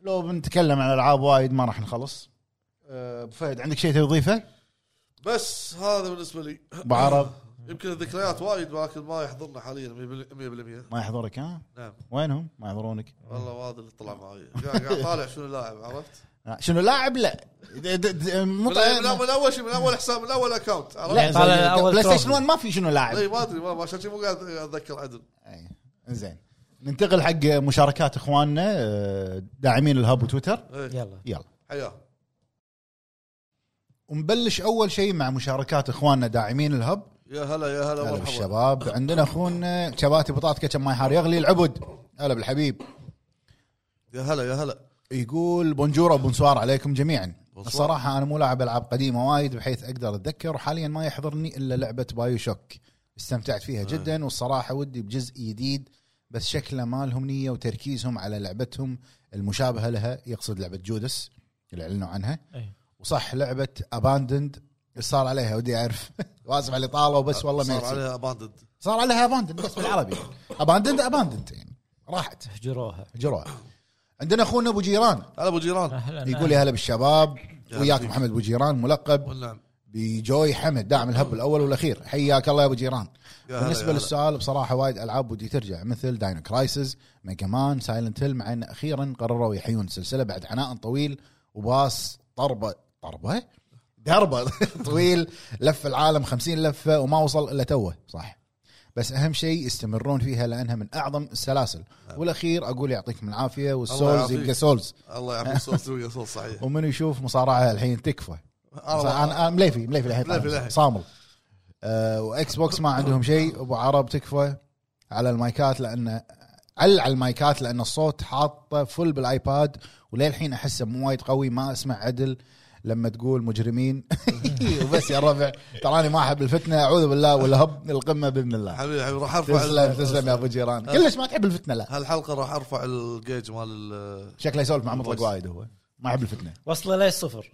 Speaker 1: لو بنتكلم عن العاب وايد ما راح نخلص أه، ابو فهد عندك شيء تضيفه؟
Speaker 3: بس هذا بالنسبه لي
Speaker 1: ابو عرب
Speaker 3: يمكن الذكريات وايد ولكن ما يحضرنا حاليا 100%
Speaker 1: ما يحضرك ها؟
Speaker 3: نعم
Speaker 1: وينهم؟ ما يحضرونك؟
Speaker 3: والله هذا اللي طلع معي قاعد قاعد طالع شنو اللاعب عرفت؟
Speaker 1: لا، شنو لاعب لا د- د- د-
Speaker 3: من,
Speaker 1: مو
Speaker 3: من,
Speaker 1: طيب-
Speaker 3: من اول شيء من اول حساب من اول اكونت
Speaker 1: لا
Speaker 3: عرفت؟
Speaker 2: طالع الأول
Speaker 1: زي- بلاي ستيشن
Speaker 2: تروفي.
Speaker 1: 1 ما في شنو لاعب
Speaker 3: اي ما ادري ما ما- عشان شي مو قاعد اتذكر عدل
Speaker 1: أي، زين ننتقل حق مشاركات اخواننا أه، داعمين الهب وتويتر
Speaker 3: إيه.
Speaker 2: يلا
Speaker 1: يلا
Speaker 3: حياه
Speaker 1: ونبلش اول شيء مع مشاركات اخواننا داعمين الهب
Speaker 3: يا هلا يا هلا
Speaker 1: هلا
Speaker 3: مرحبا
Speaker 1: بالشباب عندنا اخونا شباتي بطاطكه كم ماي حار يغلي العبد هلا بالحبيب
Speaker 3: يا هلا يا هلا
Speaker 1: يقول بونجورا بونسوار عليكم جميعا
Speaker 3: بونسوار.
Speaker 1: الصراحه انا مو لاعب العاب قديمه وايد بحيث اقدر اتذكر وحاليا ما يحضرني الا لعبه بايو شوك استمتعت فيها
Speaker 3: إيه.
Speaker 1: جدا والصراحه ودي بجزء جديد بس شكله ما لهم نيه وتركيزهم على لعبتهم المشابهه لها يقصد لعبه جودس اللي اعلنوا عنها
Speaker 2: أي.
Speaker 1: وصح لعبه اباندند صار عليها ودي اعرف *laughs* واسف على الاطاله وبس والله ما
Speaker 3: آه، صار
Speaker 1: يصير.
Speaker 3: عليها اباندد
Speaker 1: صار عليها اباندنت بس بالعربي اباندنت اباندنت يعني راحت
Speaker 2: اهجروها
Speaker 1: جروها عندنا اخونا ابو جيران
Speaker 3: هلا ابو جيران
Speaker 2: اهلا
Speaker 1: يقول يا هلا بالشباب
Speaker 3: يا
Speaker 1: وياك
Speaker 3: حبيبي.
Speaker 1: محمد ابو جيران ملقب
Speaker 3: والنعم
Speaker 1: بجوي حمد داعم الهب الاول والاخير حياك الله يا ابو جيران
Speaker 3: يا هلا، يا
Speaker 1: بالنسبه
Speaker 3: هلا.
Speaker 1: للسؤال بصراحه وايد العاب ودي ترجع مثل داينو كرايسز ميجا مان سايلنت هيل مع ان اخيرا قرروا يحيون السلسله بعد عناء طويل وباص طربه طربه *laughs* دربه طويل لف العالم خمسين لفه وما وصل الا توه صح بس اهم شيء يستمرون فيها لانها من اعظم السلاسل والاخير اقول يعطيكم العافيه والسولز
Speaker 3: نعم. يعافيك.
Speaker 1: يبقى سولز
Speaker 3: الله يعافيك صوت ويا صوت صحيح
Speaker 1: ومن يشوف مصارعه الحين تكفى انا أنا مليفي مليفي الحين
Speaker 3: آه، مليفي الحين.
Speaker 1: صامل أه واكس بوكس ما عندهم شيء ابو عرب تكفى على المايكات لان عل على المايكات لان الصوت حاطه فل بالايباد وللحين احسه مو وايد قوي ما اسمع عدل لما تقول مجرمين *laughs* وبس يا ربع تراني ما احب الفتنه اعوذ بالله ولا هب القمه باذن الله
Speaker 3: حبيبي حبيبي راح ارفع
Speaker 1: تسلم
Speaker 3: ال-
Speaker 1: تسلم يا ابو جيران كلش ما تحب الفتنه لا
Speaker 3: هالحلقه راح ارفع الجيج مال ال-
Speaker 1: شكله يسولف مع مطلق وايد هو ما يحب الفتنه
Speaker 2: وصله لي صفر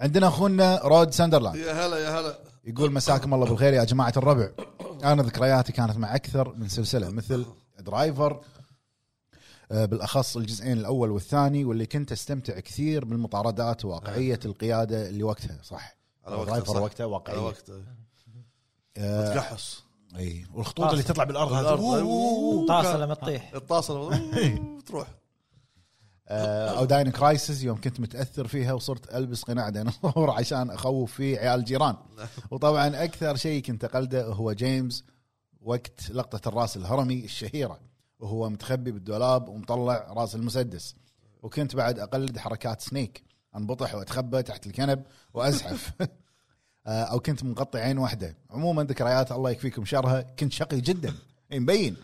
Speaker 1: عندنا اخونا رود ساندرلاند
Speaker 3: يا هلا يا هلا
Speaker 1: يقول مساكم الله بالخير يا جماعه الربع انا ذكرياتي كانت مع اكثر من سلسله مثل درايفر آه، بالاخص الجزئين الاول والثاني واللي كنت استمتع كثير بالمطاردات وواقعيه القياده اللي وقتها صح
Speaker 3: نعم. على وقته،
Speaker 1: درايفر
Speaker 3: صح.
Speaker 1: وقتها
Speaker 3: على
Speaker 1: واقعيه
Speaker 3: وقته
Speaker 1: إيه. آه،
Speaker 3: تقحص
Speaker 1: اي والخطوط اللي تطلع بالارض
Speaker 3: بالأرض.
Speaker 1: هذه
Speaker 2: طاسه لما
Speaker 1: *laughs*
Speaker 2: تطيح
Speaker 3: الطاسه تروح
Speaker 1: آه، او داين كرايسز يوم كنت متاثر فيها وصرت البس قناع ديناصور *laughs* عشان اخوف فيه عيال الجيران وطبعا اكثر شيء كنت اقلده هو جيمس وقت لقطه الراس الهرمي الشهيره وهو متخبي بالدولاب ومطلع راس المسدس وكنت بعد اقلد حركات سنيك انبطح واتخبى تحت الكنب وازحف *laughs* آه، او كنت مغطي عين واحده عموما ذكريات الله يكفيكم شرها كنت شقي جدا إي مبين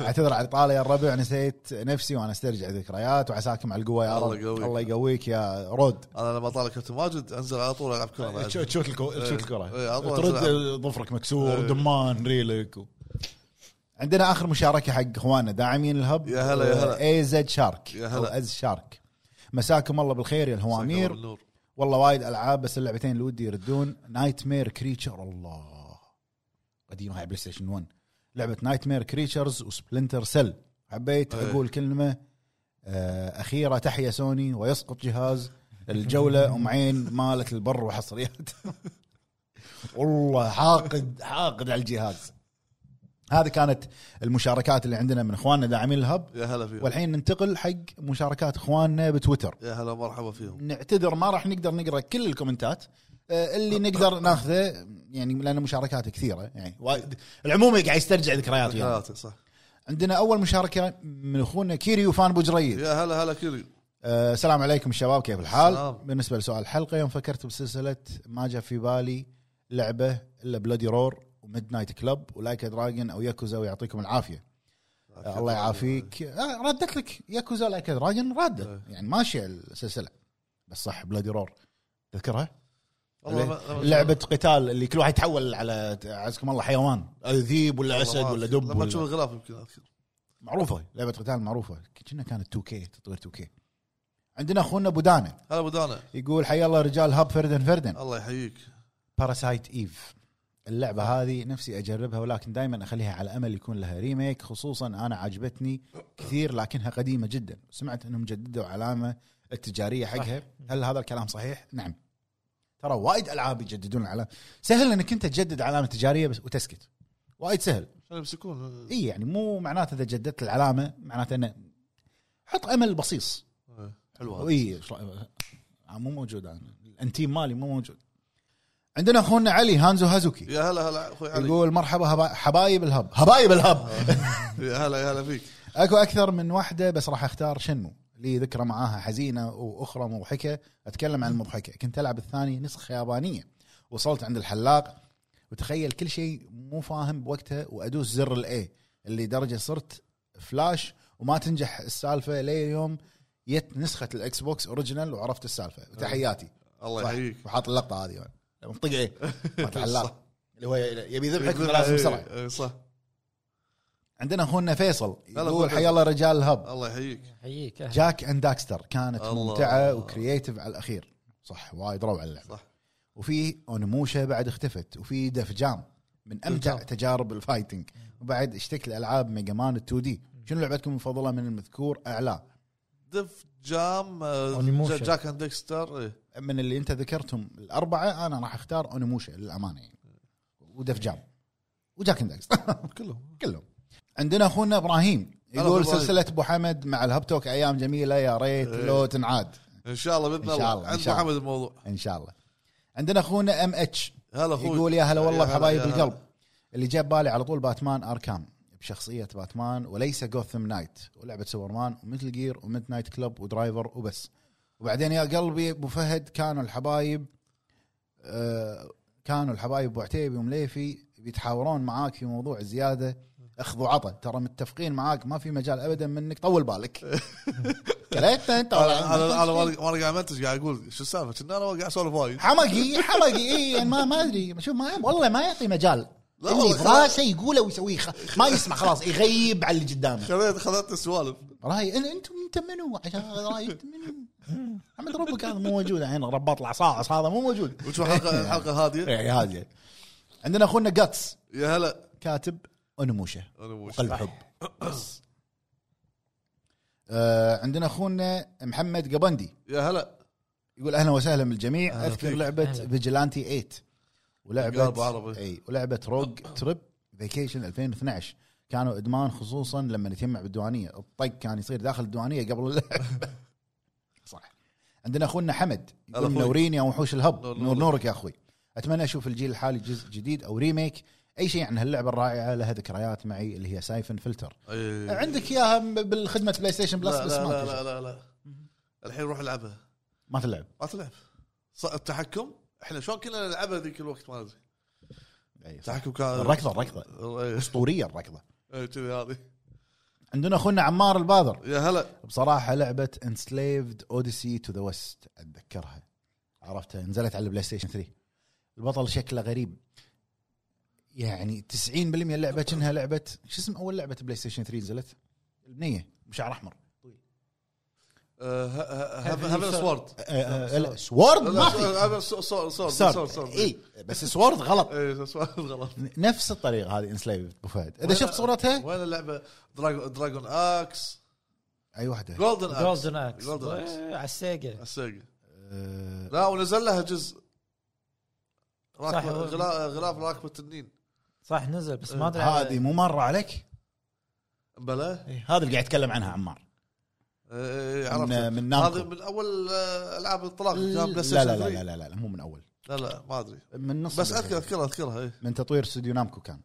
Speaker 1: اعتذر على الاطاله يا الربع نسيت نفسي وانا استرجع ذكريات وعساكم على القوه يا رب
Speaker 3: الله يقويك.
Speaker 1: الله يقويك يا رود
Speaker 3: انا لما طالع كابتن ماجد انزل على طول العب
Speaker 1: إيه،
Speaker 3: كره بعد.
Speaker 4: تشوت تشوت الكو- تشوت الكره
Speaker 3: إيه، على طول
Speaker 4: ترد
Speaker 3: أسرع.
Speaker 4: ظفرك مكسور دمان ريلك و-
Speaker 1: عندنا اخر مشاركه حق اخواننا داعمين الهب
Speaker 3: يا هلا، يا هلا.
Speaker 1: اي زد شارك
Speaker 3: يا
Speaker 1: يا
Speaker 3: هلا.
Speaker 1: هلا او از شارك مساكم الله بالخير يا الهوامير
Speaker 3: بالنور.
Speaker 1: والله وايد العاب بس اللعبتين اللي ودي يردون نايت مير كريتشر الله قديمه هاي بلاي ستيشن 1 لعبه نايت مير كريتشرز وسبلنتر سيل حبيت
Speaker 3: أي.
Speaker 1: اقول كلمه آه، اخيره تحيا سوني ويسقط جهاز الجوله ام عين مالت البر وحصريات *laughs* والله حاقد حاقد على الجهاز هذه كانت المشاركات اللي عندنا من اخواننا داعمين الهب
Speaker 3: يا هلا فيهم
Speaker 1: والحين ننتقل حق مشاركات اخواننا بتويتر
Speaker 3: يا هلا مرحبا فيهم
Speaker 1: نعتذر ما راح نقدر نقرا كل الكومنتات آه، اللي نقدر ناخذه يعني لان مشاركات كثيره يعني وايد العموم قاعد يسترجع ذكريات يعني.
Speaker 3: ذكرياتي صح
Speaker 1: عندنا اول مشاركه من اخونا كيريو فان ابو جريد
Speaker 3: يا هلا هلا كيري
Speaker 1: آه، السلام عليكم الشباب كيف الحال؟
Speaker 3: السلام.
Speaker 1: بالنسبه لسؤال الحلقه يوم فكرت بسلسله ما جاء في بالي لعبه الا بلودي رور وميد نايت كلب ولايك دراجون او ياكوزا ويعطيكم العافيه آه، الله يعافيك آه، ردت لك ياكوزا لايك دراجون رادت يعني ماشيه السلسله بس صح بلودي رور تذكرها؟
Speaker 3: والله ما-
Speaker 1: لعبه قتال اللي كل واحد يتحول على عزكم الله حيوان ذيب ولا
Speaker 3: والله ما
Speaker 1: اسد ولا
Speaker 3: أذكر.
Speaker 1: دب
Speaker 3: لما تشوف
Speaker 1: ولا
Speaker 3: الغلاف يمكن اذكر
Speaker 1: معروفه لعبه قتال معروفه كنا كانت 2K تطوير 2K عندنا اخونا ابو دانه
Speaker 3: هلا ابو دانا
Speaker 1: يقول حيا الله رجال هاب فردن فردن
Speaker 3: الله يحييك
Speaker 1: باراسايت ايف اللعبة هذه نفسي اجربها ولكن دائما اخليها على امل يكون لها ريميك خصوصا انا عجبتني كثير لكنها قديمة جدا سمعت انهم جددوا علامة التجارية حقها هل هذا الكلام صحيح؟ نعم ترى وايد العاب يجددون العلامة سهل انك انت تجدد علامة تجارية بس وتسكت وايد سهل
Speaker 3: عشان يمسكون
Speaker 1: اي يعني مو معناته اذا جددت العلامة معناته انه حط امل بصيص
Speaker 3: حلوه هذه.
Speaker 1: اي إيه، إيش رأيك؟ آه، مو موجود انا الانتيم مالي مو موجود عندنا اخونا علي هانزو هازوكي
Speaker 3: يا هلا هلا اخوي إيه، علي
Speaker 1: يقول مرحبا هبا- حبايب الهب حبايب الهب
Speaker 3: يا هلا يا هلا فيك
Speaker 1: اكو اكثر من واحده بس راح اختار شنو لي ذكرى معاها حزينه واخرى مضحكه اتكلم عن المضحكه كنت العب الثاني نسخه يابانيه وصلت عند الحلاق وتخيل كل شيء مو فاهم بوقتها وادوس زر الاي اللي درجه صرت فلاش وما تنجح السالفه لي يوم جت نسخه الاكس بوكس اوريجينال وعرفت السالفه تحياتي
Speaker 3: الله
Speaker 1: صح.
Speaker 3: يحييك
Speaker 1: وحاط اللقطه هذه منطق
Speaker 3: *laughs*
Speaker 1: ايه مالت
Speaker 3: صح.
Speaker 1: الحلاق اللي هو يبي يذبحك
Speaker 3: يقول- إيه.
Speaker 1: لازم
Speaker 3: إي-
Speaker 1: بسرعه
Speaker 3: إي، صح
Speaker 1: عندنا اخونا فيصل
Speaker 3: أبو
Speaker 1: يقول حيا الله رجال الهب
Speaker 3: الله يحييك
Speaker 2: حييك أهلا.
Speaker 1: جاك اند داكستر كانت
Speaker 3: الله.
Speaker 1: ممتعه وكرييتيف على الاخير صح وايد روعه اللعبه
Speaker 3: صح.
Speaker 1: صح وفي اونموشا بعد اختفت وفي دفجام من امتع
Speaker 2: دفجام.
Speaker 1: تجارب الفايتنج وبعد اشتكت لالعاب ميجا مان 2 دي شنو لعبتكم المفضله من المذكور اعلى
Speaker 3: دف جام آه،
Speaker 2: أونيموشا.
Speaker 3: جا- جاك اند ديكستر إيه. إي.
Speaker 1: من اللي انت ذكرتهم الاربعه انا راح اختار اونموشا للامانه يعني ودفجام وجاك اند داكستر *laughs*
Speaker 3: كلهم
Speaker 1: كلهم عندنا اخونا ابراهيم
Speaker 3: هلا أبو
Speaker 1: يقول
Speaker 3: إبراهيم. إيه.
Speaker 1: سلسله ابو حمد مع الهبتوك ايام جميله يا ريت لو تنعاد
Speaker 3: ان شاء الله باذن
Speaker 1: إن شاء
Speaker 3: الله
Speaker 1: الله، إن
Speaker 3: عند
Speaker 1: شاء الله.
Speaker 3: محمد الموضوع
Speaker 1: ان شاء الله عندنا اخونا ام اتش
Speaker 3: هلا اخوي
Speaker 1: يقول يا هلا والله
Speaker 3: يا
Speaker 1: بحبايب
Speaker 3: يا هلا.
Speaker 1: القلب اللي جاء ببالي على طول باتمان اركام بشخصيه باتمان وليس جوثم نايت ولعبه سوبرمان ومثل جير ومثل نايت كلب ودرايفر وبس وبعدين يا قلبي ابو فهد كانوا الحبايب آه، كانوا الحبايب ابو عتيبي ومليفي بيتحاورون معاك في موضوع الزياده اخذ وعطى ترى متفقين معاك ما في مجال ابدا منك طول
Speaker 3: *laughs*
Speaker 1: بالك كليتنا انت
Speaker 3: انا انا انا وانا وأنا قاعد امنتج قاعد اقول شو السالفه كنا انا قاعد اسولف وايد
Speaker 1: حمقي حمقي اي ما ما ادري شوف ما والله ما يعطي مجال
Speaker 3: لا
Speaker 1: اللي
Speaker 3: والله.
Speaker 1: براسه يقوله ويسويه خ- ما يسمع خلاص يغيب على اللي قدامه
Speaker 3: خذيت خذيت السوالف
Speaker 1: راي أنا- انت انت منو عشان راي أنت منو عمد ربك هذا مو موجود الحين رباط العصاعص هذا مو موجود إيه،
Speaker 3: وشو
Speaker 1: *laughs*
Speaker 3: الحلقه الحلقه هاديه
Speaker 1: اي هذه عندنا اخونا جاتس
Speaker 3: يا هلا
Speaker 1: كاتب انموشه
Speaker 3: انا مو
Speaker 1: وقلب حب *clears throat* بس. آه، عندنا اخونا محمد قبندي
Speaker 3: يا هلا
Speaker 1: يقول اهلا وسهلا بالجميع
Speaker 3: أهلا
Speaker 1: اذكر
Speaker 3: فيك.
Speaker 1: لعبه
Speaker 2: أهلا.
Speaker 1: فيجلانتي 8
Speaker 3: قلب
Speaker 1: ولعبه
Speaker 3: عربي.
Speaker 1: اي ولعبه روج تريب فيكيشن 2012 كانوا ادمان خصوصا لما نتجمع بالديوانيه الطق كان يصير داخل الديوانيه قبل اللعب *laughs* صح عندنا اخونا حمد
Speaker 3: هلا
Speaker 1: يقول
Speaker 3: أخوي.
Speaker 1: منورين يا وحوش الهب
Speaker 3: نور-
Speaker 1: نور
Speaker 3: نور.
Speaker 1: نورك يا اخوي اتمنى اشوف الجيل الحالي جزء جديد او ريميك اي شيء عن هاللعبه الرائعه لها ذكريات معي اللي هي سايفن فلتر
Speaker 3: أي-
Speaker 1: عندك اياها بالخدمه بلاي ستيشن بلس
Speaker 3: إيه. لا
Speaker 1: بس
Speaker 3: لا
Speaker 1: ما
Speaker 3: لا,
Speaker 1: تجي.
Speaker 3: لا, لا, لا. الحين روح العبها
Speaker 1: ما تلعب
Speaker 3: ما تلعب ص- التحكم احنا شلون كنا نلعبها ذيك الوقت ما ادري
Speaker 1: أي صح.
Speaker 3: التحكم كان
Speaker 1: الركضه الركضه
Speaker 3: *laughs*
Speaker 1: اسطوريه الركضه
Speaker 3: إيه، كذي هذه
Speaker 1: عندنا اخونا عمار البادر
Speaker 3: يا هلا
Speaker 1: بصراحه لعبه انسليفد اوديسي تو ذا ويست اتذكرها عرفتها نزلت على البلاي ستيشن 3 البطل شكله غريب يعني 90% اللعبه كأنها لعبه شو اسم اول لعبه بلاي ستيشن 3 نزلت؟ البنيه بشعر احمر
Speaker 3: آه، ه- ه-
Speaker 2: هذه
Speaker 3: هذا
Speaker 2: صار-
Speaker 3: سوارد
Speaker 1: أه، أه، لا، سوورد ما في إيه،
Speaker 3: هذا سوارد سوارد
Speaker 1: سوورد
Speaker 3: سوارد
Speaker 1: اي بس سوورد غلط
Speaker 3: اي سوارد إيه، *laughs* غلط
Speaker 1: نفس الطريقه هذه انسليفد ابو فهد اذا شفت صورتها
Speaker 3: وين اللعبه دراجون دراجون اكس
Speaker 1: اي واحده
Speaker 3: جولدن اكس
Speaker 2: جولدن اكس
Speaker 3: Golden Axe.
Speaker 2: إيه، على السيجا
Speaker 3: السيجا
Speaker 1: أه،
Speaker 3: لا ونزل لها جزء راكب
Speaker 2: صح.
Speaker 3: غلا- غلاف راكب التنين
Speaker 2: صح نزل بس
Speaker 3: إيه،
Speaker 2: ما ادري
Speaker 1: هذه مو مره عليك
Speaker 3: بلا
Speaker 1: إيه، هذا اللي قاعد يتكلم عنها عمار
Speaker 3: إيه،
Speaker 1: من-
Speaker 3: عرفت
Speaker 1: من نامكو.
Speaker 3: هذه من اول آه، العاب الانطلاق
Speaker 1: لا لا
Speaker 3: كان بلاي ستيشن
Speaker 1: لا
Speaker 3: 3.
Speaker 1: لا لا, لا, لا مو من اول
Speaker 3: لا لا ما ادري
Speaker 1: من نص
Speaker 3: بس
Speaker 1: البلاي
Speaker 3: اذكر
Speaker 1: ستيشن.
Speaker 3: اذكرها اذكرها اي
Speaker 1: من تطوير استوديو نامكو كان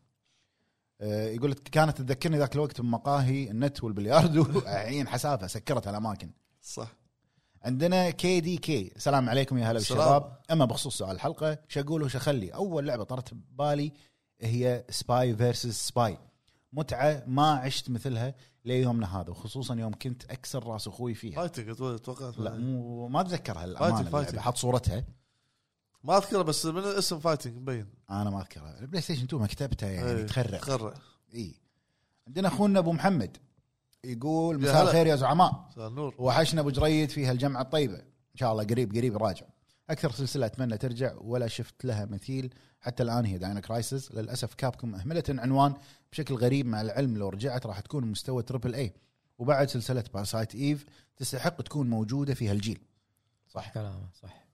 Speaker 1: آه، يقول لك كانت تذكرني ذاك الوقت بمقاهي النت والبلياردو عين حسافه سكرت الاماكن
Speaker 3: صح
Speaker 1: عندنا كي دي كي سلام عليكم يا هلا
Speaker 3: سلام.
Speaker 1: بالشباب اما بخصوص سؤال الحلقه شو اقول وش اخلي اول لعبه طرت ببالي هي سباي فيرسز سباي متعه ما عشت مثلها ليومنا هذا وخصوصا يوم كنت اكسر راس اخوي فيها
Speaker 3: فايتنج اتوقع
Speaker 1: لا مو ما اتذكرها
Speaker 3: فايتك-
Speaker 1: الامانه
Speaker 3: فايتك.
Speaker 1: اللعبة. حط صورتها
Speaker 3: ما اذكره بس من الاسم فايتنج مبين
Speaker 1: انا ما اذكرها البلاي ستيشن 2 مكتبتها يعني
Speaker 3: إيه،
Speaker 1: تخرع
Speaker 3: تخرع
Speaker 1: اي عندنا اخونا ابو محمد يقول
Speaker 3: يا
Speaker 1: مساء
Speaker 3: هلا.
Speaker 1: الخير يا زعماء
Speaker 3: مساء النور
Speaker 1: وحشنا ابو جريد في هالجمعه الطيبه ان شاء الله قريب قريب راجع اكثر سلسله اتمنى ترجع ولا شفت لها مثيل حتى الان هي داينا كرايسس للاسف كابكم اهملت العنوان بشكل غريب مع العلم لو رجعت راح تكون مستوى تربل اي وبعد سلسله بارسايت ايف تستحق تكون موجوده في هالجيل
Speaker 2: صح كلامه صح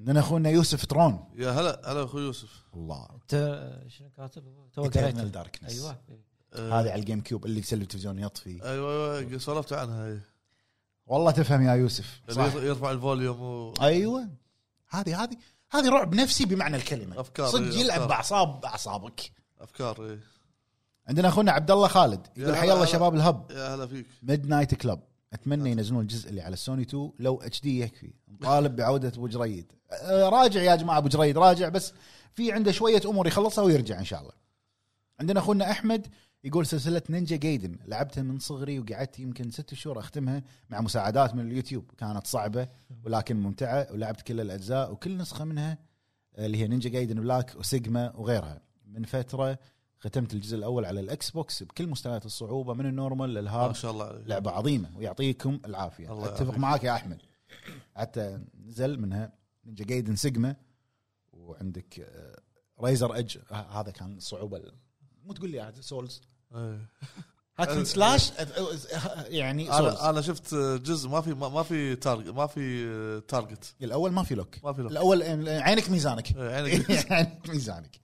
Speaker 1: عندنا اخونا يوسف ترون
Speaker 3: يا هلا هلا اخوي يوسف
Speaker 1: الله
Speaker 2: انت شنو كاتب؟ تو
Speaker 1: ايترنال
Speaker 2: قريته
Speaker 1: داركنس
Speaker 2: ايوه
Speaker 3: آه،
Speaker 1: هذه على الجيم كيوب اللي يسلم التلفزيون يطفي
Speaker 3: ايوه ايوه سولفت عنها هي.
Speaker 1: والله تفهم يا يوسف
Speaker 3: اللي ير- يرفع الفوليوم و...
Speaker 1: ايوه هذه هذه هذه رعب نفسي بمعنى الكلمه
Speaker 3: أفكار،
Speaker 1: صدق
Speaker 3: إيه،
Speaker 1: يلعب
Speaker 3: أفكار.
Speaker 1: باعصاب اعصابك
Speaker 3: افكار إيه.
Speaker 1: عندنا اخونا عبد الله خالد يقول
Speaker 3: يا
Speaker 1: حيا الله
Speaker 3: هلا.
Speaker 1: شباب الهب
Speaker 3: يا هلا فيك
Speaker 1: ميد نايت كلب اتمنى ينزلون الجزء اللي على السوني 2 لو اتش دي يكفي نطالب بعوده ابو جريد أه، راجع يا جماعه ابو جريد راجع بس في عنده شويه امور يخلصها ويرجع ان شاء الله عندنا اخونا احمد يقول سلسله نينجا جايدن لعبتها من صغري وقعدت يمكن ست شهور اختمها مع مساعدات من اليوتيوب كانت صعبه ولكن ممتعه ولعبت كل الاجزاء وكل نسخه منها آه، اللي هي نينجا جايدن بلاك وسيجما وغيرها من فتره ختمت الجزء الاول على الاكس بوكس بكل مستويات الصعوبه من النورمال
Speaker 3: ما
Speaker 1: للهارد
Speaker 3: شاء الله عليك
Speaker 1: لعبه عظيمه ويعطيكم العافيه
Speaker 3: الله
Speaker 1: اتفق
Speaker 3: يعافيك.
Speaker 1: معاك يا احمد حتى نزل منها نينجا جايدن سيجما وعندك آه، رايزر اج ه- هذا كان الصعوبه ال- مو تقول لي هذا سولز
Speaker 3: إيه.
Speaker 1: هاكن
Speaker 3: أه.
Speaker 1: سلاش أه، أه، يعني سولز
Speaker 3: انا انا شفت جزء ما في ما ما في تارجت ما في تارجت
Speaker 1: الاول ما في لوك
Speaker 3: ما في لوك.
Speaker 1: الاول آه، عينك
Speaker 3: *laughs*
Speaker 1: ميزانك *laughs*
Speaker 3: إيه، عينك
Speaker 1: عينك ميزانك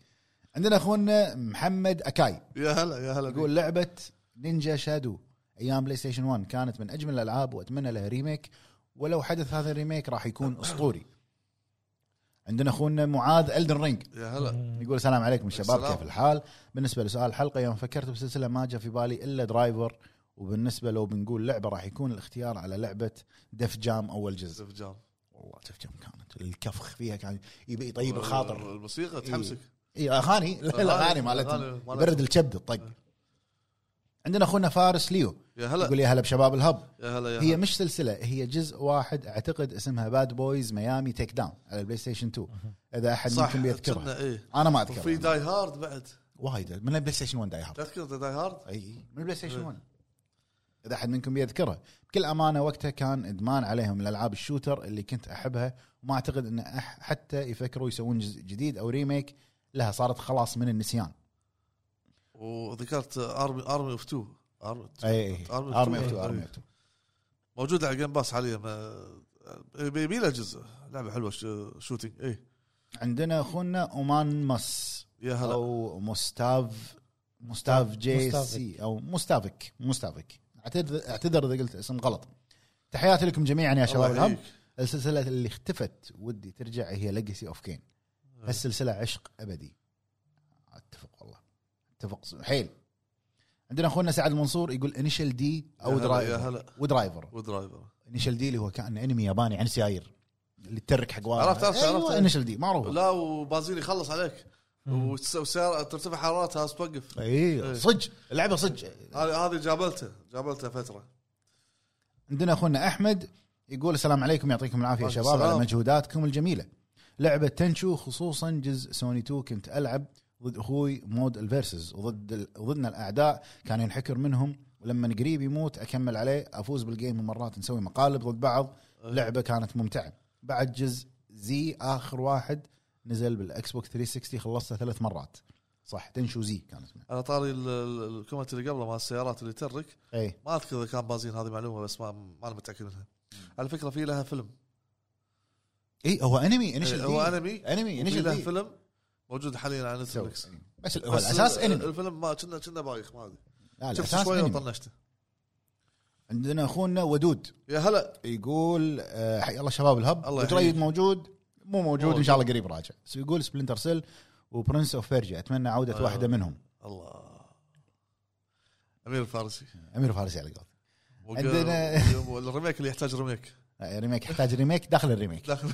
Speaker 1: عندنا اخونا محمد اكاي
Speaker 3: يا هلا يا هلا
Speaker 1: يقول لعبه نينجا شادو ايام بلاي ستيشن 1 كانت من اجمل الالعاب واتمنى لها ريميك ولو حدث هذا الريميك راح يكون اسطوري عندنا اخونا معاذ الدن رينج
Speaker 3: يا هلا
Speaker 1: يقول السلام عليكم الشباب
Speaker 3: السلام.
Speaker 1: كيف الحال؟ بالنسبه لسؤال الحلقه يوم فكرت بسلسله ما جاء في بالي الا درايفر وبالنسبه لو بنقول لعبه راح يكون الاختيار على لعبه دف جام اول جزء
Speaker 3: زف جام
Speaker 1: والله دف جام كانت الكفخ فيها كان يبي يطيب طيب، الخاطر
Speaker 3: آه،
Speaker 1: إيه.
Speaker 3: الموسيقى تحمسك
Speaker 1: *laughs* اي اغاني الاغاني مالتهم
Speaker 3: الأغاني
Speaker 1: يبرد الكبد الطق
Speaker 3: آه.
Speaker 1: عندنا اخونا فارس ليو
Speaker 3: يا هلا
Speaker 1: يقول يا هلا بشباب الهب
Speaker 3: يا هلا يا
Speaker 1: هي
Speaker 3: هلا
Speaker 1: مش سلسله هي جزء واحد اعتقد اسمها باد بويز ميامي تيك داون على البلاي ستيشن 2 اذا احد منكم
Speaker 3: كنا
Speaker 1: بيذكرها
Speaker 3: ايه
Speaker 1: انا ما
Speaker 3: وفي
Speaker 1: اذكرها
Speaker 3: داي هارد بعد
Speaker 1: وايد من البلاي ستيشن 1 داي هارد
Speaker 3: تذكر داي هارد؟
Speaker 1: اي من البلاي ستيشن
Speaker 3: إيه.
Speaker 1: 1 اذا احد منكم يذكرها بكل امانه وقتها كان ادمان عليهم الالعاب الشوتر اللي كنت احبها وما اعتقد ان أح حتى يفكروا يسوون جزء جديد او ريميك لها صارت خلاص من النسيان
Speaker 3: وذكرت ارمي ارمي اوف 2 ارمي
Speaker 1: اي اي
Speaker 3: Army of
Speaker 1: ارمي اوف 2
Speaker 3: Two. إيه.
Speaker 1: ارمي اوف 2
Speaker 3: موجود على جيم باس حاليا ما- يبي له جزء لعبه حلوه ش- شوتينج ايه
Speaker 1: عندنا اخونا اومان مس
Speaker 3: يا هلا
Speaker 1: او مستاف مستاف جي
Speaker 2: مستافك.
Speaker 1: سي او مستافك مستافك اعتذر اعتذر اذا قلت اسم غلط تحياتي لكم جميعا يا شباب
Speaker 3: الله
Speaker 1: الهب
Speaker 3: يحييك.
Speaker 1: السلسله اللي اختفت ودي ترجع هي ليجسي اوف
Speaker 3: إيه.
Speaker 1: كين هالسلسله عشق ابدي اتفق والله اتفق حيل عندنا اخونا سعد المنصور يقول انيشل دي او
Speaker 3: يا هلا، يا
Speaker 1: درايفر
Speaker 3: هلا
Speaker 1: ودرايفر
Speaker 3: ودرايفر
Speaker 1: انيشل دي اللي هو كان انمي ياباني عن سيايير اللي تترك حق واحد
Speaker 3: عرفت، عرفت، عرفت.
Speaker 1: انيشل دي معروف
Speaker 3: لا وبنزين يخلص عليك
Speaker 2: مم.
Speaker 3: وتس- وسيارة ترتفع حرارتها بس توقف
Speaker 1: اي صدق اللعبه صدق
Speaker 3: هذه هذه جابلته جابلته فتره
Speaker 1: عندنا اخونا احمد يقول السلام عليكم يعطيكم العافيه يا
Speaker 3: وعليكم
Speaker 1: شباب على
Speaker 3: السلام.
Speaker 1: مجهوداتكم الجميله لعبه تنشو خصوصا جزء سوني 2 كنت العب ضد اخوي مود الفيرسز وضد ال- وضدنا الاعداء كان ينحكر منهم ولما قريب يموت اكمل عليه افوز بالجيم ومرات نسوي مقالب ضد بعض
Speaker 3: إيه.
Speaker 1: لعبه كانت ممتعه بعد جزء زي اخر واحد نزل بالاكس بوك 360 خلصته ثلاث مرات صح تنشو زي كان اسمها
Speaker 3: على طاري ال- ال- الكومنت اللي قبله مال السيارات اللي ترك
Speaker 1: اي
Speaker 3: ما اذكر اذا كان بنزين هذه معلومه بس ما ما انا متاكد منها على فكره في لها فيلم
Speaker 1: اي هو انمي انيشل
Speaker 3: إيه، هو
Speaker 1: دي.
Speaker 3: انمي
Speaker 1: انمي
Speaker 3: في
Speaker 1: انيشل
Speaker 3: له
Speaker 1: دي.
Speaker 3: فيلم موجود حاليا على نتفلكس
Speaker 1: إيه. بس هو الاساس انمي
Speaker 3: الفيلم ما كنا كنا بايخ ما ادري
Speaker 1: لا
Speaker 3: شفت
Speaker 1: الاساس
Speaker 3: شوي
Speaker 1: انمي
Speaker 3: وطنشته
Speaker 1: عندنا اخونا ودود
Speaker 3: يا هلا
Speaker 1: يقول آه، حي الله شباب الهب
Speaker 3: الله
Speaker 1: وتريد
Speaker 3: يحييك.
Speaker 1: موجود مو موجود ان
Speaker 3: موجود.
Speaker 1: شاء الله قريب راجع بس يقول سبلنتر سيل وبرنس اوف بيرجا اتمنى عوده
Speaker 3: أيوة.
Speaker 1: واحده منهم
Speaker 3: الله امير الفارسي
Speaker 1: امير فارسي على قولتك
Speaker 3: وق-
Speaker 1: عندنا-
Speaker 3: وق- الريميك اللي يحتاج ريميك
Speaker 1: آه، ريميك يحتاج ريميك داخل الريميك
Speaker 3: داخل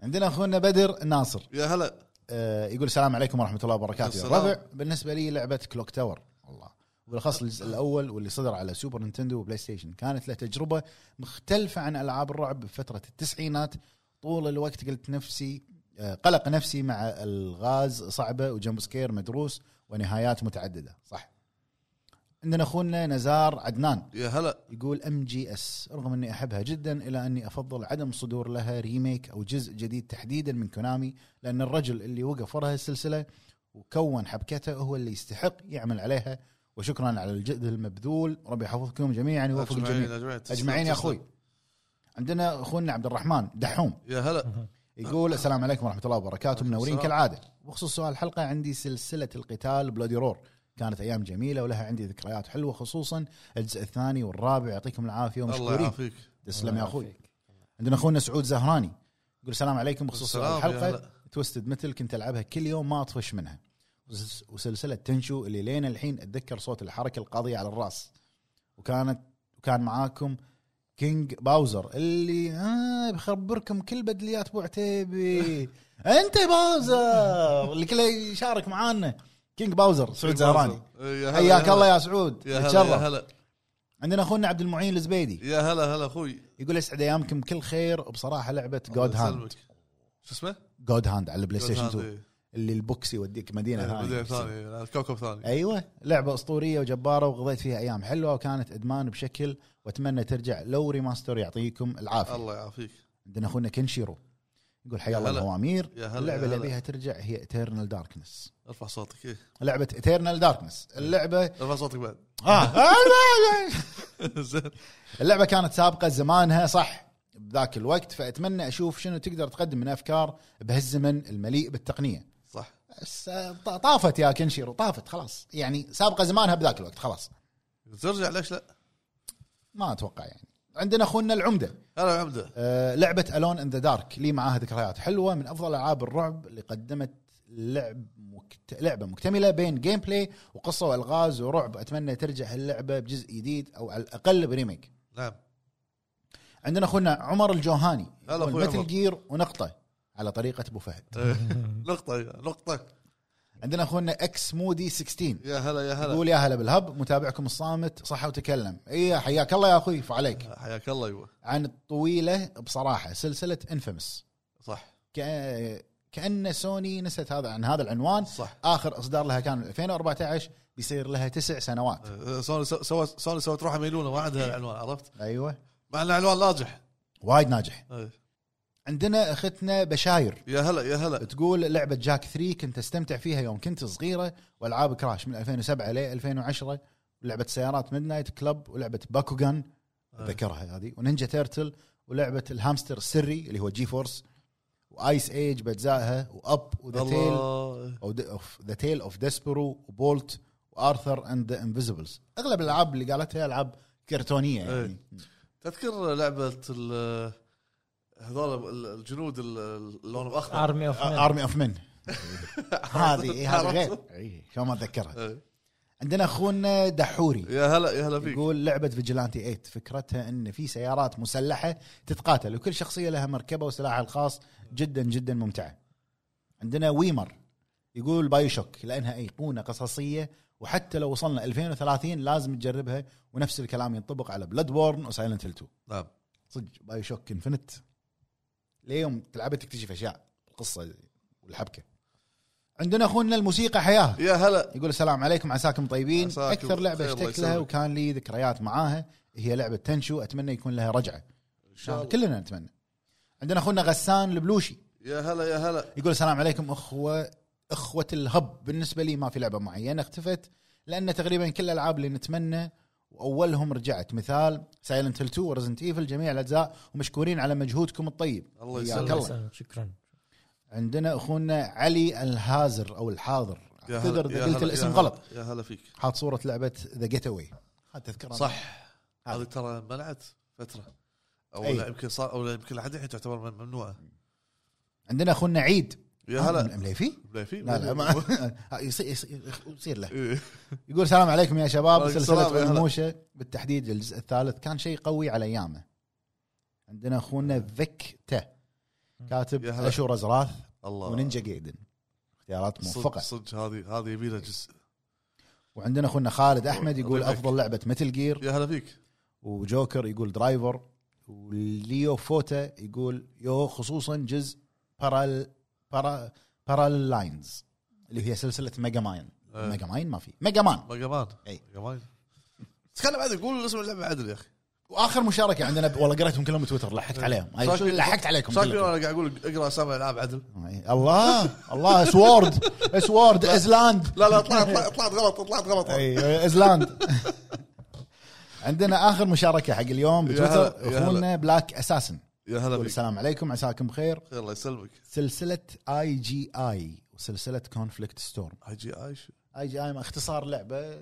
Speaker 1: عندنا اخونا بدر ناصر
Speaker 3: يا هلا
Speaker 1: آه، يقول السلام عليكم ورحمه الله وبركاته يا
Speaker 3: السلام.
Speaker 1: الربع بالنسبه لي لعبه كلوك تاور والله وبالاخص الجزء الاول واللي صدر على سوبر نينتندو وبلاي ستيشن كانت له تجربه مختلفه عن العاب الرعب بفتره التسعينات طول الوقت قلت نفسي آه، قلق نفسي مع الغاز صعبه وجمب سكير مدروس ونهايات متعدده صح عندنا اخونا نزار عدنان
Speaker 3: يا هلا
Speaker 1: يقول ام جي اس رغم اني احبها جدا الا اني افضل عدم صدور لها ريميك او جزء جديد تحديدا من كونامي لان الرجل اللي وقف وراء السلسله وكون حبكته هو اللي يستحق يعمل عليها وشكرا على الجهد المبذول ربي يحفظكم جميعا ويوفق
Speaker 3: اجمعين
Speaker 1: الجميع
Speaker 3: اجمعين تسلم،
Speaker 1: اجمعين يا
Speaker 3: تسلم.
Speaker 1: اخوي عندنا اخونا عبد الرحمن دحوم
Speaker 3: يا هلا
Speaker 1: يقول السلام عليكم ورحمه الله وبركاته
Speaker 3: وعليكم
Speaker 1: منورين
Speaker 3: السلام.
Speaker 1: كالعاده بخصوص سؤال الحلقه عندي سلسله القتال بلودي رور كانت ايام جميله ولها عندي ذكريات حلوه خصوصا الجزء الثاني والرابع يعطيكم العافيه
Speaker 3: الله
Speaker 1: ومشكورين
Speaker 3: يعافيك
Speaker 1: تسلم يا اخوي عندنا اخونا سعود زهراني يقول السلام عليكم بخصوص
Speaker 3: السلام، يا
Speaker 1: الحلقه
Speaker 3: هلا.
Speaker 1: توستد مثل كنت العبها كل يوم ما اطفش منها وس- وسلسله تنشو اللي لين الحين اتذكر صوت الحركه القاضيه على الراس وكانت وكان معاكم كينج باوزر اللي آه بخبركم كل بدليات ابو
Speaker 3: *laughs*
Speaker 1: عتيبي انت باوزر اللي كله يشارك معانا كينج باوزر سعود زهراني
Speaker 3: يا هلا،
Speaker 1: حياك
Speaker 3: يا
Speaker 1: الله
Speaker 3: هلا.
Speaker 1: يا سعود
Speaker 3: يا هلا يا
Speaker 1: اتشرف
Speaker 3: هلا
Speaker 1: عندنا اخونا عبد المعين الزبيدي
Speaker 3: يا هلا هلا اخوي
Speaker 1: يقول يسعد ايامكم كل خير بصراحه لعبه جود
Speaker 3: الله
Speaker 1: هاند
Speaker 3: يسلمك. شو اسمه؟
Speaker 1: جود هاند على البلاي ستيشن
Speaker 3: God Hand،
Speaker 1: 2
Speaker 3: إيه.
Speaker 1: اللي البوكس يوديك مدينه ثانيه
Speaker 3: مدينة ثانية كوكب ثاني
Speaker 1: ايوه لعبه اسطوريه وجباره وقضيت فيها ايام حلوه وكانت ادمان بشكل واتمنى ترجع لو ريماستر يعطيكم العافيه
Speaker 3: الله يعافيك
Speaker 1: عندنا اخونا كنشيرو يقول حيا
Speaker 3: يا
Speaker 1: الله
Speaker 3: هلا.
Speaker 1: الهوامير
Speaker 3: يا هلا،
Speaker 1: اللعبه
Speaker 3: يا
Speaker 1: اللي
Speaker 3: هلا.
Speaker 1: ابيها ترجع هي ايترنال داركنس
Speaker 3: ارفع صوتك ايه
Speaker 1: لعبه ايترنال داركنس
Speaker 3: إيه.
Speaker 1: اللعبه
Speaker 3: ارفع صوتك بعد *laughs*
Speaker 1: آه.
Speaker 3: زين
Speaker 1: اللعبه كانت سابقه زمانها صح بذاك الوقت فاتمنى اشوف شنو تقدر تقدم من افكار بهالزمن المليء بالتقنيه
Speaker 3: صح
Speaker 1: بس آه، ط- طافت يا كنشيرو طافت خلاص يعني سابقه زمانها بذاك الوقت خلاص
Speaker 3: ترجع ليش لا؟
Speaker 1: ما اتوقع يعني عندنا اخونا العمده
Speaker 3: هلا عمده
Speaker 1: آه، لعبه الون ان ذا دارك لي معاها ذكريات حلوه من افضل العاب الرعب اللي قدمت لعب مكت... لعبه مكتمله بين جيم بلاي وقصه والغاز ورعب اتمنى ترجع هاللعبه بجزء جديد او على الاقل بريميك
Speaker 3: نعم
Speaker 1: عندنا اخونا عمر الجوهاني
Speaker 3: هلا
Speaker 1: يقول
Speaker 3: أخوي عمر.
Speaker 1: متل جير ونقطه على طريقه ابو فهد
Speaker 3: *laughs* نقطه نقطه
Speaker 1: عندنا اخونا اكس مودي 16
Speaker 3: يا هلا يا هلا
Speaker 1: يقول يا هلا بالهب متابعكم الصامت صح وتكلم اي حياك الله يا اخوي فعليك
Speaker 3: حياك الله ايوه
Speaker 1: عن الطويله بصراحه سلسله انفيمس
Speaker 3: صح
Speaker 1: كأ- كان سوني نست هذا عن هذا العنوان
Speaker 3: صح
Speaker 1: اخر اصدار لها كان 2014 بيصير لها تسع سنوات
Speaker 3: آه، سوني سو- سوى سوني سوت روحها ميلونه ما
Speaker 1: إيه.
Speaker 3: عندها العنوان عرفت
Speaker 1: ايوه
Speaker 3: مع ان العنوان ناجح
Speaker 1: وايد ناجح
Speaker 3: آه.
Speaker 1: عندنا اختنا بشاير
Speaker 3: يا هلا يا هلا
Speaker 1: تقول لعبه جاك 3 كنت استمتع فيها يوم كنت صغيره والعاب كراش من 2007 ل 2010 ولعبه سيارات ميد نايت كلب ولعبه باكوغان
Speaker 3: آه. أه.
Speaker 1: اتذكرها هذه ونينجا تيرتل ولعبه الهامستر السري اللي هو جي فورس وايس ايج باجزائها واب وذا تيل
Speaker 3: الله
Speaker 1: او ذا تيل اوف ديسبرو وبولت وارثر اند ذا انفيزبلز اغلب الالعاب اللي قالتها العاب كرتونيه يعني
Speaker 3: تذكر لعبه ال- هذول ال- الجنود ال- اللون الاخضر
Speaker 2: ارمي اوف
Speaker 1: ارمي اوف من هذه إي، هذه غير إي، شلون ما اتذكرها
Speaker 3: آه.
Speaker 1: عندنا اخونا دحوري
Speaker 3: يا هلا يا هلا فيك
Speaker 1: يقول لعبه فيجلانتي 8 فكرتها ان في سيارات مسلحه تتقاتل وكل شخصيه لها مركبه وسلاحها الخاص جدا جدا ممتعه. عندنا ويمر يقول بايو شوك لانها ايقونه قصصيه وحتى لو وصلنا 2030 لازم تجربها ونفس الكلام ينطبق على بلاد بورن وسايلنت هيل 2.
Speaker 3: نعم
Speaker 1: صدق بايو شوك انفنت ليوم تلعبها تكتشف اشياء القصه والحبكه. عندنا اخونا الموسيقى حياه
Speaker 3: يا هلا
Speaker 1: يقول السلام عليكم عساكم طيبين
Speaker 3: عساكم
Speaker 1: اكثر لعبه
Speaker 3: بخير، الله
Speaker 1: اشتكت لها
Speaker 3: يسلمك.
Speaker 1: وكان لي ذكريات معاها هي لعبه تنشو اتمنى يكون لها رجعه
Speaker 3: ان شاء الله
Speaker 1: كلنا نتمنى عندنا اخونا غسان البلوشي
Speaker 3: يا هلا يا هلا
Speaker 1: يقول السلام عليكم اخوه اخوه الهب بالنسبه لي ما في لعبه معينه اختفت لان تقريبا كل الالعاب اللي نتمنى واولهم رجعت مثال سايلنت هيل 2 ورزنت ايفل جميع الاجزاء ومشكورين على مجهودكم الطيب
Speaker 3: الله
Speaker 1: حياك
Speaker 3: يسلمك.
Speaker 1: الله.
Speaker 2: شكرا
Speaker 1: عندنا اخونا علي الهازر او الحاضر
Speaker 3: يا هلا-
Speaker 1: اعتذر
Speaker 3: يا
Speaker 1: اذا قلت
Speaker 3: هلا- يا
Speaker 1: الاسم
Speaker 3: هلا-
Speaker 1: غلط
Speaker 3: يا هلا فيك
Speaker 1: حاط صوره لعبه ذا جيت اواي هذا تذكرها
Speaker 3: صح
Speaker 1: هذا.
Speaker 3: هذه ترى منعت فتره او
Speaker 1: أي. آه.
Speaker 3: لا يمكن صار او لا يمكن لحد الحين تعتبر من- ممنوعه
Speaker 1: عندنا اخونا عيد
Speaker 3: يا
Speaker 1: آه،
Speaker 3: هلا
Speaker 1: مليفي
Speaker 3: بليفي
Speaker 1: لا لا ما *laughs* آه، يصير يصير يصير له
Speaker 3: *laughs* إيه.
Speaker 1: يقول السلام عليكم يا شباب
Speaker 3: وعليكم السلام، يا
Speaker 1: سلسله
Speaker 3: هلا.
Speaker 1: موشة بالتحديد الجزء الثالث كان شيء قوي على ايامه عندنا اخونا فيك تا كاتب
Speaker 3: يا هلا.
Speaker 1: اشور ازراث
Speaker 3: الله
Speaker 1: ونينجا جايدن اختيارات
Speaker 3: صدق
Speaker 1: موفقه
Speaker 3: صدق هذه هذه يبي لها جزء
Speaker 1: وعندنا اخونا خالد احمد يقول
Speaker 3: الله يبارك.
Speaker 1: افضل لعبه متل جير
Speaker 3: يا هلا فيك
Speaker 1: وجوكر يقول درايفر وليو فوتا يقول يو خصوصا جزء بارال بارا بارال لاينز اللي هي سلسله ميجا ماين
Speaker 3: إيه.
Speaker 1: ميجا ماين ما في ميجا مان
Speaker 3: ميجا مان
Speaker 1: أي.
Speaker 3: ميجا مان تكلم عدل قول اسم اللعبه عدل يا اخي
Speaker 1: واخر مشاركه عندنا ب... والله قريتهم كلهم بتويتر
Speaker 3: آه.
Speaker 1: لحقت عليهم هاي شو
Speaker 3: شاكر-
Speaker 1: لحقت عليكم
Speaker 3: شاكر انا
Speaker 1: كلكم.
Speaker 3: قاعد اقول اقرا اسامي العاب عدل
Speaker 1: أي. الله الله سوورد سوورد ازلاند
Speaker 3: لا لا طلعت طلعت- طلعت غلط طلعت غلط
Speaker 1: اي ازلاند عندنا اخر مشاركه حق اليوم
Speaker 3: يا
Speaker 1: بتويتر
Speaker 3: هلا، يا هلا. طيب.
Speaker 1: اخونا بلاك اساسن
Speaker 3: يا هلا
Speaker 1: يقول
Speaker 3: فيك
Speaker 1: السلام عليكم عساكم بخير
Speaker 3: الله يسلمك
Speaker 1: سلسله اي جي اي وسلسله كونفليكت ستورم
Speaker 3: اي جي اي شو-
Speaker 1: اي جي اي اختصار لعبه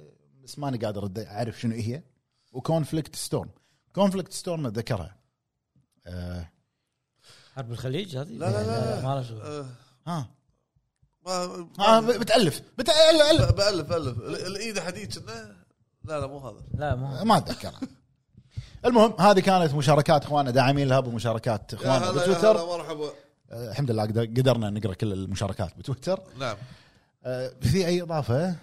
Speaker 1: بس ماني قادر أد- اعرف شنو هي وكونفليكت ستورم كونفليكت ستورم اتذكرها آه.
Speaker 2: حرب الخليج هذه
Speaker 3: لا، لا، لا، لا.
Speaker 2: ما لها شغل
Speaker 3: آه،
Speaker 1: ها
Speaker 3: ما-
Speaker 1: آه
Speaker 3: ما-
Speaker 1: ب- بتالف بتالف
Speaker 3: ب- بألف ألف ال- الايد حديد كنا لا لا مو هذا
Speaker 2: لا
Speaker 3: *laughs*
Speaker 2: مو
Speaker 1: ما اتذكرها المهم هذه كانت مشاركات اخواننا داعمين الهب ومشاركات
Speaker 3: يا
Speaker 1: اخواننا
Speaker 3: هلا يا هلا
Speaker 1: بتويتر
Speaker 3: مرحبا
Speaker 1: آه الحمد لله قد- قدرنا نقرا كل المشاركات بتويتر
Speaker 3: نعم
Speaker 1: آه في اي اضافه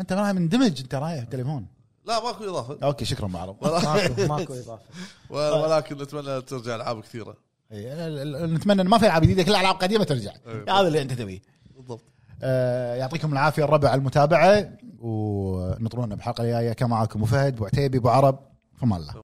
Speaker 1: انت ما مندمج انت رايح تليفون
Speaker 3: لا ماكو اضافه
Speaker 1: اوكي شكرا معرض
Speaker 2: ماكو ماكو اضافه
Speaker 3: و- ولكن نتمنى ترجع العاب كثيره
Speaker 1: إي، إيه، ال- ال- نتمنى انه ما في العاب جديده كل العاب قديمه ترجع
Speaker 3: إي.
Speaker 1: هذا اللي انت تبيه
Speaker 3: بالضبط
Speaker 1: آه، يعطيكم العافيه الربع على المتابعه ونطرونا بحلقه جايه كان معاكم أبو فهد ابو عتيبي ابو عرب فما الله